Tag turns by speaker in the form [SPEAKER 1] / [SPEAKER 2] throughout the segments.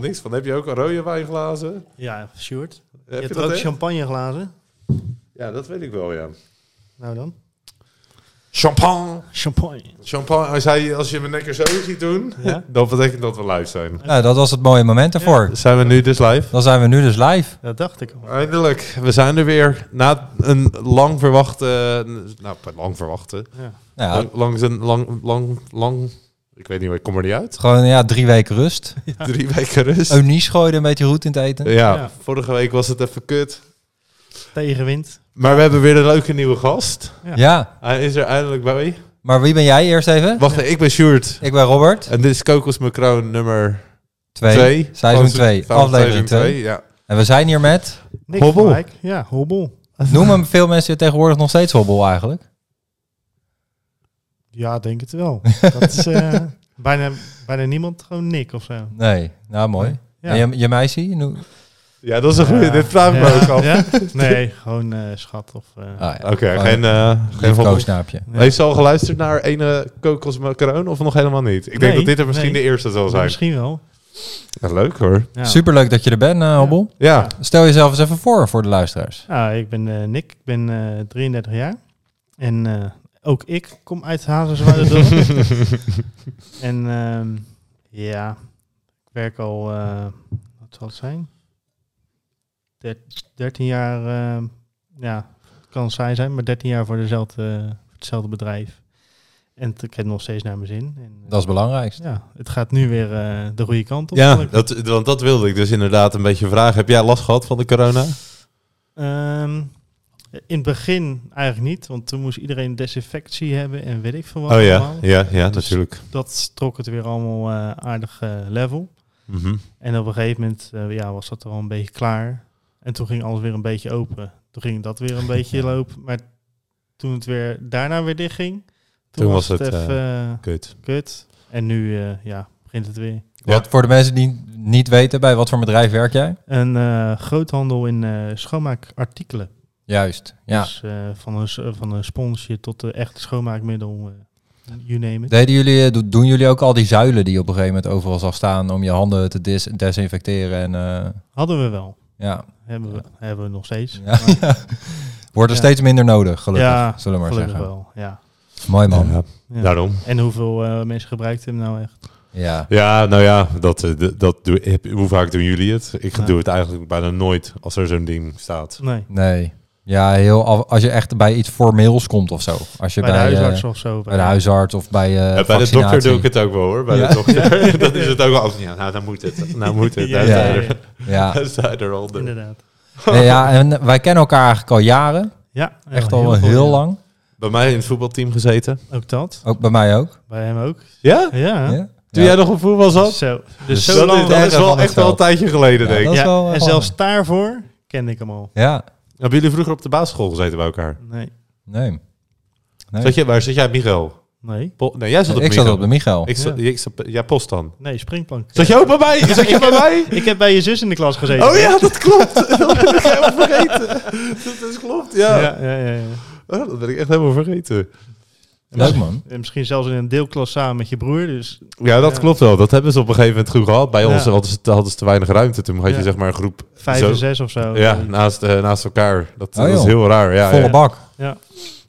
[SPEAKER 1] niks van. Heb je ook rode wijnglazen?
[SPEAKER 2] Ja, Sjoerd.
[SPEAKER 1] Heb
[SPEAKER 2] je
[SPEAKER 1] je
[SPEAKER 2] hebt
[SPEAKER 1] dat
[SPEAKER 2] ook
[SPEAKER 1] echt?
[SPEAKER 2] champagneglazen.
[SPEAKER 1] Ja, dat weet ik wel, ja.
[SPEAKER 2] Nou dan.
[SPEAKER 1] Champagne.
[SPEAKER 2] Champagne.
[SPEAKER 1] Champagne. Als, hij, als je mijn nekker zo ziet doen,
[SPEAKER 2] Ja.
[SPEAKER 1] dan betekent dat we live zijn.
[SPEAKER 3] Nou, dat was het mooie moment ervoor.
[SPEAKER 1] Zijn we nu dus live?
[SPEAKER 3] Dan zijn we nu dus live.
[SPEAKER 2] Dat dacht ik al.
[SPEAKER 1] Eindelijk, we zijn er weer na een lang verwachte, nou, lang verwachte,
[SPEAKER 2] Ja.
[SPEAKER 3] Nou, ja,
[SPEAKER 1] lang, lang, zijn- lang, lang, lang, ik weet niet, ik kom er niet uit.
[SPEAKER 3] gewoon ja, drie weken rust.
[SPEAKER 1] Drie weken rust.
[SPEAKER 3] Eunice gooide een beetje roet in het eten.
[SPEAKER 1] Ja,
[SPEAKER 2] Ja.
[SPEAKER 1] vorige week was het even kut.
[SPEAKER 2] Tegenwind.
[SPEAKER 1] Maar we hebben weer een leuke nieuwe gast.
[SPEAKER 2] Ja.
[SPEAKER 3] Ja,
[SPEAKER 1] Hij is er eindelijk bij.
[SPEAKER 3] maar wie ben jij eerst even?
[SPEAKER 1] Wacht, ik ben Sjoerd.
[SPEAKER 3] Ik ben Robert.
[SPEAKER 1] En dit is Kokos Macroon nummer
[SPEAKER 3] Twee.
[SPEAKER 1] 2.
[SPEAKER 3] Seizoen 2, aflevering 2.
[SPEAKER 1] Ja.
[SPEAKER 3] En we zijn hier met,
[SPEAKER 2] Niks
[SPEAKER 1] Hobbel.
[SPEAKER 2] gelijk. Ja, hobbel.
[SPEAKER 3] noemen veel mensen tegenwoordig nog steeds hobbel eigenlijk?
[SPEAKER 2] Ja, denk het wel. Dat is eh, bijna, bijna niemand gewoon Nick of zo.
[SPEAKER 3] Nee, nou mooi.
[SPEAKER 2] Ja.
[SPEAKER 3] En je, je meisje? Nou, No-
[SPEAKER 1] ja, dat is een
[SPEAKER 2] Ja.
[SPEAKER 1] goede. Dit vraag ik me
[SPEAKER 2] Ja.
[SPEAKER 1] ook af.
[SPEAKER 2] Ja? Nee, gewoon eh, schat of... eh,
[SPEAKER 3] Ah, ja.
[SPEAKER 1] Oké, geen, eh geen volgende.
[SPEAKER 3] koosnaapje.
[SPEAKER 2] nee.
[SPEAKER 1] Heeft ze al geluisterd naar ene Kokos Macroon of nog helemaal niet? Ik denk
[SPEAKER 2] Nee,
[SPEAKER 1] dat dit er misschien
[SPEAKER 2] nee.
[SPEAKER 1] de eerste zal zijn.
[SPEAKER 2] Misschien wel.
[SPEAKER 1] Ja, leuk hoor.
[SPEAKER 2] Ja.
[SPEAKER 3] Superleuk dat je er bent, eh, Hobbel.
[SPEAKER 1] Ja,
[SPEAKER 3] Stel jezelf eens even voor voor de luisteraars.
[SPEAKER 2] Nou, ik ben eh, Nick, ik ben eh, 33 jaar. En eh, ook ik kom uit Hazenswaardendorp. en ehm, ja, ik werk al, eh, wat zal het zijn? Der- 13 jaar, eh, ja, het kan saai zijn, maar 13 jaar voor, dezelfde, voor hetzelfde bedrijf. En het- ik heb nog steeds naar mijn zin. En, eh,
[SPEAKER 3] Dat is belangrijk.
[SPEAKER 2] ja, het gaat nu weer eh, de goede kant op.
[SPEAKER 1] ja
[SPEAKER 2] gelukkig.
[SPEAKER 1] dat, want dat wilde ik dus inderdaad een beetje vragen. Heb jij last gehad van de corona?
[SPEAKER 2] Ehm, in het begin eigenlijk niet, want toen moest iedereen desinfectie hebben en weet ik veel wat.
[SPEAKER 1] Oh ja,
[SPEAKER 2] allemaal.
[SPEAKER 1] ja, ja, natuurlijk.
[SPEAKER 2] Dat trok het weer allemaal eh, aardig eh, level.
[SPEAKER 1] Mhm.
[SPEAKER 2] En op een gegeven moment eh, ja, was dat er al een beetje klaar. En toen ging alles weer een beetje open. Toen ging dat weer een beetje lopen. Maar toen het weer daarna weer dicht ging, toen,
[SPEAKER 1] Toen
[SPEAKER 2] was
[SPEAKER 1] was
[SPEAKER 2] het,
[SPEAKER 1] het,
[SPEAKER 2] even eh,
[SPEAKER 1] Kut.
[SPEAKER 2] kut. En nu eh, ja, begint het weer.
[SPEAKER 3] Wat voor de mensen die niet weten, bij wat voor bedrijf werk jij?
[SPEAKER 2] Een eh, groothandel in eh, schoonmaakartikelen.
[SPEAKER 3] Juist, ja.
[SPEAKER 2] Dus eh, van, een, s- eh, van een sponsje tot de echt schoonmaakmiddel, eh you name it.
[SPEAKER 3] Deden jullie, eh, do- doen jullie ook al die zuilen die je op een gegeven moment overal zag staan om je handen te dis- desinfecteren en eh,
[SPEAKER 2] Hadden we wel.
[SPEAKER 3] ja.
[SPEAKER 2] Hebben, we, hebben we nog steeds.
[SPEAKER 3] ja. Wordt er
[SPEAKER 2] Ja.
[SPEAKER 3] steeds minder nodig, gelukkig,
[SPEAKER 2] Ja,
[SPEAKER 3] zullen we maar
[SPEAKER 2] Gelukkig
[SPEAKER 3] zeggen.
[SPEAKER 2] wel, ja.
[SPEAKER 3] Mooi man. Ja.
[SPEAKER 1] Ja,
[SPEAKER 2] Ja.
[SPEAKER 1] Daarom.
[SPEAKER 2] En hoeveel eh, mensen gebruikt hem nou echt?
[SPEAKER 1] Ja, nou ja, dat, eh, d- dat doe, heb- hoe vaak doen jullie het? Ik
[SPEAKER 2] Ja.
[SPEAKER 1] doe het eigenlijk bijna nooit als er zo'n ding staat.
[SPEAKER 2] Nee.
[SPEAKER 3] Nee. Ja, heel af- als je echt bij iets formeels komt of zo. Als je
[SPEAKER 2] Bij de
[SPEAKER 3] bij, eh,
[SPEAKER 2] huisarts of zo.
[SPEAKER 3] bij de huisarts of bij eh
[SPEAKER 1] Ja, bij de dokter doe ik het ook wel hoor. Bij
[SPEAKER 3] Ja.
[SPEAKER 1] de dokter. dat is het ook wel. als- Ja, nou, dan moet het. Nou moet het.
[SPEAKER 2] Ja,
[SPEAKER 1] Daar
[SPEAKER 3] ja,
[SPEAKER 1] zijn
[SPEAKER 3] ja.
[SPEAKER 1] er-
[SPEAKER 3] Ja.
[SPEAKER 1] daar zijn er al. de-
[SPEAKER 2] inderdaad.
[SPEAKER 3] Nee, ja, en wij kennen elkaar eigenlijk al jaren.
[SPEAKER 2] Ja,
[SPEAKER 3] Echt
[SPEAKER 2] ja,
[SPEAKER 3] al heel,
[SPEAKER 2] veel, ja.
[SPEAKER 3] lang.
[SPEAKER 1] Bij mij in het voetbalteam gezeten.
[SPEAKER 2] Ook dat,
[SPEAKER 3] Ook bij mij ook.
[SPEAKER 2] bij hem ook.
[SPEAKER 1] Ja?
[SPEAKER 2] Ja,
[SPEAKER 3] Ja.
[SPEAKER 1] Toen
[SPEAKER 3] Ja.
[SPEAKER 1] jij nog op voetbal zat?
[SPEAKER 2] Zo. Dus,
[SPEAKER 3] Dus
[SPEAKER 2] zo
[SPEAKER 1] dat
[SPEAKER 2] lang.
[SPEAKER 1] is, dat
[SPEAKER 3] erg
[SPEAKER 1] is
[SPEAKER 3] van
[SPEAKER 1] wel
[SPEAKER 3] het
[SPEAKER 1] echt wel een
[SPEAKER 3] veld.
[SPEAKER 1] tijdje geleden,
[SPEAKER 3] Ja,
[SPEAKER 1] denk ik.
[SPEAKER 3] dat is
[SPEAKER 2] Ja,
[SPEAKER 3] wel, eh,
[SPEAKER 2] en zelfs daarvoor kende ik hem al.
[SPEAKER 3] Ja,
[SPEAKER 1] Hebben jullie vroeger op de basisschool gezeten bij elkaar?
[SPEAKER 2] Nee,
[SPEAKER 3] nee. Nee.
[SPEAKER 1] Zat je, waar zat jij, Miguel?
[SPEAKER 2] nee,
[SPEAKER 1] Po- nee, jij zat op
[SPEAKER 3] ik
[SPEAKER 1] Michel.
[SPEAKER 3] zat op de Michael.
[SPEAKER 1] Ik zat,
[SPEAKER 2] Ja.
[SPEAKER 1] ik zat- ja, post dan.
[SPEAKER 2] nee, springplank.
[SPEAKER 1] Zat je ook bij mij? Zat je bij mij?
[SPEAKER 2] Ik heb bij je zus in de klas gezeten.
[SPEAKER 1] Oh ja, dat klopt. dat ben ik helemaal vergeten. Dat is klopt, ja.
[SPEAKER 2] ja, ja, ja, ja.
[SPEAKER 1] Oh, dat ben ik echt helemaal vergeten.
[SPEAKER 3] Leuk man.
[SPEAKER 2] En misschien zelfs in een deelklas samen met je broer. Dus
[SPEAKER 1] Ja, dat
[SPEAKER 2] Ja.
[SPEAKER 1] klopt wel. Dat hebben ze op een gegeven moment goed gehad. Bij ons
[SPEAKER 2] Ja.
[SPEAKER 1] hadden ze, te- hadden ze te weinig ruimte. Toen had je
[SPEAKER 2] Ja.
[SPEAKER 1] zeg maar een groep
[SPEAKER 2] vijf
[SPEAKER 1] zo-
[SPEAKER 2] en zes of zo.
[SPEAKER 1] ja, naast, eh, naast elkaar. Dat,
[SPEAKER 3] Oh,
[SPEAKER 1] dat is
[SPEAKER 3] joh.
[SPEAKER 1] heel raar. Ja,
[SPEAKER 3] Volle
[SPEAKER 1] ja.
[SPEAKER 3] bak.
[SPEAKER 2] ja.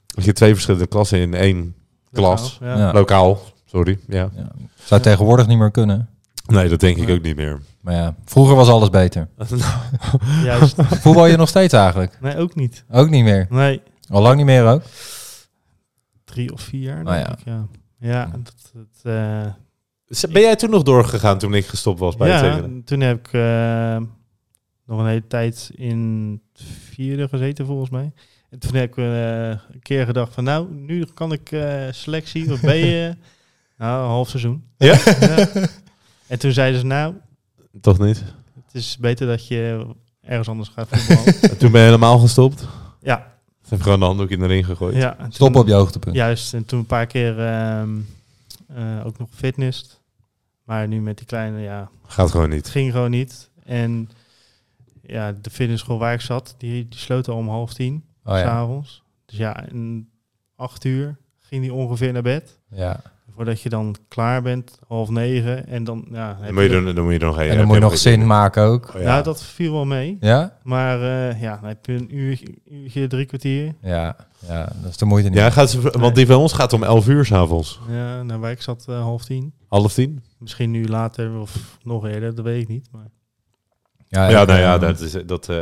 [SPEAKER 1] Dat je twee verschillende klassen in één klas.
[SPEAKER 2] Ja.
[SPEAKER 3] Ja.
[SPEAKER 1] Lokaal, sorry. Ja.
[SPEAKER 3] Zou tegenwoordig niet meer kunnen.
[SPEAKER 1] Nee, dat denk ik
[SPEAKER 2] Nee.
[SPEAKER 1] ook niet meer.
[SPEAKER 3] Maar ja, vroeger was alles beter.
[SPEAKER 2] Juist.
[SPEAKER 3] Voetbal je nog steeds eigenlijk?
[SPEAKER 2] Nee, ook niet.
[SPEAKER 3] Ook niet meer.
[SPEAKER 2] Nee,
[SPEAKER 3] Al lang niet meer ook.
[SPEAKER 2] drie of vier jaar.
[SPEAKER 3] Nou
[SPEAKER 2] denk
[SPEAKER 3] ja.
[SPEAKER 2] ik, ja. Ja, dat, dat, eh,
[SPEAKER 1] Z- Ben jij toen nog doorgegaan toen ik gestopt was bij het
[SPEAKER 2] ja
[SPEAKER 1] tekenen?
[SPEAKER 2] toen heb ik eh, nog een hele tijd in het vierde gezeten volgens mij. En toen heb ik eh, een keer gedacht van nou, nu kan ik eh, selectie of ben je nou, een half seizoen.
[SPEAKER 1] Ja?
[SPEAKER 2] En toen zeiden ze nou,
[SPEAKER 1] Toch niet?
[SPEAKER 2] het is beter dat je ergens anders gaat voetballen.
[SPEAKER 1] En toen ben je helemaal gestopt?
[SPEAKER 2] ja,
[SPEAKER 1] Ze hebben gewoon de handdoek in de ring gegooid.
[SPEAKER 2] ja. en
[SPEAKER 3] Stop
[SPEAKER 2] toen-
[SPEAKER 3] op je hoogtepunt.
[SPEAKER 2] Juist, en toen een paar keer ehm, eh, ook nog fitness. Maar nu met die kleine, ja,
[SPEAKER 1] Gaat gewoon
[SPEAKER 2] het
[SPEAKER 1] niet.
[SPEAKER 2] ging gewoon niet. En ja, de fitnessschool waar ik zat, die, die sloot al om half tien,
[SPEAKER 3] Oh ja.
[SPEAKER 2] s'avonds. Dus ja, om acht uur ging die ongeveer naar bed.
[SPEAKER 3] ja.
[SPEAKER 2] Voordat je dan klaar bent, half negen. En dan, ja, heb
[SPEAKER 1] Dan moet je
[SPEAKER 2] je-
[SPEAKER 1] er, dan moet je er nog heen.
[SPEAKER 3] en dan moet je nog zin maken ook.
[SPEAKER 1] Oh,
[SPEAKER 2] Nou, dat viel wel mee.
[SPEAKER 3] Ja?
[SPEAKER 2] Maar eh, ja, dan heb je een uurtje, uurtje drie kwartier.
[SPEAKER 3] Ja, ja dat is de moeite niet.
[SPEAKER 1] Ja, gaat ze,
[SPEAKER 2] Nee.
[SPEAKER 1] want die van ons gaat om 11 uur s'avonds.
[SPEAKER 2] Ja, nou, waar ik zat eh, half tien.
[SPEAKER 1] Half tien?
[SPEAKER 2] Misschien nu later of nog eerder, dat weet ik niet. Maar
[SPEAKER 1] Ja,
[SPEAKER 3] ik,
[SPEAKER 1] nou ja,
[SPEAKER 3] eh,
[SPEAKER 1] dat is, dat, eh,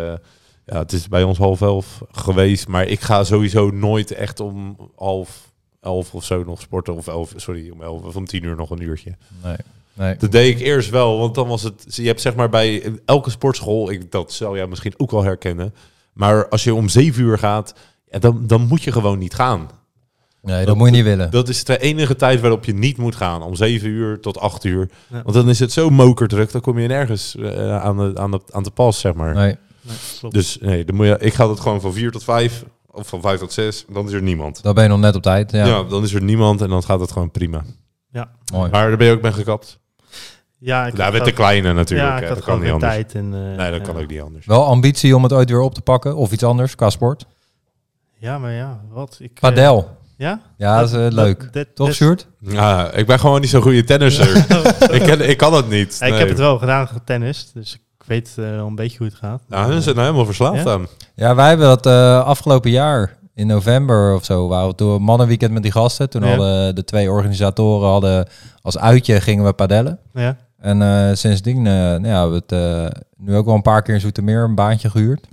[SPEAKER 1] ja, het is bij ons half elf geweest. Maar ik ga sowieso nooit echt om half elf of zo nog sporten. Of elf, sorry, om elf of om tien uur nog een uurtje.
[SPEAKER 3] Nee, nee.
[SPEAKER 1] Dat deed ik eerst wel, want dan was het... Je hebt zeg maar bij elke sportschool, ik, dat zou jij misschien ook wel herkennen. Maar als je om zeven uur gaat, ja, dan, dan moet je gewoon niet gaan.
[SPEAKER 3] nee, dat, moet je niet willen.
[SPEAKER 1] Dat is de enige tijd waarop je niet moet gaan. Om 7 uur tot 8 uur.
[SPEAKER 2] Ja.
[SPEAKER 1] Want dan is het zo mokerdruk. Dan kom je nergens eh, aan, de, aan, de, aan de pas, zeg maar.
[SPEAKER 3] nee.
[SPEAKER 2] nee, klopt.
[SPEAKER 1] Dus nee, dan moet je, ik ga dat gewoon van 4 tot 5. Of van 5 tot 6. Dan is er niemand.
[SPEAKER 3] Dan ben je nog net op tijd. Ja,
[SPEAKER 1] Ja. dan is er niemand en dan gaat het gewoon prima.
[SPEAKER 3] mooi.
[SPEAKER 1] Maar daar ben je ook mee gekapt.
[SPEAKER 2] ja, ik
[SPEAKER 1] Daar werd
[SPEAKER 2] had
[SPEAKER 1] de
[SPEAKER 2] gewoon-
[SPEAKER 1] kleine natuurlijk.
[SPEAKER 2] Ja,
[SPEAKER 1] hè,
[SPEAKER 2] ik had
[SPEAKER 1] dat kan
[SPEAKER 2] gewoon
[SPEAKER 1] niet
[SPEAKER 2] geen
[SPEAKER 1] anders.
[SPEAKER 2] tijd. En, eh,
[SPEAKER 1] Nee, dat
[SPEAKER 2] ja.
[SPEAKER 1] kan ook niet anders.
[SPEAKER 3] Wel ambitie om het ooit weer op te pakken of iets anders qua sport.
[SPEAKER 2] Ja, maar ja, wat? Ik, eh,
[SPEAKER 3] Padel.
[SPEAKER 2] ja?
[SPEAKER 3] Ja, dat is eh, leuk.
[SPEAKER 2] dat-
[SPEAKER 3] Toch,
[SPEAKER 2] dat-
[SPEAKER 3] Sjoerd?
[SPEAKER 1] Ja, ik ben gewoon niet zo'n goede tennisser. ik, ken, ik kan het niet.
[SPEAKER 2] Ja, Ik
[SPEAKER 1] nee.
[SPEAKER 2] heb het wel gedaan, getennist. Dus ik weet eh, wel een beetje hoe het gaat.
[SPEAKER 1] Nou, hun zijn nou helemaal verslaafd
[SPEAKER 2] Ja?
[SPEAKER 1] aan.
[SPEAKER 3] Ja, wij hebben dat eh, afgelopen jaar in november of zo. Waren we toen mannenweekend met die gasten. Toen
[SPEAKER 2] Ja.
[SPEAKER 3] hadden de twee organisatoren hadden als uitje gingen we padellen.
[SPEAKER 2] Ja,
[SPEAKER 3] En eh, sindsdien eh, nou ja, hebben we het eh, nu ook wel een paar keer in Zoetermeer een baantje gehuurd.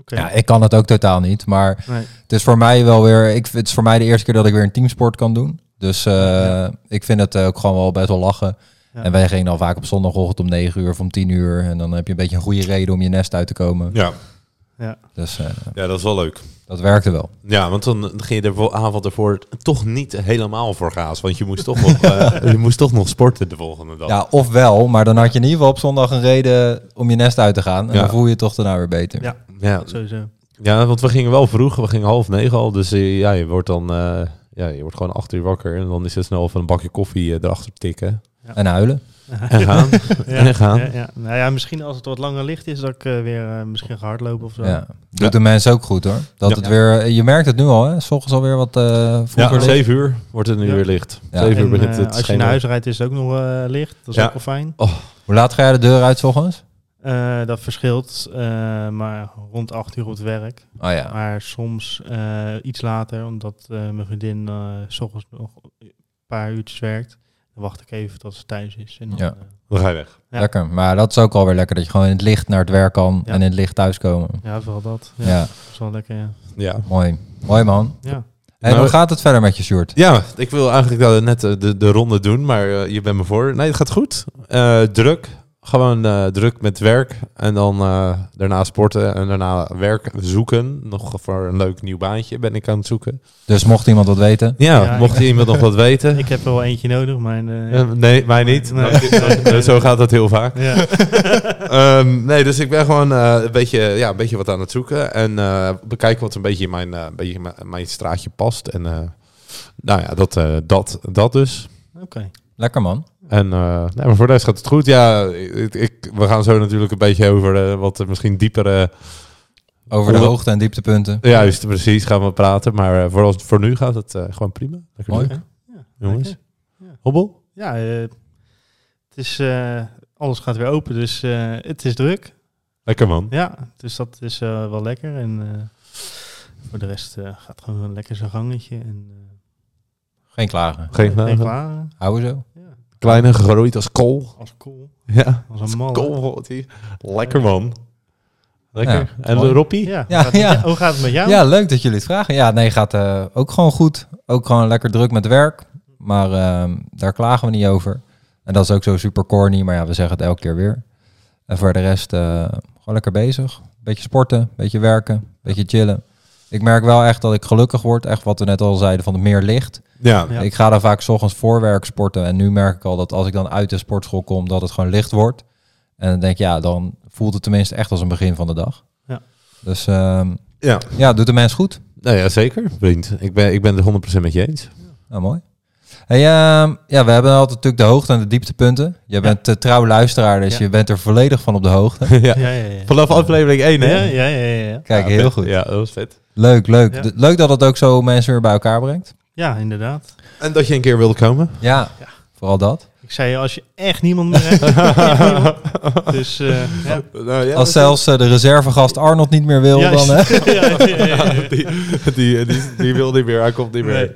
[SPEAKER 2] oké.
[SPEAKER 3] Ja, ik kan het ook totaal niet. Maar
[SPEAKER 2] Nee.
[SPEAKER 3] het is voor mij wel weer. Ik, het is voor mij de eerste keer dat ik weer een teamsport kan doen. Dus eh,
[SPEAKER 2] Ja.
[SPEAKER 3] ik vind het eh, ook gewoon wel best wel lachen.
[SPEAKER 2] Ja.
[SPEAKER 3] En wij gingen dan vaak op zondagochtend om 9 uur of om 10 uur. En dan heb je een beetje een goede reden om je nest uit te komen.
[SPEAKER 1] Ja.
[SPEAKER 3] Dus eh,
[SPEAKER 1] ja, dat is wel leuk.
[SPEAKER 3] dat werkte wel.
[SPEAKER 1] Ja, want dan ging je de avond ervoor toch niet helemaal voor gaas. Want je moest toch, nog, eh, je moest toch nog sporten de volgende dag.
[SPEAKER 3] Ja, ofwel, maar dan had je in ieder geval op zondag een reden om je nest uit te gaan. En
[SPEAKER 1] Ja.
[SPEAKER 3] dan voel je je toch daarna weer beter.
[SPEAKER 2] Ja.
[SPEAKER 1] ja.
[SPEAKER 2] sowieso.
[SPEAKER 1] Ja, want we gingen wel vroeg. We gingen half negen al. Dus eh, ja, je wordt dan eh, ja, je wordt gewoon acht uur wakker. En dan is het snel van een bakje koffie eh, erachter tikken.
[SPEAKER 3] En huilen.
[SPEAKER 1] En gaan. En gaan.
[SPEAKER 2] Ja, ja. Nou ja, misschien als het wat langer licht is, dat ik eh, weer eh, misschien ga hardlopen of zo.
[SPEAKER 3] Ja. Doet
[SPEAKER 1] Ja.
[SPEAKER 3] de mensen ook goed hoor. Dat
[SPEAKER 1] Ja.
[SPEAKER 3] het weer, je merkt het nu al, hè? S'ochtends alweer wat eh
[SPEAKER 1] Ja,
[SPEAKER 3] vroeger. ligt.
[SPEAKER 1] zeven uur wordt het nu
[SPEAKER 2] Ja.
[SPEAKER 1] weer licht.
[SPEAKER 3] Ja.
[SPEAKER 1] Zeven uur
[SPEAKER 2] En,
[SPEAKER 1] begint
[SPEAKER 2] eh,
[SPEAKER 1] het
[SPEAKER 2] als je naar huis rijdt is het ook nog eh, licht. Dat is
[SPEAKER 1] Ja.
[SPEAKER 2] ook wel fijn.
[SPEAKER 3] Hoe laat ga jij de deur uit, 's ochtends?
[SPEAKER 2] Eh, dat verschilt, eh, maar rond 8 uur op het werk.
[SPEAKER 3] Oh ja.
[SPEAKER 2] Maar soms eh, iets later, omdat eh, mijn vriendin eh, s ochtends nog een paar uurtjes werkt. Dan wacht ik even tot ze thuis is. En dan,
[SPEAKER 3] Ja.
[SPEAKER 2] eh,
[SPEAKER 1] Dan ga je weg.
[SPEAKER 2] Ja.
[SPEAKER 3] Lekker. Maar dat is ook alweer lekker dat je gewoon in het licht naar het werk kan
[SPEAKER 2] Ja.
[SPEAKER 3] en in het licht thuiskomen.
[SPEAKER 2] ja, vooral dat. Ja,
[SPEAKER 3] Ja.
[SPEAKER 2] Dat is wel lekker, ja.
[SPEAKER 1] Ja.
[SPEAKER 3] mooi. Mooi man.
[SPEAKER 2] ja.
[SPEAKER 3] En
[SPEAKER 1] Nou,
[SPEAKER 3] hoe gaat het verder met je Sjoerd?
[SPEAKER 1] Ja, ik wil eigenlijk dat net eh, de, de ronde doen, maar eh, je bent me voor. Nee, het gaat goed. Eh, druk. Gewoon eh, druk met werk. En dan eh, daarna sporten en daarna werk zoeken. Nog voor een leuk nieuw baantje ben ik aan het zoeken.
[SPEAKER 3] Dus mocht iemand wat weten.
[SPEAKER 1] Ja,
[SPEAKER 2] Ja,
[SPEAKER 1] mocht
[SPEAKER 2] ik-
[SPEAKER 1] iemand nog wat weten.
[SPEAKER 2] Ik heb er wel eentje nodig, maar... eh,
[SPEAKER 1] Eh, nee, mij niet.
[SPEAKER 2] Nee.
[SPEAKER 1] Nou, Zo gaat dat heel vaak.
[SPEAKER 2] ja.
[SPEAKER 1] Ehm, nee, dus ik ben gewoon eh, een, beetje, ja, een beetje wat aan het zoeken. En eh, bekijken wat een beetje in mijn, eh, een beetje in mijn, mijn straatje past. En eh, nou ja, dat, eh, dat, dat dus.
[SPEAKER 2] Oké.
[SPEAKER 3] Lekker man.
[SPEAKER 1] En eh, nee, maar voor de rest gaat het goed. Ja, ik, ik- we gaan zo natuurlijk een beetje over eh, wat eh, misschien diepere...
[SPEAKER 3] Over de
[SPEAKER 1] Hoe-
[SPEAKER 3] hoogte en dieptepunten.
[SPEAKER 1] Ja, juist, precies, gaan we praten. Maar eh, vooral, voor nu gaat het eh, gewoon prima. Lekker
[SPEAKER 3] Mooi.
[SPEAKER 1] doen,
[SPEAKER 2] Ja,
[SPEAKER 1] jongens.
[SPEAKER 2] lekker.
[SPEAKER 1] Hobbel?
[SPEAKER 2] Ja, eh, het is... eh, alles gaat weer open, dus eh, het is druk.
[SPEAKER 1] Lekker man.
[SPEAKER 2] Ja, dus dat is eh, wel lekker. En eh, voor de rest eh, gaat gewoon lekker zijn gangetje. En, eh,
[SPEAKER 3] Geen klagen.
[SPEAKER 1] Geen
[SPEAKER 2] ben
[SPEAKER 1] vragen.
[SPEAKER 2] klaar.
[SPEAKER 3] Houden zo.
[SPEAKER 2] Ja,
[SPEAKER 1] Kleine, gegroeid als kool.
[SPEAKER 2] als cool.
[SPEAKER 1] Ja,
[SPEAKER 2] Als een man.
[SPEAKER 1] kool wordt hij. Lekker man. Lekker.
[SPEAKER 3] Ja,
[SPEAKER 1] en
[SPEAKER 3] mooi.
[SPEAKER 1] Roppie?
[SPEAKER 2] Ja,
[SPEAKER 3] Ja,
[SPEAKER 2] gaat het-
[SPEAKER 3] ja.
[SPEAKER 2] Hoe gaat het met jou?
[SPEAKER 3] Ja, leuk dat jullie het vragen. Ja, nee, gaat eh, ook gewoon goed. Ook gewoon lekker druk met werk. Maar ehm, daar klagen we niet over. En dat is ook zo super corny, maar ja, we zeggen het elke keer weer. En voor de rest eh, gewoon lekker bezig. Beetje sporten, beetje werken, beetje chillen. Ik merk wel echt dat ik gelukkig word. Echt wat we net al zeiden van het meer licht.
[SPEAKER 1] Ja.
[SPEAKER 2] Ja.
[SPEAKER 3] Ik ga dan vaak 's ochtends voor werk sporten. En nu merk ik al dat als ik dan uit de sportschool kom, dat het gewoon licht wordt. En dan denk ik, ja, dan voelt het tenminste echt als een begin van de dag.
[SPEAKER 2] Ja.
[SPEAKER 3] Dus ehm,
[SPEAKER 1] Ja.
[SPEAKER 3] ja, doet de mens goed.
[SPEAKER 1] Nou ja, zeker, vriend. Ik ben, ik ben het 100% met je eens.
[SPEAKER 3] Nou, mooi. Hey, ehm, ja, we hebben altijd natuurlijk de hoogte en de dieptepunten. Je bent de trouw luisteraar, dus
[SPEAKER 2] Ja.
[SPEAKER 3] je bent er volledig van op de hoogte.
[SPEAKER 1] ja.
[SPEAKER 2] ja, ja. ja.
[SPEAKER 1] Vanaf aflevering 1, hè?
[SPEAKER 2] Ja, ja, ja, ja, ja.
[SPEAKER 3] Kijk,
[SPEAKER 1] Ja,
[SPEAKER 3] heel
[SPEAKER 1] vet.
[SPEAKER 3] goed.
[SPEAKER 1] Ja, dat was vet.
[SPEAKER 3] Leuk, leuk.
[SPEAKER 2] Ja.
[SPEAKER 3] De- Leuk dat het ook zo mensen weer bij elkaar brengt.
[SPEAKER 2] Ja, inderdaad.
[SPEAKER 1] En dat je een keer wilde komen.
[SPEAKER 3] Ja,
[SPEAKER 2] Ja.
[SPEAKER 3] vooral dat.
[SPEAKER 2] Ik zei je, als je echt niemand meer hebt. echt niemand. dus eh, ja.
[SPEAKER 1] Nou, ja,
[SPEAKER 3] Als
[SPEAKER 1] dat-
[SPEAKER 3] zelfs eh, de reservegast Arnold niet meer wil,
[SPEAKER 2] Juist.
[SPEAKER 3] dan... Hè?
[SPEAKER 2] ja, ja, ja, ja.
[SPEAKER 1] die, die, die, die wil niet meer, hij komt niet meer.
[SPEAKER 2] Nee.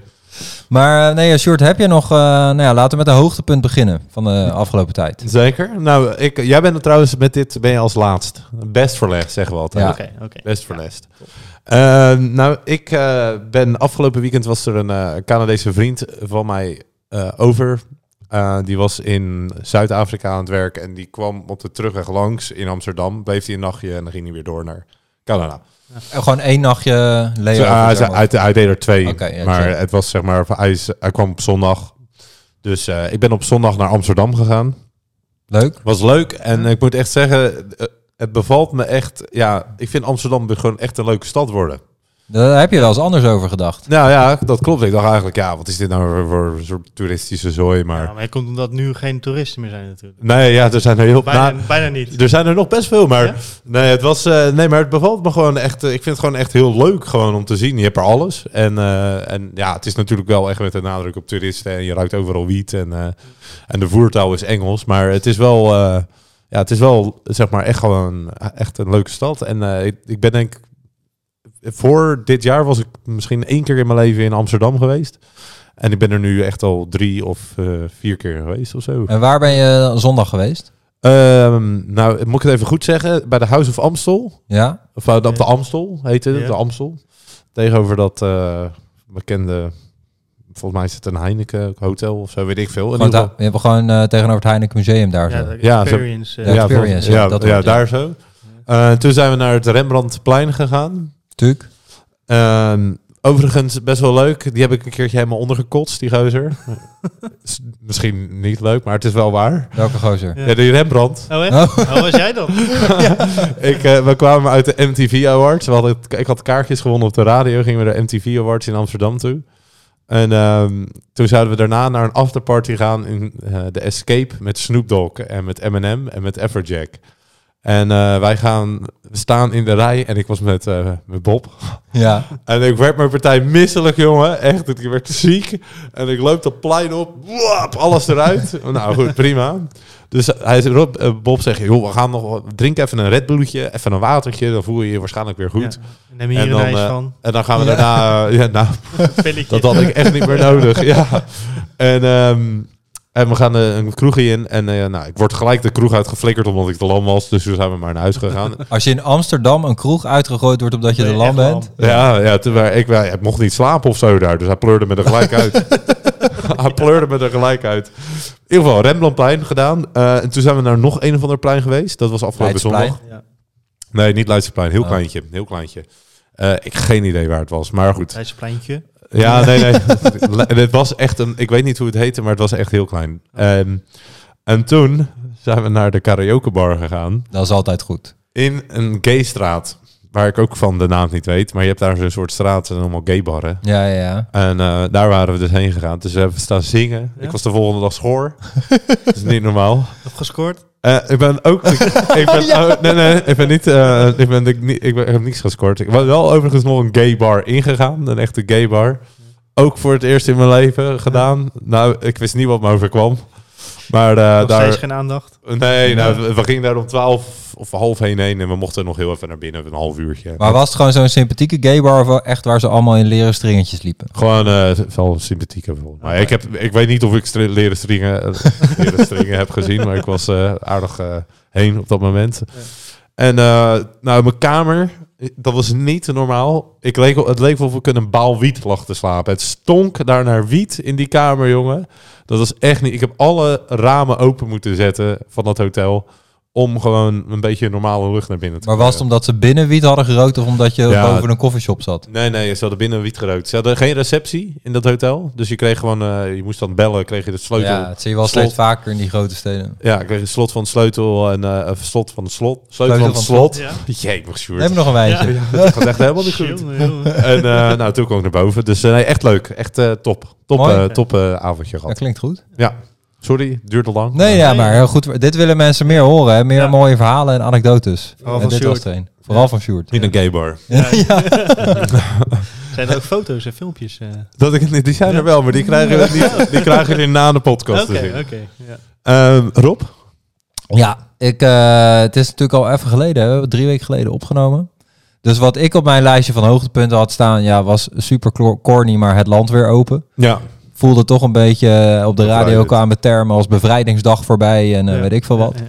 [SPEAKER 3] Maar eh, nee, eh, Sjoerd, heb je nog... eh, nou ja, laten we met een hoogtepunt beginnen van de afgelopen tijd.
[SPEAKER 1] Zeker. Nou, ik, jij bent er trouwens met dit ben je als laatst. Best verlegd, zeggen we altijd.
[SPEAKER 3] Ja.
[SPEAKER 2] Oké, oké.
[SPEAKER 1] Best verlegd. Eh, nou, ik eh, ben afgelopen weekend was er een eh, Canadese vriend van mij eh, over. Eh, die was in Zuid-Afrika aan het werk en die kwam op de terugweg langs in Amsterdam. Bleef hij een nachtje en dan ging hij weer door naar Canada.
[SPEAKER 3] Eh, Gewoon één nachtje eh, Leo.
[SPEAKER 1] Zo, ah, ze- hij, hij deed er twee,
[SPEAKER 3] Oké, ja,
[SPEAKER 1] maar
[SPEAKER 3] chill.
[SPEAKER 1] het was zeg maar, hij, is- hij kwam op zondag. Dus eh, ik ben op zondag naar Amsterdam gegaan.
[SPEAKER 3] Leuk.
[SPEAKER 1] Was leuk en ik moet echt zeggen, eh, het bevalt me echt. Ja, ik vind Amsterdam gewoon echt een leuke stad worden.
[SPEAKER 3] Daar heb je wel eens anders over gedacht.
[SPEAKER 1] Nou ja, dat klopt. Ik dacht eigenlijk, ja, wat is dit nou voor, voor soort toeristische zooi? Maar
[SPEAKER 2] Ja, maar het komt omdat nu geen toeristen meer zijn natuurlijk.
[SPEAKER 1] nee, ja, er zijn er heel
[SPEAKER 2] Bijna,
[SPEAKER 1] na-
[SPEAKER 2] bijna niet.
[SPEAKER 1] er zijn er nog best veel, maar
[SPEAKER 2] Ja?
[SPEAKER 1] nee, het was, eh, nee, maar het bevalt me gewoon echt. eh, ik vind het gewoon echt heel leuk gewoon om te zien. Je hebt er alles en, eh, en ja, het is natuurlijk wel echt met een nadruk op toeristen en je ruikt overal wiet en, eh, en de voertaal is Engels, maar het is wel, eh, ja, het is wel zeg maar echt gewoon echt een leuke stad. En eh, ik, ik ben denk ik- voor dit jaar was ik misschien één keer in mijn leven in Amsterdam geweest. En ik ben er nu echt al drie of eh, vier keer geweest of zo.
[SPEAKER 3] En waar ben je eh, zondag geweest?
[SPEAKER 1] Ehm, nou, moet ik het even goed zeggen? Bij de House of Amstel,
[SPEAKER 3] Ja?
[SPEAKER 1] of eh, op de
[SPEAKER 2] Ja.
[SPEAKER 1] Amstel heette het,
[SPEAKER 2] Ja.
[SPEAKER 1] de Amstel. Tegenover dat eh, bekende, volgens mij is het een Heineken hotel of zo, weet ik veel. In
[SPEAKER 3] Gewoon
[SPEAKER 1] ieder
[SPEAKER 3] daar-
[SPEAKER 1] geval-
[SPEAKER 3] je hebt gewoon eh, tegenover het Heineken Museum daar.
[SPEAKER 2] Ja,
[SPEAKER 3] zo.
[SPEAKER 2] de
[SPEAKER 1] Ja, ze-
[SPEAKER 2] experience. eh,
[SPEAKER 3] Ja,
[SPEAKER 1] vol-
[SPEAKER 3] Experience, ja,
[SPEAKER 1] ja,
[SPEAKER 3] dat
[SPEAKER 1] ja,
[SPEAKER 3] wordt, ja.
[SPEAKER 1] daar zo. Eh, toen zijn we naar het Rembrandtplein gegaan.
[SPEAKER 3] Tuuk.
[SPEAKER 1] Ehm, overigens, best wel leuk. Die heb ik een keertje helemaal ondergekotst, die gozer. Is Misschien niet leuk, maar het is wel waar.
[SPEAKER 3] Welke gozer?
[SPEAKER 2] Ja.
[SPEAKER 1] Ja, die Rembrandt.
[SPEAKER 2] Oh, hè?
[SPEAKER 3] Oh.
[SPEAKER 2] Oh, was jij dan?
[SPEAKER 1] ik, eh, we kwamen uit de MTV Awards. We hadden, ik had kaartjes gewonnen op de radio. Gingen we naar MTV Awards in Amsterdam toe. En ehm, toen zouden we daarna naar een afterparty gaan in eh, de Escape met Snoop Dogg en met Eminem en met Everjack. En eh, wij gaan staan in de rij en ik was met, eh, met Bob.
[SPEAKER 3] Ja.
[SPEAKER 1] En ik werd mijn partij misselijk, jongen. Echt, ik werd ziek. En ik loop dat plein op. Wap, alles eruit. nou goed, prima. Dus hij, zei, Rob, eh, Bob zegt, joh, we gaan nog wat- drink even een Red Bulletje, even een watertje. Dan voel je je waarschijnlijk weer goed.
[SPEAKER 2] Ja. Neem hier
[SPEAKER 1] En
[SPEAKER 2] een
[SPEAKER 1] dan,
[SPEAKER 2] ijs
[SPEAKER 1] eh,
[SPEAKER 2] van.
[SPEAKER 1] En dan gaan we daarna... eh, ja, nou,
[SPEAKER 2] Een pilletje.
[SPEAKER 1] dat had ik echt niet meer nodig. Ja. En, ehm, en we gaan eh, een kroegje in. En eh, nou, ik word gelijk de kroeg uitgeflikkerd omdat ik te lam was. Dus toen zijn we maar naar huis gegaan.
[SPEAKER 3] Als je in Amsterdam een kroeg uitgegooid wordt omdat je
[SPEAKER 2] Ben
[SPEAKER 3] de
[SPEAKER 2] je
[SPEAKER 3] lam
[SPEAKER 2] echt
[SPEAKER 3] bent.
[SPEAKER 1] Ja, ja, toen wij- ik, wij- ik mocht niet slapen of zo daar. Dus hij pleurde me er gelijk uit. hij pleurde me er gelijk uit. In ieder geval, Rembrandtplein gedaan. Eh, en toen zijn we naar nog een of ander plein geweest. Dat was afgelopen
[SPEAKER 3] Leidseplein?
[SPEAKER 1] zondag.
[SPEAKER 2] Ja.
[SPEAKER 1] Nee, niet Leidseplein. Heel
[SPEAKER 3] Oh.
[SPEAKER 1] kleintje. Heel kleintje. Eh, ik geen idee waar het was, maar goed.
[SPEAKER 2] Hij is een pleintje.
[SPEAKER 3] Eh,
[SPEAKER 1] Ja, nee, nee. Le- het was echt een... Ik weet niet hoe het heette, maar het was echt heel klein. Ehm, en toen zijn we naar de karaokebar gegaan.
[SPEAKER 3] Dat is altijd goed.
[SPEAKER 1] In een gaystraat. Waar ik ook van de naam niet weet. Maar je hebt daar zo'n soort straat en allemaal gaybarren.
[SPEAKER 3] Ja, ja, ja.
[SPEAKER 1] En eh, daar waren we dus heen gegaan. Dus we hebben staan zingen.
[SPEAKER 2] Ja?
[SPEAKER 1] Ik was de volgende dag schoor. dat is niet normaal.
[SPEAKER 2] Nog gescoord.
[SPEAKER 1] Eh, ik ben ook... ik, ben, oh, nee, nee, ik ben niet... eh, ik, ben, ik, niet- ik, ben- ik heb niks gescoord. Ik ben wel overigens nog een gay bar ingegaan. Een echte gay bar. Ook voor het eerst in mijn leven gedaan. Nou, ik wist niet wat me overkwam. Maar eh,
[SPEAKER 2] Nog steeds
[SPEAKER 1] daar...
[SPEAKER 2] geen aandacht.
[SPEAKER 1] Nee, nou, we- we gingen daar om twaalf of half heen heen. En we mochten nog heel even naar binnen. Een half uurtje.
[SPEAKER 3] Maar was het gewoon zo'n sympathieke gaybar of wel echt waar ze allemaal in leren stringetjes liepen?
[SPEAKER 1] Gewoon eh wel sympathiek hebben. Maar ik, heb, ik weet niet of ik stri- leren stringen, eh, leren stringen heb gezien, maar ik was eh, aardig eh, heen op dat moment.
[SPEAKER 2] Ja.
[SPEAKER 1] En eh, nou, mijn kamer, eh, dat was niet normaal. Ik leek, wel- het leek wel of ik in een baal wiet lag te slapen. Het stonk daar naar wiet in die kamer, jongen. Dat was echt niet. Ik heb alle ramen open moeten zetten van dat hotel om gewoon een beetje normale lucht naar binnen te
[SPEAKER 3] Maar was het omdat ze binnen wiet hadden gerookt of omdat je
[SPEAKER 1] Ja.
[SPEAKER 3] boven een koffieshop zat?
[SPEAKER 1] Nee, nee, ze hadden binnen wiet gerookt. Ze hadden geen receptie in dat hotel. Dus je kreeg gewoon, eh, je moest dan bellen, kreeg je de sleutel.
[SPEAKER 3] Ja,
[SPEAKER 1] Ja,
[SPEAKER 3] dat zie je wel
[SPEAKER 1] Slot.
[SPEAKER 3] steeds vaker in die grote steden.
[SPEAKER 1] kreeg je slot van de sleutel en eh, of slot van de slot. Sleutel,
[SPEAKER 3] Sleutel
[SPEAKER 1] van het
[SPEAKER 3] van
[SPEAKER 1] slot.
[SPEAKER 2] Ja.
[SPEAKER 1] Jee, nog
[SPEAKER 3] We
[SPEAKER 1] Sjoerd.
[SPEAKER 3] hebben nog een wijntje.
[SPEAKER 1] Dat gaat echt helemaal niet goed.
[SPEAKER 2] Jongen, jongen.
[SPEAKER 1] En eh, nou, toen kwam ik naar boven. Dus eh, nee, echt leuk. Echt eh, top. Top,
[SPEAKER 3] Mooi.
[SPEAKER 1] eh, top eh, avondje
[SPEAKER 3] Dat
[SPEAKER 1] gehad.
[SPEAKER 3] klinkt goed.
[SPEAKER 1] Sorry, duurde lang.
[SPEAKER 3] Nee, ja, maar heel goed. Dit willen mensen meer horen. Hè? Meer
[SPEAKER 2] Ja.
[SPEAKER 3] mooie verhalen en anekdotes.
[SPEAKER 2] Vooral
[SPEAKER 3] en
[SPEAKER 2] van
[SPEAKER 3] dit
[SPEAKER 2] Sjoerd.
[SPEAKER 3] was er een. Vooral van Sjoerd.
[SPEAKER 1] In een gay bar.
[SPEAKER 2] Ja. Zijn er ook foto's en filmpjes? eh?
[SPEAKER 1] Dat ik, het niet- die zijn er wel, maar die krijgen jullie, niet- die krijgen jullie na de podcast te zien.
[SPEAKER 2] Oké, oké. ja.
[SPEAKER 1] Ehm, Rob?
[SPEAKER 3] Ja, ik, eh, het is natuurlijk al even geleden. We hebben drie weken geleden opgenomen. Dus wat ik op mijn lijstje van hoogtepunten had staan, ja, was super clo- corny, maar het land weer open.
[SPEAKER 1] Ja.
[SPEAKER 3] Voelde toch een beetje eh, op de radio
[SPEAKER 1] Bevrijdend.
[SPEAKER 3] kwamen termen als bevrijdingsdag voorbij en eh,
[SPEAKER 2] Ja,
[SPEAKER 3] weet ik veel
[SPEAKER 2] ja,
[SPEAKER 3] wat.
[SPEAKER 2] ja.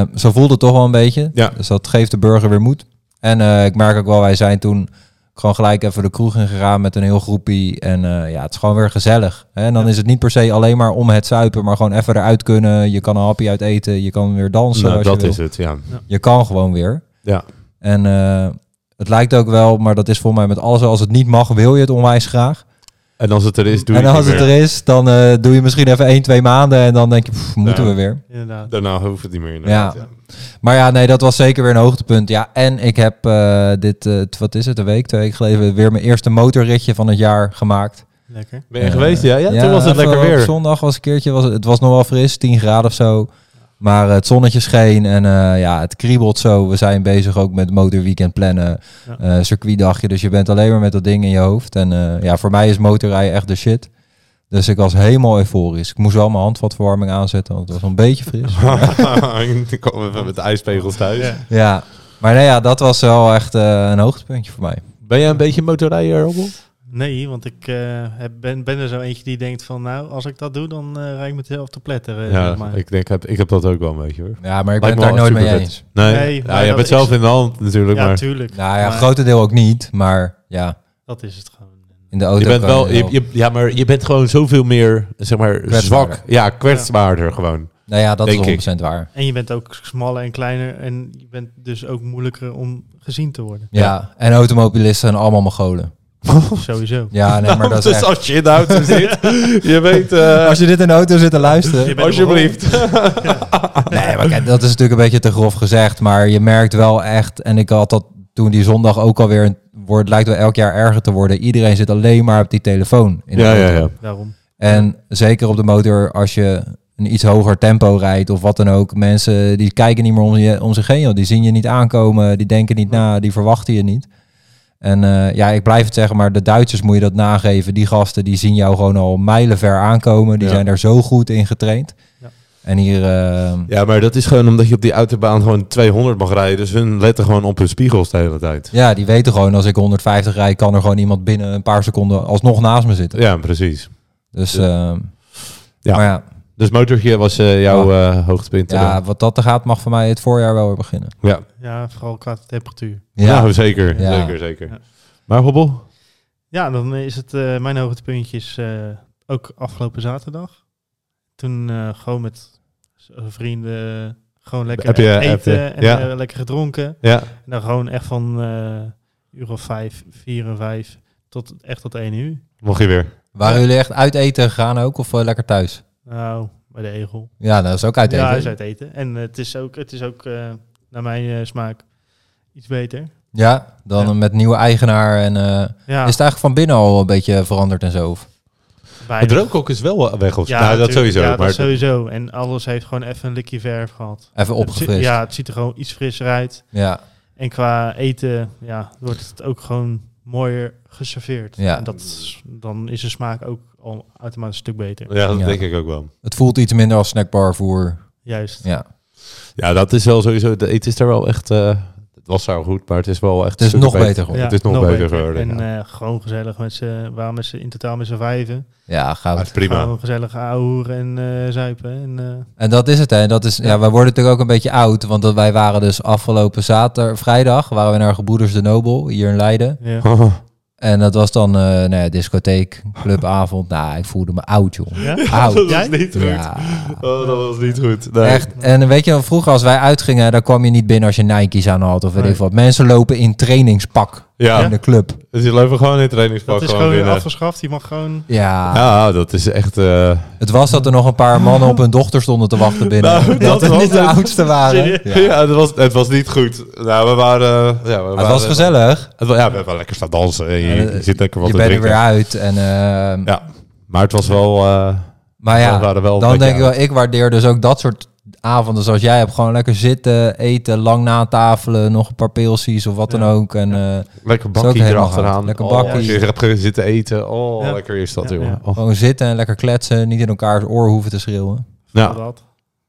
[SPEAKER 3] Eh, zo voelde het toch wel een beetje.
[SPEAKER 1] Ja.
[SPEAKER 3] Dus dat geeft de burger weer moed. En eh, ik merk ook wel, wij zijn toen gewoon gelijk even de kroeg in gegaan met een heel groepie. En eh, ja, het is gewoon weer gezellig. Hè? En dan is het niet per se alleen maar om het zuipen, maar gewoon even eruit kunnen. Je kan een hapje uit eten, je kan weer dansen
[SPEAKER 1] Nou,
[SPEAKER 3] als
[SPEAKER 1] dat
[SPEAKER 3] je wil.
[SPEAKER 1] is het, ja.
[SPEAKER 3] Je kan gewoon weer.
[SPEAKER 1] Ja.
[SPEAKER 3] En eh, het lijkt ook wel, maar dat is volgens mij met alles, als het niet mag, wil je het onwijs graag.
[SPEAKER 1] En als het er is, doe je
[SPEAKER 3] en
[SPEAKER 1] het
[SPEAKER 3] als
[SPEAKER 1] niet
[SPEAKER 3] het
[SPEAKER 1] meer.
[SPEAKER 3] er is, dan eh, doe je misschien even één, twee maanden en dan denk je, pff, moeten
[SPEAKER 1] Ja.
[SPEAKER 3] we weer.
[SPEAKER 2] Inderdaad.
[SPEAKER 1] Daarna hoeft het niet meer.
[SPEAKER 3] Ja.
[SPEAKER 1] inderdaad, Ja.
[SPEAKER 3] Maar ja, nee, dat was zeker weer een hoogtepunt. Ja, en ik heb eh, dit, eh, t- wat is het, een week, twee weken geleden, weer mijn eerste motorritje van het jaar gemaakt.
[SPEAKER 2] Lekker.
[SPEAKER 1] Ben je
[SPEAKER 3] Eh,
[SPEAKER 1] geweest? Ja, ja, toen was het
[SPEAKER 3] even
[SPEAKER 1] lekker
[SPEAKER 3] op
[SPEAKER 1] weer.
[SPEAKER 3] Zondag was een keertje, was, het- het was nog wel fris, 10 graden of zo. Maar eh, het zonnetje scheen en eh, ja, het kriebelt zo. We zijn bezig ook met motorweekend plannen,
[SPEAKER 2] Ja.
[SPEAKER 3] eh, circuitdagje. Dus je bent alleen maar met dat ding in je hoofd. En eh, ja, voor mij is motorrijden echt de shit. Dus ik was helemaal euforisch. Ik moest wel mijn handvatverwarming aanzetten, want het was nog een beetje fris.
[SPEAKER 1] Ik kwam even met de ijspegels thuis.
[SPEAKER 2] Ja.
[SPEAKER 3] Ja, maar nou ja, dat was wel echt eh, een hoogtepuntje voor mij.
[SPEAKER 1] Ben jij een beetje motorrijder, Robbel?
[SPEAKER 2] Nee, want ik eh, heb- ben, ben er zo eentje die denkt van... Nou, als ik dat doe, dan eh rijd ik mezelf te pletteren. eh, zeg
[SPEAKER 1] Ja,
[SPEAKER 2] maar.
[SPEAKER 1] ik denk, ik heb, ik heb dat ook wel een beetje hoor.
[SPEAKER 3] Ja, maar ik ben
[SPEAKER 1] Lijkt
[SPEAKER 3] het
[SPEAKER 1] me
[SPEAKER 3] daar
[SPEAKER 1] wel
[SPEAKER 3] nooit mee
[SPEAKER 1] supervet.
[SPEAKER 3] eens.
[SPEAKER 1] Nee,
[SPEAKER 2] Nee,
[SPEAKER 1] ja,
[SPEAKER 2] maar
[SPEAKER 1] je
[SPEAKER 2] dat
[SPEAKER 1] hebt het
[SPEAKER 2] is-
[SPEAKER 1] zelf in de hand natuurlijk,
[SPEAKER 2] ja,
[SPEAKER 1] maar
[SPEAKER 2] tuurlijk.
[SPEAKER 3] Nou ja,
[SPEAKER 2] Maar
[SPEAKER 3] grotendeel ook niet, maar ja,
[SPEAKER 2] Dat is het gewoon.
[SPEAKER 3] in de auto.
[SPEAKER 1] je bent
[SPEAKER 3] kan
[SPEAKER 1] wel, je, je- ja, maar je bent gewoon zoveel meer, zeg maar,
[SPEAKER 3] Kwetsbaarder.
[SPEAKER 1] zwak. Ja, kwetsbaarder gewoon.
[SPEAKER 3] Nou ja, dat
[SPEAKER 1] denk ik.
[SPEAKER 3] is 100% waar.
[SPEAKER 2] En je bent ook smaller en kleiner en je bent dus ook moeilijker om gezien te worden.
[SPEAKER 3] Ja. en automobilisten zijn allemaal Mongolen.
[SPEAKER 2] Sowieso.
[SPEAKER 3] Ja, nee, maar dat is
[SPEAKER 1] dus
[SPEAKER 3] echt...
[SPEAKER 1] als je in de auto zit, je weet, eh,
[SPEAKER 3] Als je dit in de auto
[SPEAKER 2] Dus
[SPEAKER 3] zit te
[SPEAKER 2] Je
[SPEAKER 3] luisteren...
[SPEAKER 2] bent
[SPEAKER 1] alsjeblieft.
[SPEAKER 3] Nee, maar kijk, dat is natuurlijk een beetje te grof gezegd, maar je merkt wel echt... En ik had dat toen die zondag ook alweer... een- Wordt, lijkt wel elk jaar erger te worden. Iedereen zit alleen maar op die telefoon. In de
[SPEAKER 1] Ja,
[SPEAKER 3] auto.
[SPEAKER 1] ja, ja.
[SPEAKER 2] Daarom.
[SPEAKER 3] En zeker op de motor, als je een iets hoger tempo rijdt of wat dan ook. Mensen die kijken niet meer om, je, om zich heen. joh. Die zien je niet aankomen, die denken niet na, die verwachten je niet. En eh, ja, ik blijf het zeggen, maar de Duitsers moet je dat nageven. Die gasten die zien jou gewoon al mijlenver aankomen. Die
[SPEAKER 1] Ja.
[SPEAKER 3] zijn daar zo goed in getraind.
[SPEAKER 2] Ja.
[SPEAKER 3] En hier... eh,
[SPEAKER 1] Ja, maar dat is gewoon omdat je op die autobaan gewoon 200 mag rijden. Dus hun letten gewoon op hun spiegels de hele tijd.
[SPEAKER 3] ja, die weten gewoon als ik 150 rijd, kan er gewoon iemand binnen een paar seconden alsnog naast me zitten.
[SPEAKER 1] Ja, precies.
[SPEAKER 3] Dus
[SPEAKER 1] Ja.
[SPEAKER 3] ja,
[SPEAKER 1] Ja.
[SPEAKER 3] Maar ja,
[SPEAKER 1] Dus motortje was eh, jouw eh, hoogtepunt.
[SPEAKER 3] ja, wat dat er gaat, mag voor mij het voorjaar wel weer beginnen.
[SPEAKER 1] ja.
[SPEAKER 2] Ja, vooral qua temperatuur.
[SPEAKER 1] ja. Nou, zeker.
[SPEAKER 3] Ja.
[SPEAKER 1] Zeker, zeker.
[SPEAKER 2] Ja.
[SPEAKER 1] Maar Hobbel?
[SPEAKER 2] Ja, dan is het eh, mijn hoogtepuntje is eh, ook afgelopen zaterdag. Toen eh, gewoon met z- eh, vrienden gewoon lekker
[SPEAKER 1] Heb je- heb
[SPEAKER 2] eten
[SPEAKER 1] je-
[SPEAKER 2] en
[SPEAKER 1] ja.
[SPEAKER 2] eh, lekker gedronken.
[SPEAKER 1] Ja.
[SPEAKER 2] En dan gewoon echt van eh uur of vijf, vier en vijf tot echt tot één uur.
[SPEAKER 1] Mocht je weer.
[SPEAKER 3] Waren
[SPEAKER 2] Ja.
[SPEAKER 3] jullie echt uit eten gegaan ook of eh, lekker thuis?
[SPEAKER 2] Nou, bij de egel.
[SPEAKER 3] Ja, dat is ook uit eten.
[SPEAKER 2] Ja, hij
[SPEAKER 3] Ja,
[SPEAKER 2] is uit eten. En eh, het is ook, het is ook eh, naar mijn eh, smaak iets beter.
[SPEAKER 3] dan
[SPEAKER 2] Ja.
[SPEAKER 3] met nieuwe eigenaar. En, eh,
[SPEAKER 2] Ja,
[SPEAKER 3] Is het eigenlijk van binnen al een beetje veranderd en zo? Of?
[SPEAKER 1] Het
[SPEAKER 2] weinig.
[SPEAKER 1] droomkok is wel weg of
[SPEAKER 2] Ja,
[SPEAKER 1] nou, dat
[SPEAKER 2] natuurlijk.
[SPEAKER 1] sowieso.
[SPEAKER 2] Ja, dat
[SPEAKER 1] maar
[SPEAKER 2] sowieso. En alles heeft gewoon even een likje verf gehad.
[SPEAKER 3] Even
[SPEAKER 2] Het
[SPEAKER 3] opgefrist.
[SPEAKER 2] zi-
[SPEAKER 3] Ja.
[SPEAKER 2] ja, het ziet er gewoon iets frisser uit.
[SPEAKER 3] Ja.
[SPEAKER 2] En qua eten ja, wordt het ook gewoon mooier geserveerd.
[SPEAKER 3] Ja.
[SPEAKER 2] En dat, is- dan is de smaak ook al automatisch een stuk beter.
[SPEAKER 1] ja, dat
[SPEAKER 3] Ja.
[SPEAKER 1] denk ik ook wel.
[SPEAKER 3] Het voelt iets minder als snackbarvoer.
[SPEAKER 2] Juist.
[SPEAKER 3] Ja.
[SPEAKER 1] Ja, dat is wel sowieso. De eten is daar wel echt. eh, het was daar goed, maar het is wel echt.
[SPEAKER 3] Het is
[SPEAKER 1] stukken
[SPEAKER 3] nog beter geworden.
[SPEAKER 1] het is nog beter geworden,
[SPEAKER 2] En eh, gewoon gezellig met z'n, waar met z'n, in totaal met z'n vijven.
[SPEAKER 3] Ja,
[SPEAKER 1] Ja,
[SPEAKER 3] goud.
[SPEAKER 1] het is prima.
[SPEAKER 2] Gewoon gezellig ouwen en eh, zuipen. En, eh,
[SPEAKER 3] En dat is het, hè. Dat is, ja, wij worden natuurlijk ook een beetje oud. Want dat- wij waren dus afgelopen zaterdag, vrijdag, waren we naar Gebroeders de Nobel, hier in Leiden.
[SPEAKER 2] ja.
[SPEAKER 3] En dat was dan, eh nou ja, discotheek, clubavond. nou, ik voelde me oud, joh.
[SPEAKER 2] Ja?
[SPEAKER 3] Oud.
[SPEAKER 2] Jij?
[SPEAKER 1] niet
[SPEAKER 3] Ja.
[SPEAKER 1] Oh, dat was niet goed. Nee.
[SPEAKER 3] Echt. En weet je, wel, vroeger als wij uitgingen, dan kwam je niet binnen als je Nike's aan had of weet
[SPEAKER 2] Nee.
[SPEAKER 3] ik wat. Mensen lopen in trainingspak
[SPEAKER 1] Ja,
[SPEAKER 3] in de club.
[SPEAKER 1] dus je loopt gewoon in het trainingspak
[SPEAKER 2] Dat is
[SPEAKER 1] gewoon
[SPEAKER 2] gewoon weer
[SPEAKER 1] binnen.
[SPEAKER 2] afgeschaft. Die mag gewoon...
[SPEAKER 3] Ja.
[SPEAKER 1] Ja, dat is echt. eh,
[SPEAKER 3] Het was dat er nog een paar mannen op hun dochter stonden te wachten binnen.
[SPEAKER 1] Nou,
[SPEAKER 3] dat
[SPEAKER 1] dat
[SPEAKER 3] we
[SPEAKER 1] was
[SPEAKER 3] niet de
[SPEAKER 1] het.
[SPEAKER 3] oudste waren.
[SPEAKER 1] Ja, dat was, het was niet goed. Nou, we waren... eh, Ja, we
[SPEAKER 3] Maar
[SPEAKER 1] waren
[SPEAKER 3] het was gezellig.
[SPEAKER 1] het wa- ja, we hebben lekker staan dansen. en je,
[SPEAKER 3] Ja,
[SPEAKER 1] je
[SPEAKER 3] eh,
[SPEAKER 1] zit lekker wat
[SPEAKER 3] Je
[SPEAKER 1] te
[SPEAKER 3] bent er
[SPEAKER 1] drinken.
[SPEAKER 3] weer uit. En, ehm,
[SPEAKER 1] Ja. Maar het was wel... eh,
[SPEAKER 3] Maar
[SPEAKER 1] we
[SPEAKER 3] ja,
[SPEAKER 1] waren wel een
[SPEAKER 3] dan
[SPEAKER 1] beetje
[SPEAKER 3] denk ik wel, ik waardeer dus ook dat soort avonden zoals jij hebt. Gewoon lekker zitten, eten, lang natafelen, nog een paar pilsies of wat dan
[SPEAKER 2] Ja.
[SPEAKER 3] ook. En eh,
[SPEAKER 1] Lekker
[SPEAKER 3] ook
[SPEAKER 1] bakkie
[SPEAKER 3] helemaal
[SPEAKER 1] erachteraan.
[SPEAKER 3] goud. Lekker
[SPEAKER 1] Oh,
[SPEAKER 3] bakkie.
[SPEAKER 1] als je hebt ge- zitten eten. Oh,
[SPEAKER 2] Ja.
[SPEAKER 1] lekker is dat,
[SPEAKER 2] Ja,
[SPEAKER 1] jongen.
[SPEAKER 2] ja.
[SPEAKER 1] Oh.
[SPEAKER 3] gewoon zitten en lekker kletsen. Niet in elkaars oor hoeven te schreeuwen.
[SPEAKER 1] Ja,
[SPEAKER 2] Dat.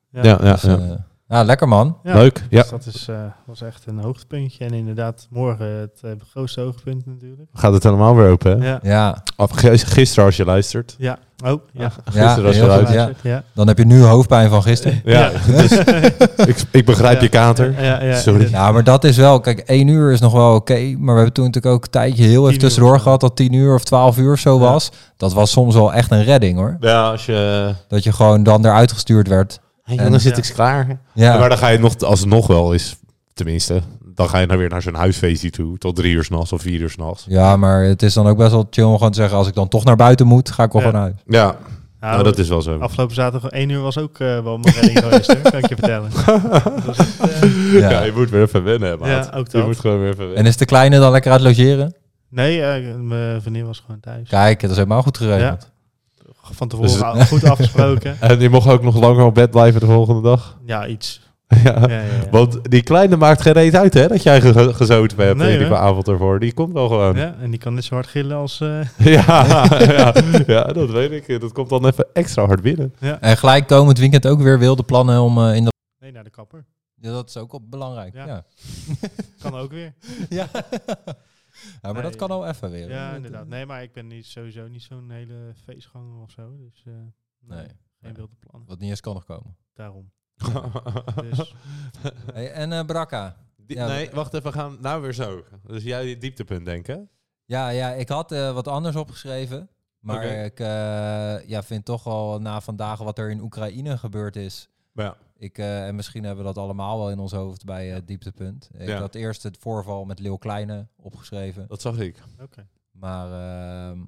[SPEAKER 1] ja, ja,
[SPEAKER 3] Dus,
[SPEAKER 1] ja.
[SPEAKER 3] eh, ja, lekker man.
[SPEAKER 2] Ja.
[SPEAKER 1] Leuk. Ja,
[SPEAKER 2] Dus dat is, eh, was echt een hoogtepuntje. En inderdaad, morgen het eh, grootste hoogtepunt natuurlijk.
[SPEAKER 1] gaat het helemaal weer open, hè?
[SPEAKER 2] Ja.
[SPEAKER 3] Ja,
[SPEAKER 1] Of g- Gisteren als je luistert.
[SPEAKER 2] Ja. Oh, ja.
[SPEAKER 1] Gisteren als je
[SPEAKER 3] heel goed,
[SPEAKER 1] luistert.
[SPEAKER 3] ja.
[SPEAKER 2] Ja. Ja.
[SPEAKER 3] Dan heb je nu hoofdpijn van gisteren.
[SPEAKER 1] Ja, dus ik, ik begrijp
[SPEAKER 2] Ja.
[SPEAKER 1] je kater.
[SPEAKER 2] Ja, ja, ja.
[SPEAKER 1] Sorry.
[SPEAKER 2] Ja.
[SPEAKER 3] Ja, maar dat is wel... Kijk, één uur is nog wel oké. maar we hebben toen natuurlijk ook een tijdje heel even
[SPEAKER 2] uur
[SPEAKER 3] tussendoor
[SPEAKER 2] of zo.
[SPEAKER 3] gehad... dat tien uur of twaalf uur of zo
[SPEAKER 2] Ja.
[SPEAKER 3] was. Dat was soms wel echt een redding, hoor.
[SPEAKER 1] Ja, als je...
[SPEAKER 3] Dat je gewoon dan eruit gestuurd werd.
[SPEAKER 1] dan zit
[SPEAKER 2] Ja.
[SPEAKER 1] ik klaar.
[SPEAKER 3] Ja,
[SPEAKER 1] Maar dan ga je nog, alsnog wel eens, tenminste, dan ga je nou weer naar zo'n huisfeestje toe. Tot drie uur s'nachts of vier uur s'nachts.
[SPEAKER 3] ja maar het is dan ook best wel chill om gewoon te zeggen... als ik dan toch naar buiten moet, ga ik wel
[SPEAKER 2] Ja.
[SPEAKER 3] gewoon uit.
[SPEAKER 1] Ja,
[SPEAKER 2] Nou,
[SPEAKER 1] nou, dat is wel zo.
[SPEAKER 2] Afgelopen zaterdag één uur was ook eh, wel mijn redding geweest, hoor, kan ik je vertellen. Dat was echt, eh,
[SPEAKER 1] ja. je moet weer even wennen, maat.
[SPEAKER 2] Ja, ook
[SPEAKER 1] Je
[SPEAKER 2] dat.
[SPEAKER 1] moet gewoon weer even
[SPEAKER 3] En
[SPEAKER 1] wennen.
[SPEAKER 3] is de kleine dan lekker uit logeren?
[SPEAKER 2] nee, eh, mijn vriendin was gewoon thuis.
[SPEAKER 3] Kijk, dat is helemaal goed geregeld.
[SPEAKER 2] Van tevoren al goed afgesproken.
[SPEAKER 1] En die mocht ook nog langer op bed blijven de volgende dag.
[SPEAKER 2] Ja, iets.
[SPEAKER 1] ja.
[SPEAKER 2] Ja, ja, ja.
[SPEAKER 1] Want die kleine maakt geen reet uit, hè? Dat jij ge- gezoten hebt
[SPEAKER 2] Nee,
[SPEAKER 1] eh, die
[SPEAKER 2] hè?
[SPEAKER 1] avond ervoor. Die komt wel gewoon. Ja.
[SPEAKER 2] Ja, en die kan net zo hard gillen als... eh,
[SPEAKER 1] ja, ja, dat weet ik. Dat komt dan even extra hard binnen.
[SPEAKER 3] En gelijk komend weekend ook weer wilde plannen om eh, in dat...
[SPEAKER 2] nee, naar de kapper.
[SPEAKER 3] Ja, dat is ook wel belangrijk.
[SPEAKER 2] Ja.
[SPEAKER 3] Ja,
[SPEAKER 2] Kan ook weer.
[SPEAKER 3] ja. maar
[SPEAKER 2] Nee.
[SPEAKER 3] dat kan al even weer.
[SPEAKER 2] Ja, inderdaad. Nee, maar ik ben niet, sowieso niet zo'n hele feestganger of zo. Dus eh, nee,
[SPEAKER 3] Nee.
[SPEAKER 2] geen wilde plannen.
[SPEAKER 3] Wat niet eens kan nog komen.
[SPEAKER 2] Daarom. Dus,
[SPEAKER 3] Hey, en eh Brakka.
[SPEAKER 1] Die-
[SPEAKER 3] Ja,
[SPEAKER 1] nee,
[SPEAKER 3] dat-
[SPEAKER 1] wacht even, gaan nou weer zo. Dus jij die dieptepunt denken.
[SPEAKER 3] Ja, ja, ik had eh, wat anders opgeschreven. Maar
[SPEAKER 1] Oké.
[SPEAKER 3] ik eh, ja, vind toch al na vandaag wat er in Oekraïne gebeurd is.
[SPEAKER 1] Ja.
[SPEAKER 3] Ik, eh, en misschien hebben we dat allemaal wel in ons hoofd bij eh, dieptepunt. Ik
[SPEAKER 1] Ja.
[SPEAKER 3] had eerst het voorval met Leeuw Kleine opgeschreven.
[SPEAKER 1] Dat zag ik.
[SPEAKER 3] Maar ehm,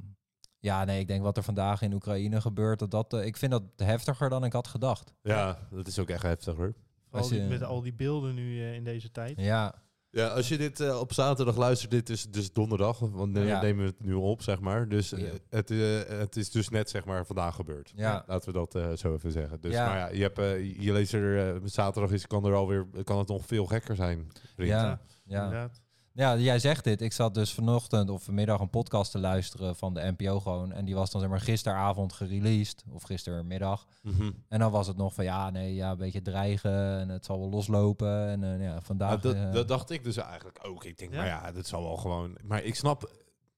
[SPEAKER 3] ja, nee, ik denk wat er vandaag in Oekraïne gebeurt, dat, dat eh, ik vind dat heftiger dan ik had gedacht.
[SPEAKER 1] Ja, dat is ook echt heftig hoor.
[SPEAKER 2] al die-
[SPEAKER 3] je-
[SPEAKER 2] met al die beelden nu eh, in deze tijd.
[SPEAKER 3] Ja,
[SPEAKER 1] Ja, als je dit eh, op zaterdag luistert, dit is dus donderdag, want we
[SPEAKER 3] Ja.
[SPEAKER 1] nemen we het nu op, zeg maar. Dus eh,
[SPEAKER 3] Ja.
[SPEAKER 1] het, eh, het is dus net, zeg maar, vandaag gebeurd.
[SPEAKER 3] Ja.
[SPEAKER 1] Laten we dat eh, zo even zeggen. Dus,
[SPEAKER 3] Ja.
[SPEAKER 1] Maar ja, je, hebt, eh, je leest er, eh, zaterdag is, kan, er alweer, kan het nog veel gekker zijn. vriend.
[SPEAKER 3] ja, ja.
[SPEAKER 2] Inderdaad.
[SPEAKER 3] Ja, jij zegt dit. Ik zat dus vanochtend of vanmiddag een podcast te luisteren van de NPO gewoon. En die was dan zeg maar gisteravond gereleased. Of gistermiddag.
[SPEAKER 1] Mhm.
[SPEAKER 3] En dan was het nog van ja, nee, ja, een beetje dreigen. En het zal wel loslopen. En eh, ja,
[SPEAKER 1] Nou,
[SPEAKER 3] vandaag...
[SPEAKER 1] dat,
[SPEAKER 3] eh,
[SPEAKER 1] dat dacht ik dus eigenlijk ook. Ik denk,
[SPEAKER 2] Ja.
[SPEAKER 1] maar ja, dat zal wel gewoon... Maar ik snap...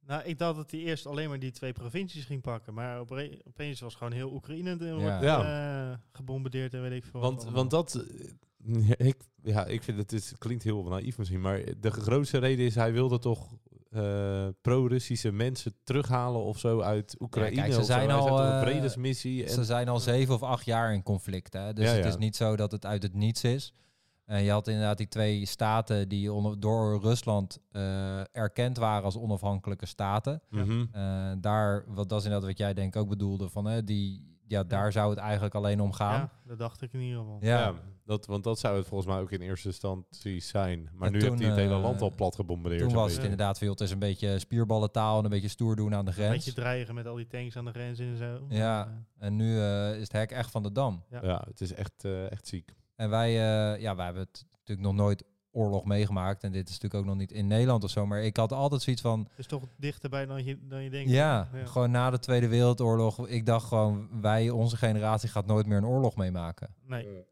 [SPEAKER 2] Nou, ik dacht dat hij eerst alleen maar die twee provincies ging pakken. Maar opre- opeens was gewoon heel Oekraïne de-
[SPEAKER 3] Ja.
[SPEAKER 2] wordt, eh, gebombardeerd en weet ik veel. wat
[SPEAKER 1] Want,
[SPEAKER 2] allemaal.
[SPEAKER 1] want dat... eh, Ik, ja, ik vind het, het klinkt heel naïef misschien, maar de grootste reden is hij wilde toch eh, pro-Russische mensen terughalen of zo uit Oekraïne.
[SPEAKER 3] kijk, ze
[SPEAKER 1] of zo.
[SPEAKER 3] zijn
[SPEAKER 1] Hij zegt
[SPEAKER 3] al,
[SPEAKER 1] dat een
[SPEAKER 3] eh,
[SPEAKER 1] vredesmissie. En,
[SPEAKER 3] Ze zijn al zeven of acht jaar in conflict. Hè? Dus
[SPEAKER 1] Ja,
[SPEAKER 3] het
[SPEAKER 1] ja.
[SPEAKER 3] is niet zo dat het uit het niets is. En je had inderdaad die twee staten die onder, door Rusland eh, erkend waren als onafhankelijke staten.
[SPEAKER 1] Mhm.
[SPEAKER 3] Eh, daar, wat dat is inderdaad wat jij denk ik ook bedoelde, van hè, die, ja, daar zou het eigenlijk alleen om gaan.
[SPEAKER 2] Ja, dat dacht ik in ieder geval.
[SPEAKER 1] ja.
[SPEAKER 3] ja.
[SPEAKER 1] dat, want dat zou het volgens mij ook in eerste instantie zijn. Maar
[SPEAKER 3] En
[SPEAKER 1] nu
[SPEAKER 3] toen,
[SPEAKER 1] heeft hij het hele
[SPEAKER 3] eh,
[SPEAKER 1] land al plat gebombardeerd.
[SPEAKER 3] Toen
[SPEAKER 1] zo'n
[SPEAKER 3] was het
[SPEAKER 1] beetje.
[SPEAKER 3] inderdaad veel. Het is een beetje spierballentaal en een beetje stoer doen aan de
[SPEAKER 2] Een
[SPEAKER 3] grens.
[SPEAKER 2] beetje dreigen met al die tanks aan de grens en zo.
[SPEAKER 3] Ja.
[SPEAKER 2] Maar,
[SPEAKER 3] En nu eh, is het hek echt van de dam.
[SPEAKER 2] ja.
[SPEAKER 1] ja, het is echt, eh, echt ziek.
[SPEAKER 3] En wij, eh, ja, wij hebben het natuurlijk nog nooit oorlog meegemaakt. En dit is natuurlijk ook nog niet in Nederland of zo. Maar ik had altijd zoiets van,
[SPEAKER 2] eh, is toch dichterbij dan je, dan je denkt.
[SPEAKER 3] ja, gewoon na de Tweede Wereldoorlog. Ik dacht gewoon, wij, onze generatie gaat nooit meer een oorlog meemaken.
[SPEAKER 2] Nee, in